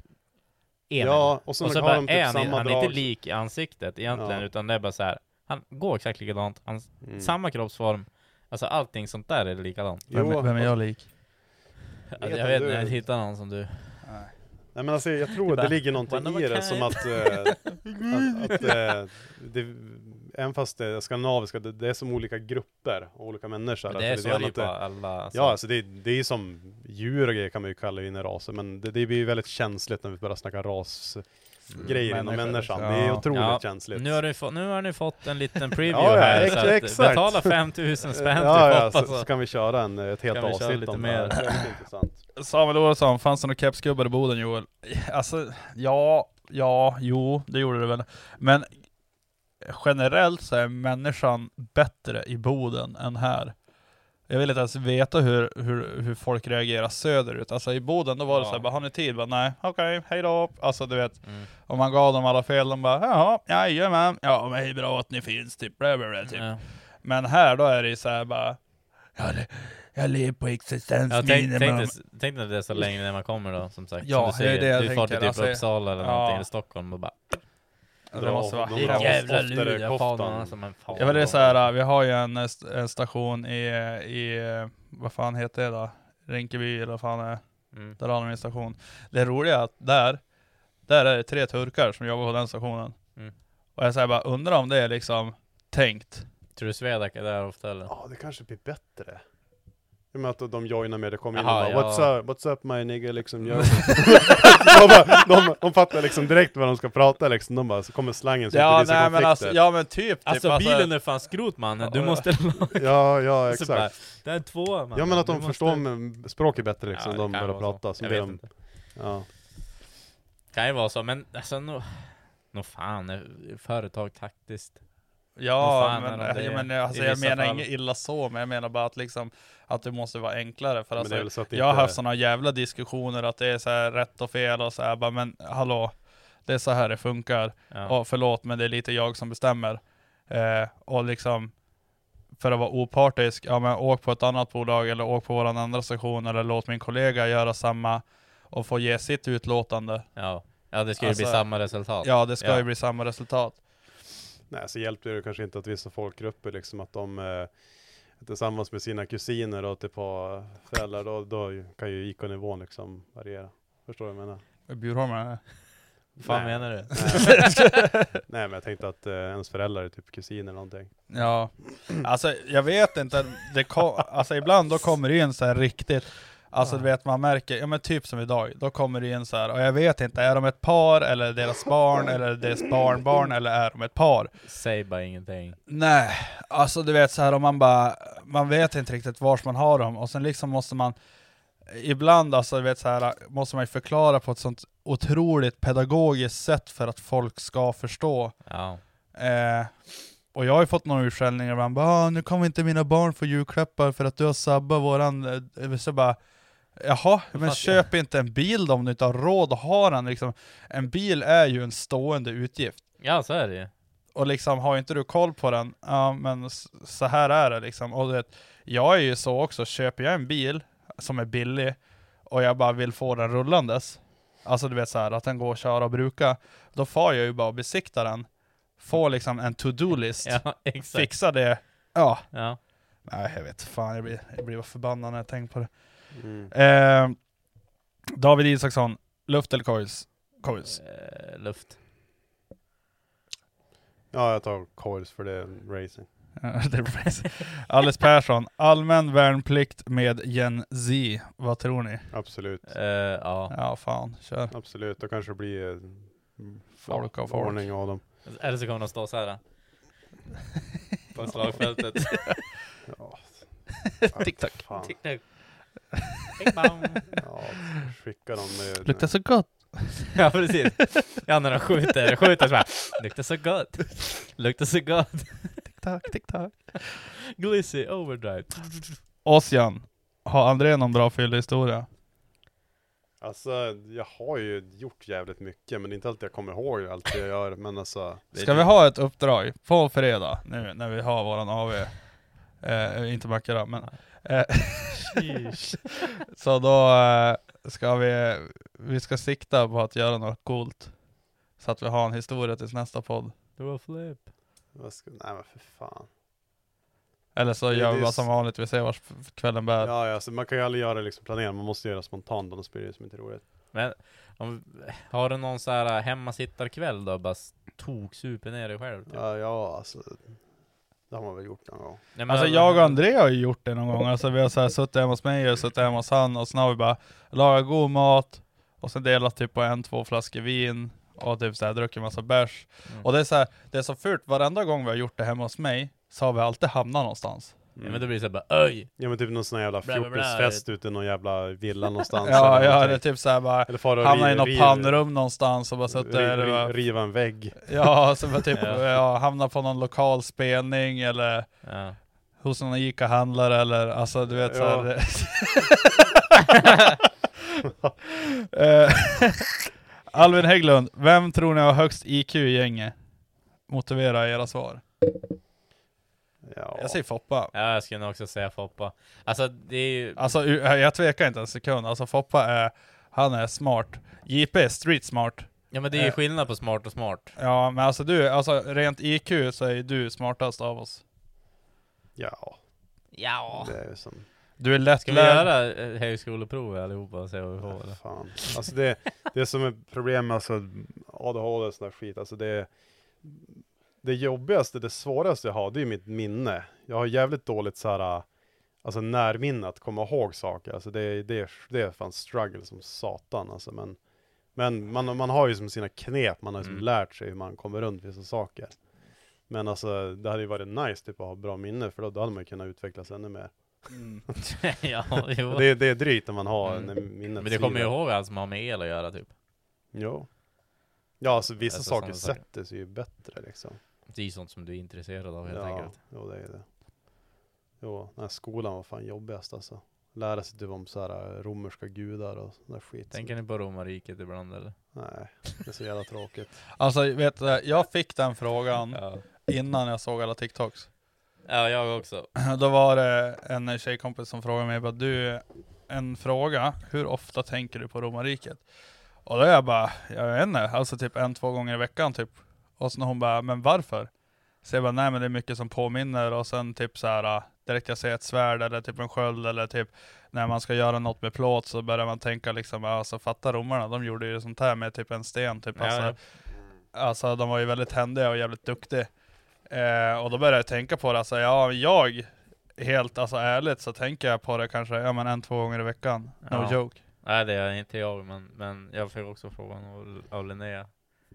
Emil.
Ja, och sen
och så
har
bara
de typ
är han,
samma
han är
drag.
inte lik i ansiktet egentligen,
Ja.
utan det är bara så här. han går exakt likadant, han,
Mm.
samma kroppsform, alltså allting sånt där är likadant.
Vem,
Jo,
vem är jag lik?
Alltså,
vet
jag
inte,
vet
du-
inte, jag hittar någon som du.
Nej men alltså jag tror att det
Typ Bara,
ligger någonting
one of
i
a
det
kind.
som att, eh, att, att eh, det, även fast det är skandinaviska, det, det är som olika grupper och olika människor.
Men det är
Alltså,
så
det är
det är ju
lite-
på alla. Alltså.
Ja, alltså det, det är ju som djur och grejer kan man ju kalla in i raser, men det, det blir ju väldigt känsligt när vi börjar snacka rasgrejer inom
Människor.
människan. Det är
Ja.
otroligt
liksom. Ja,
känsligt.
Nu har, du fått, nu har ni fått
(laughs)
en liten preview
Ja, ja,
här,
ex-
så att
exakt.
betala 5000 spänn till
ja, ja, alltså,
Foppa,
så,
så-
så kan vi köra en, ett helt
Kan alltså. vi köra
avsnitt
lite
om det här.
mer?
Det är väldigt intressant.
Samuel Oredsson, fanns det några kepsgubbar i Boden Joel? Alltså, ja, ja, jo, det gjorde det väl. Men generellt så är människan bättre i Boden än här. Jag vill inte ens veta hur, hur, hur folk reagerar söderut. Alltså i Boden, då var det
Ja.
så här, bara, har ni tid? Bara, Nej, okej, hej då. Alltså du vet,
Mm.
om man gav dem alla fel, de bara, jaha, jajamän, ja men det är bra att ni finns, typ, bla, bla, bla, typ.
Ja.
Men här då är det ju så här bara, jag, le- jag lever på
Ja, tänk, tänk,
existensminimum.
dig, tänk dig det så länge när man kommer då, som sagt.
Ja,
som
det
du
är
säger,
det jag
du får till
tänker,
typ
alltså-
Uppsala eller
ja.
någonting, eller Stockholm och bara
Det måste vara
Dra-
helt
dra
Jävla
oftare
lur, jag
koftan.
fan alltså, men fan.
Ja men det är så här, vi har ju en, eh, st- en station i, i, eh, vad fan heter det då? Rinkeby eller vad fan är det?
Mm.
Där har de en station. Det roliga är att där, där är det tre turkar som jobbar på den stationen.
Mm.
Och jag säger bara, undrar om det är liksom tänkt.
Tror du Swedac är där ofta eller?
Ja, det kanske blir bättre. I och med att de joinar med, det kommer in
Jaha,
och bara
ja.
what's up, what's up my nigga liksom jag... (laughs) de, bara, de, de fattar liksom direkt vad de ska prata liksom, de bara, så kommer slangen så
Ja
inte det blir
nej
så
men alltså,
konflikter.
ja men typ.
Alltså
typ,
bilen är fan skrot mannen, du
Ja.
måste
Ja, ja
(laughs) Så bara,
exakt.
Det är två mannen.
Ja men att de
du
förstår med språket bättre liksom,
Ja, det
de
kan
börjar
vara så.
prata. Så
Jag
blir
vet
de,
inte.
ja.
Kan ju vara så, men alltså nå nå fan, är företag taktiskt. Vad
Ja
fan
men,
är det?
ja, men alltså,
I
jag
vissa
menar
fall.
inget illa så, men jag menar bara att liksom att det måste vara enklare. För
Men det är
alltså,
väl så att det
Jag har
inte-
haft sådana jävla diskussioner att det är så här rätt och fel och så här, bara, men hallå, det är så här det funkar.
Ja.
Och förlåt, men det är lite jag som bestämmer. Eh, och liksom, för att vara opartisk, ja men åk på ett annat bolag eller åk på våran andra station eller låt min kollega göra samma och få ge sitt utlåtande.
ja. ja, det ska ju bli
Alltså,
samma resultat.
Ja, det ska
Ja.
ju bli samma resultat.
Nej, så hjälper det kanske inte att vissa folkgrupper liksom att de eh, tillsammans med sina kusiner och typ har föräldrar, då, då kan ju IK-nivån liksom variera. Förstår du vad jag menar?
Bjurholm
fan
Nej.
menar du?
Nej. Nej men jag tänkte att eh, ens föräldrar är typ kusiner eller någonting.
Ja, alltså jag vet inte, det kom, alltså ibland då kommer det in så här riktigt, alltså du vet man märker, ja men typ som idag, då kommer det in så här, och jag vet inte, är de ett par eller är deras barn eller är deras barnbarn eller är de ett par?
Säg bara ingenting.
Nej, alltså du vet så här om man bara, man vet inte riktigt vars man har dem och sen liksom måste man Ibland alltså, du vet, så här, måste man ju förklara på ett sånt otroligt pedagogiskt sätt för att folk ska förstå.
Ja.
Eh, och jag har ju fått några utskällningar ibland, bara, "Ah, nu kommer inte mina barn få julklappar för att du har sabbat våran... eh, Så bara, Jaha, men
fattar
köp inte en bil då om du inte har råd att ha den. Liksom, en bil är ju en stående utgift.
ja, så är det ju.
Och liksom, har inte du koll på den, ja men s- så här är det liksom. Och du vet, jag är ju så också, köper jag en bil som är billig och jag bara vill få den rullandes, alltså du vet så här att den går att köra och bruka, då får jag ju bara besikta den.
Får liksom en to-do-list.
(laughs)
(laughs)
Ja, exakt.
Fixa det. Ja.
Ja.
Nej, jag vet fan. Jag blir, jag blir bara förbannad när jag tänker på det.
Mm.
Eh, David Isaksson, luft eller coils? Coils.
Eh, luft.
Ja, jag tar coils för det är racing.
(laughs) Ja, det är precis. Alice Persson, allmän värnplikt med Gen Z. Vad tror ni?
Absolut.
Eh, ja.
Ja, fan. Kör.
Absolut. Då kanske det blir eh,
Folk av folk.
ordning av dem.
Eller så kommer de stå så här.
(laughs)
då. På slagfältet.
(laughs)
Ja,
Tick tack.
fan.
Tick-tack. Tick-bang.
Ja, skicka dem med...
Luktar så gott.
(laughs) Ja precis. Ja när de skjuter, skjuter så här. Luktar så gott. Luktar så gott.
Tick tack, tick tack.
Glissy overdrive.
Ossian, har André någon bra fyllehistoria?
Alltså, jag har ju gjort jävligt mycket, men det är inte alltid jag kommer ihåg allt jag gör. Men alltså,
Ska vi ha ett uppdrag på fredag nu när vi har våran AV? Eh, inte Macke då, men... Eh, så då eh, ska vi, vi ska sikta på att göra något coolt. Så att vi har en historia tills nästa podd.
Det var flip.
vad ska, nej men för fan.
Eller så
Det-
gör vi
det är
bara
s-
som vanligt, vi ser vart kvällen bär.
Ja, ja, alltså, man kan ju aldrig göra det liksom planerat, man måste göra spontant, annars blir det som inte roligt.
Men om, har du någon så här hemmasittarkväll då? Bara s- toksuper ner dig själv? Typ.
Ja, ja alltså, det har man väl gjort någon gång.
Nej, men-
Alltså jag och André har ju gjort det någon gång, alltså vi har så här suttit hemma hos mig och suttit hemma hos han och sen har vi bara lagat god mat och sen delat typ på en, två flaskor vin och typ så här druckit massa bärs.
Mm.
Och det är så här, det är så fult, varenda gång vi har gjort det hemma hos mig så har vi alltid hamnat någonstans.
Ja, men då blir det så här bara öj!
Ja men typ någon sån här jävla
Bla, bla, bla.
fjortisfest ute i någon jävla villa någonstans.
Ja,
eller
ja, det är
någonting.
typ så här bara
Eller fara och
hamnat i
ri-
något
ri-
pannrum någonstans och bara
ri-
suttit där och
ri-
bara-
Riva en vägg.
ja, så bara typ
(laughs) Ja.
ja, hamnat på någon lokal spelning eller
Ja.
hos någon ICA-handlare eller alltså du vet så här,
Ja.
det- (laughs)
(laughs)
Eh, Alvin Hägglund, vem tror ni har högst IQ i gänget? Motivera era svar.
Ja.
Jag säger Foppa.
ja, jag skulle nog också säga Foppa. Alltså det är ju...
Alltså u- jag tvekar inte en sekund. Alltså Foppa är, han är smart. JP är street smart.
Ja men det är ju
eh.
skillnad på smart och smart.
Ja men alltså du, alltså rent IQ så är ju du smartast av oss.
Ja,
Ja.
det är ju som...
Du är
Ska vi
lättlärd.
göra eh, högskoleprovet allihopa och se vad
(laughs)
vi får? Eller?
Fan. Alltså det, det som är problem med alltså ADHD och sån där skit, alltså det, det jobbigaste, det svåraste jag har, det är ju mitt minne. Jag har jävligt dåligt så här, alltså närminne att komma ihåg saker. Alltså det, det, det är fan struggle som satan alltså. Men, men man, man har ju som sina knep, man har ju som
Mm.
lärt sig hur man kommer runt vissa saker. Men alltså det hade ju varit nice typ att ha bra minne, för då, då hade man ju kunnat utvecklas ännu mer.
(laughs) ja, jo.
Det, det är drygt när man har
Mm.
när minnet
Men det kommer ju
svider.
ihåg allt som har med el att göra typ.
Jo. Ja, alltså vissa
Alltså,
saker
sådana saker.
sätter sig ju bättre liksom.
Det är ju sånt som du är intresserad av helt
Ja,
enkelt.
jo, det är det. Jo, den här skolan var fan jobbigast alltså. Lära sig typ om så här romerska gudar och sån där skit.
Tänker ni på romarriket ibland eller?
Nej, det är så jävla tråkigt.
Alltså vet du, jag fick den frågan
Ja,
innan jag såg alla TikToks.
ja jag också.
Då var det en tjejkompis som frågade mig bara du, en fråga, hur ofta tänker du på romarriket? Och då är jag bara, jag vet inte, alltså typ en, två gånger i veckan typ. Och sen hon bara, men varför? Så jag bara, nej men det är mycket som påminner och sen typ så här äh, direkt jag ser ett svärd eller typ en sköld eller typ när man ska göra något med plåt så börjar man tänka liksom, ja, alltså fatta romarna, de gjorde ju sånt här med typ en sten typ. Alltså,
Ja,
Alltså de var ju väldigt händiga och jävligt duktiga. Eh, och då började jag tänka på det, alltså ja, jag, helt alltså ärligt så tänker jag på det kanske, ja men en, två gånger i veckan. No
Ja.
joke.
Nej det är inte jag men, men jag fick också frågan av- av Linnea.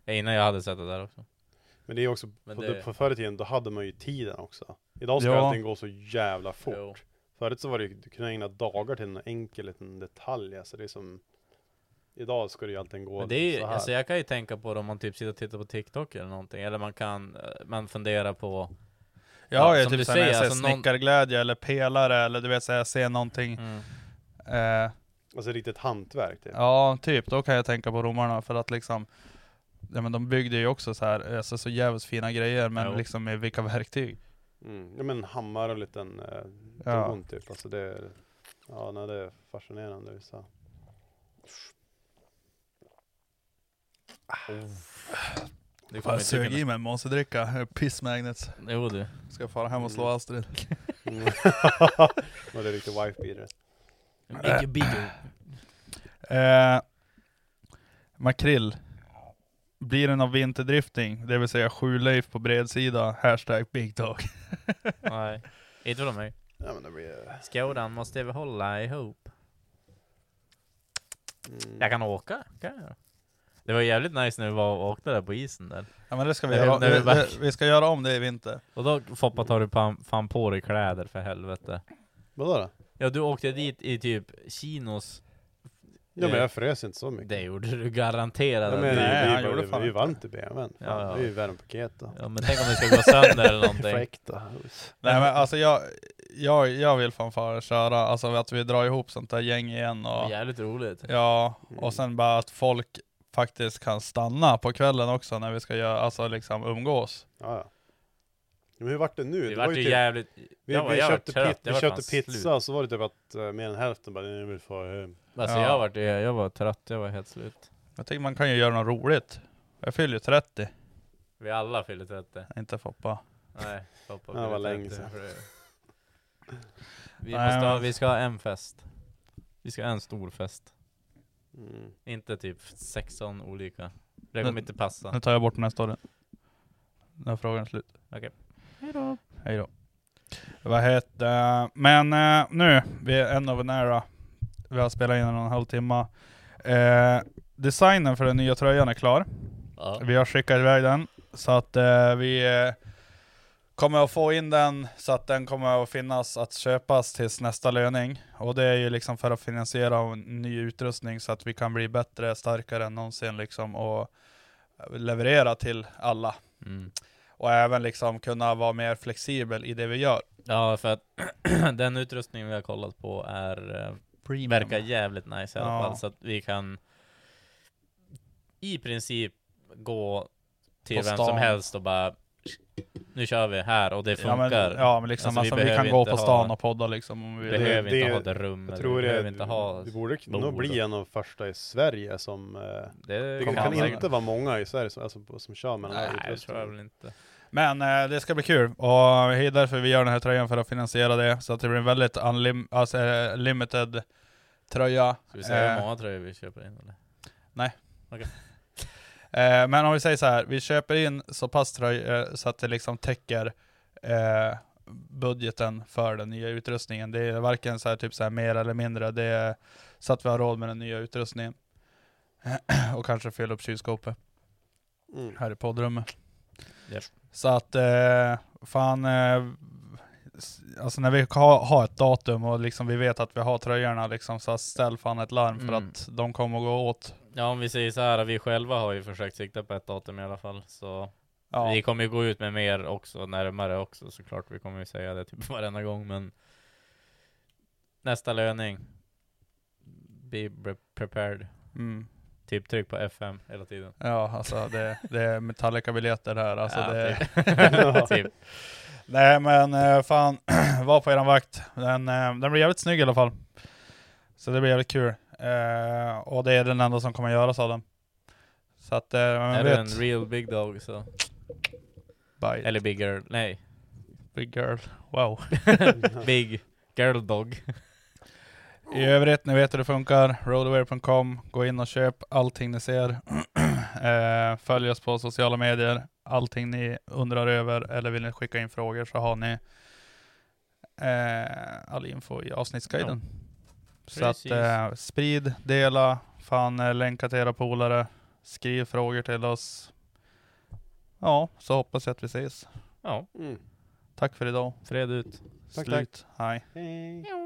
Eh, Innan jag hade sett det där också.
Men det är också,
Men
på, typ,
det-
på förr i tiden då hade man ju tiden också. Idag ska
Ja.
allting gå så jävla fort.
Jo.
Förut så var det ju, du kunde ägna dagar till en enkel liten detalj. Alltså det är som, idag ska det ju allting gå
Men det är ju,
så här.
alltså jag kan ju tänka på det om man typ sitter och tittar på TikTok eller någonting. Eller man kan, eh, man funderar på,
Jag har
Ja,
ju
som
typ
du
såhär när jag
säger,
ser
alltså någon-
snickarglädje eller pelare eller du vet såhär, jag ser någonting.
Mm.
Eh,
Alltså riktigt hantverk typ.
ja, typ, då kan jag tänka på romarna för att liksom Ja men de byggde ju också så här, alltså så jävligt fina grejer men
Jo.
liksom med vilka verktyg.
Mm. Ja men en hammare och en liten eh,
Ja.
don typ. Alltså det är, ja, nej, det är fascinerande vissa.
Ah,
Det
Fan,
kommer
jag sög
tycka-
i mig en monsterdricka, (laughs) piss magnets.
Jo du.
Ska fara hem och
(laughs)
slå Astrid.
Mm. Och det är riktigt wife-beater.
Bigger, bigger.
Äh. Eh, makrill. Blir den av vinterdrifting, det vill säga sju leif på bredsida, hashtag big dog. (laughs)
Nej. Inte från mig.
Ja men det blir...
Skådan måste vi hålla ihop.
Mm.
Jag kan åka, kan jag. Det var jävligt nice när vi var och åkte där på isen där.
Ja men det ska vi
När vi-
göra.
när vi
Vi,
back.
vi, vi ska göra om det i vinter.
Och då Foppa tar du pan, fan på dig kläder för helvete.
Vadå då?
Ja du åkte dit i typ chinos.
Ja men
Eh,
jag frös inte så mycket.
Det gjorde du garanterat.
Ja,
att
men,
du-
Nej,
det, är
han
ju-
gjorde
det,
fan
är ju
inte.
varmt i BMWn.
Ja, ja.
Det är ju värmepaket då.
ja, men tänk om det ska gå
(laughs)
sönder eller någonting.
Fräckt då.
Nej men alltså jag, jag, jag vill fan fara köra, alltså att vi drar ihop sånt där gäng igen
Det är
och
Jävligt roligt.
ja,
Mm.
och sen bara att folk faktiskt kan stanna på kvällen också när vi ska göra, alltså liksom umgås.
Ja, ja. Men hur vart det nu?
Det
var
vart ju
typ-
jävligt...
vi,
jag var-
vi
jag var
köpte,
trött.
pit,
Jag
vi
var
köpte
fan slut.
pizza, och så var det typ att eh, mer än hälften bara, nu vill få eh, mm, hem.
Alltså
Ja.
jag, var, jag, jag var trött, jag var helt slut.
Jag tycker man kan ju göra något roligt. Jag fyller ju 30,
Vi alla fyllde 30.
inte Foppa.
Nej, Foppa
Ja, det var
fyllde
länge
30,
sedan.
för det-
(laughs)
Vi,
Nej,
måste ha,
men-
vi ska ha en fest. Vi ska ha en stor fest.
Mm.
Inte typ 16 olika. Det
Men-
kommer inte passa.
Nu tar jag bort den här storyn. Nu är frågan slut.
Okej.
Hejdå. Hejdå. Vad heter Men eh, nu, vi är en of nära. Vi har spelat in en och en halv timme. Eh, designen för den nya tröjan är klar.
Ja.
Vi har skickat iväg den. Så att eh, vi eh, kommer att få in den så att den kommer att finnas att köpas tills nästa löning. Och det är ju liksom för att finansiera en ny utrustning så att vi kan bli bättre, starkare än någonsin liksom och leverera till alla.
Mm.
Och även liksom kunna vara mer flexibel i det vi gör.
ja, för att (clears throat) den utrustning vi har kollat på är... eh, Verkar jävligt nice i alla
Ja.
fall. Så att vi kan i princip gå till
På
vem som
stan.
helst och bara nu kör vi här och det
Ja
funkar.
men, ja, men liksom,
Alltså,
alltså,
vi
vi,
behöver
kan gå
inte
på stan
ha-
och podda liksom om vi vill.
behöver
Det-
inte
det-
ha det rummet,
Jag tror
vi
det,
behöver inte ha...
det borde nog
bord.
bli en av de första i Sverige som... eh,
Det
Det
kan,
kan,
man säkert.
inte vara många i Sverige som, alltså, som kör med den här
Nej, det tror jag
utrustningen.
väl inte.
Men eh, det ska bli kul, och det är därför vi gör den här tröjan för att finansiera det, så att det blir en väldigt unlim- alltså, eh, limited tröja.
Ska vi säga hur
Eh,
många tröjor vi köper in eller?
(laughs) eh, men om vi säger så här, vi köper in så pass tröjor så att det liksom täcker eh, budgeten för den nya utrustningen. Det är varken så här, typ så här, mer eller mindre, det är så att vi har råd med den nya utrustningen. och kanske fylla upp kylskåpet
Mm.
här i poddrummet.
Japp.
Så att eh, fan, eh, s- alltså när vi har ha ett datum och liksom vi vet att vi har tröjorna liksom, så ställ fan ett larm för
Mm.
att de kommer att gå åt.
Ja om vi säger så här, vi själva har ju försökt sikta på ett datum i alla fall så
Ja.
Vi kommer ju gå ut med mer också, närmare också såklart. Vi kommer ju säga det typ (laughs) varenda gång men Nästa löning Be pre- prepared
Mm.
Typ tryck på FM hela tiden
Ja, alltså det, det är Metallica-biljetter här. Alltså
Ja,
det, (laughs)
typ. typ.
Nej men eh, fan, (clears throat) var på eran vakt. Den, eh, den blir jävligt snygg i alla fall. Så det blir jävligt kul. Eh, och det är den enda som kommer göras av den. Så att, eh,
Är
man
du
vet.
en real big dog så
Bye.
Eller big girl, nej
Big girl. Wow.
(laughs) Big girl dog
I övrigt, ni vet hur det funkar. Roadaway.com. Gå in och köp allting ni ser. eh, följ oss på sociala medier. Allting ni undrar över eller vill ni skicka in frågor så har ni eh, all info i avsnittsguiden. så att
Precis.
eh, sprid, dela, fan eh, länka till era polare. Skriv frågor till oss. Ja, så hoppas jag att vi ses.
Ja,
Mm.
Tack för idag.
fred ut
Tack,
Slut. Hej.
Hej.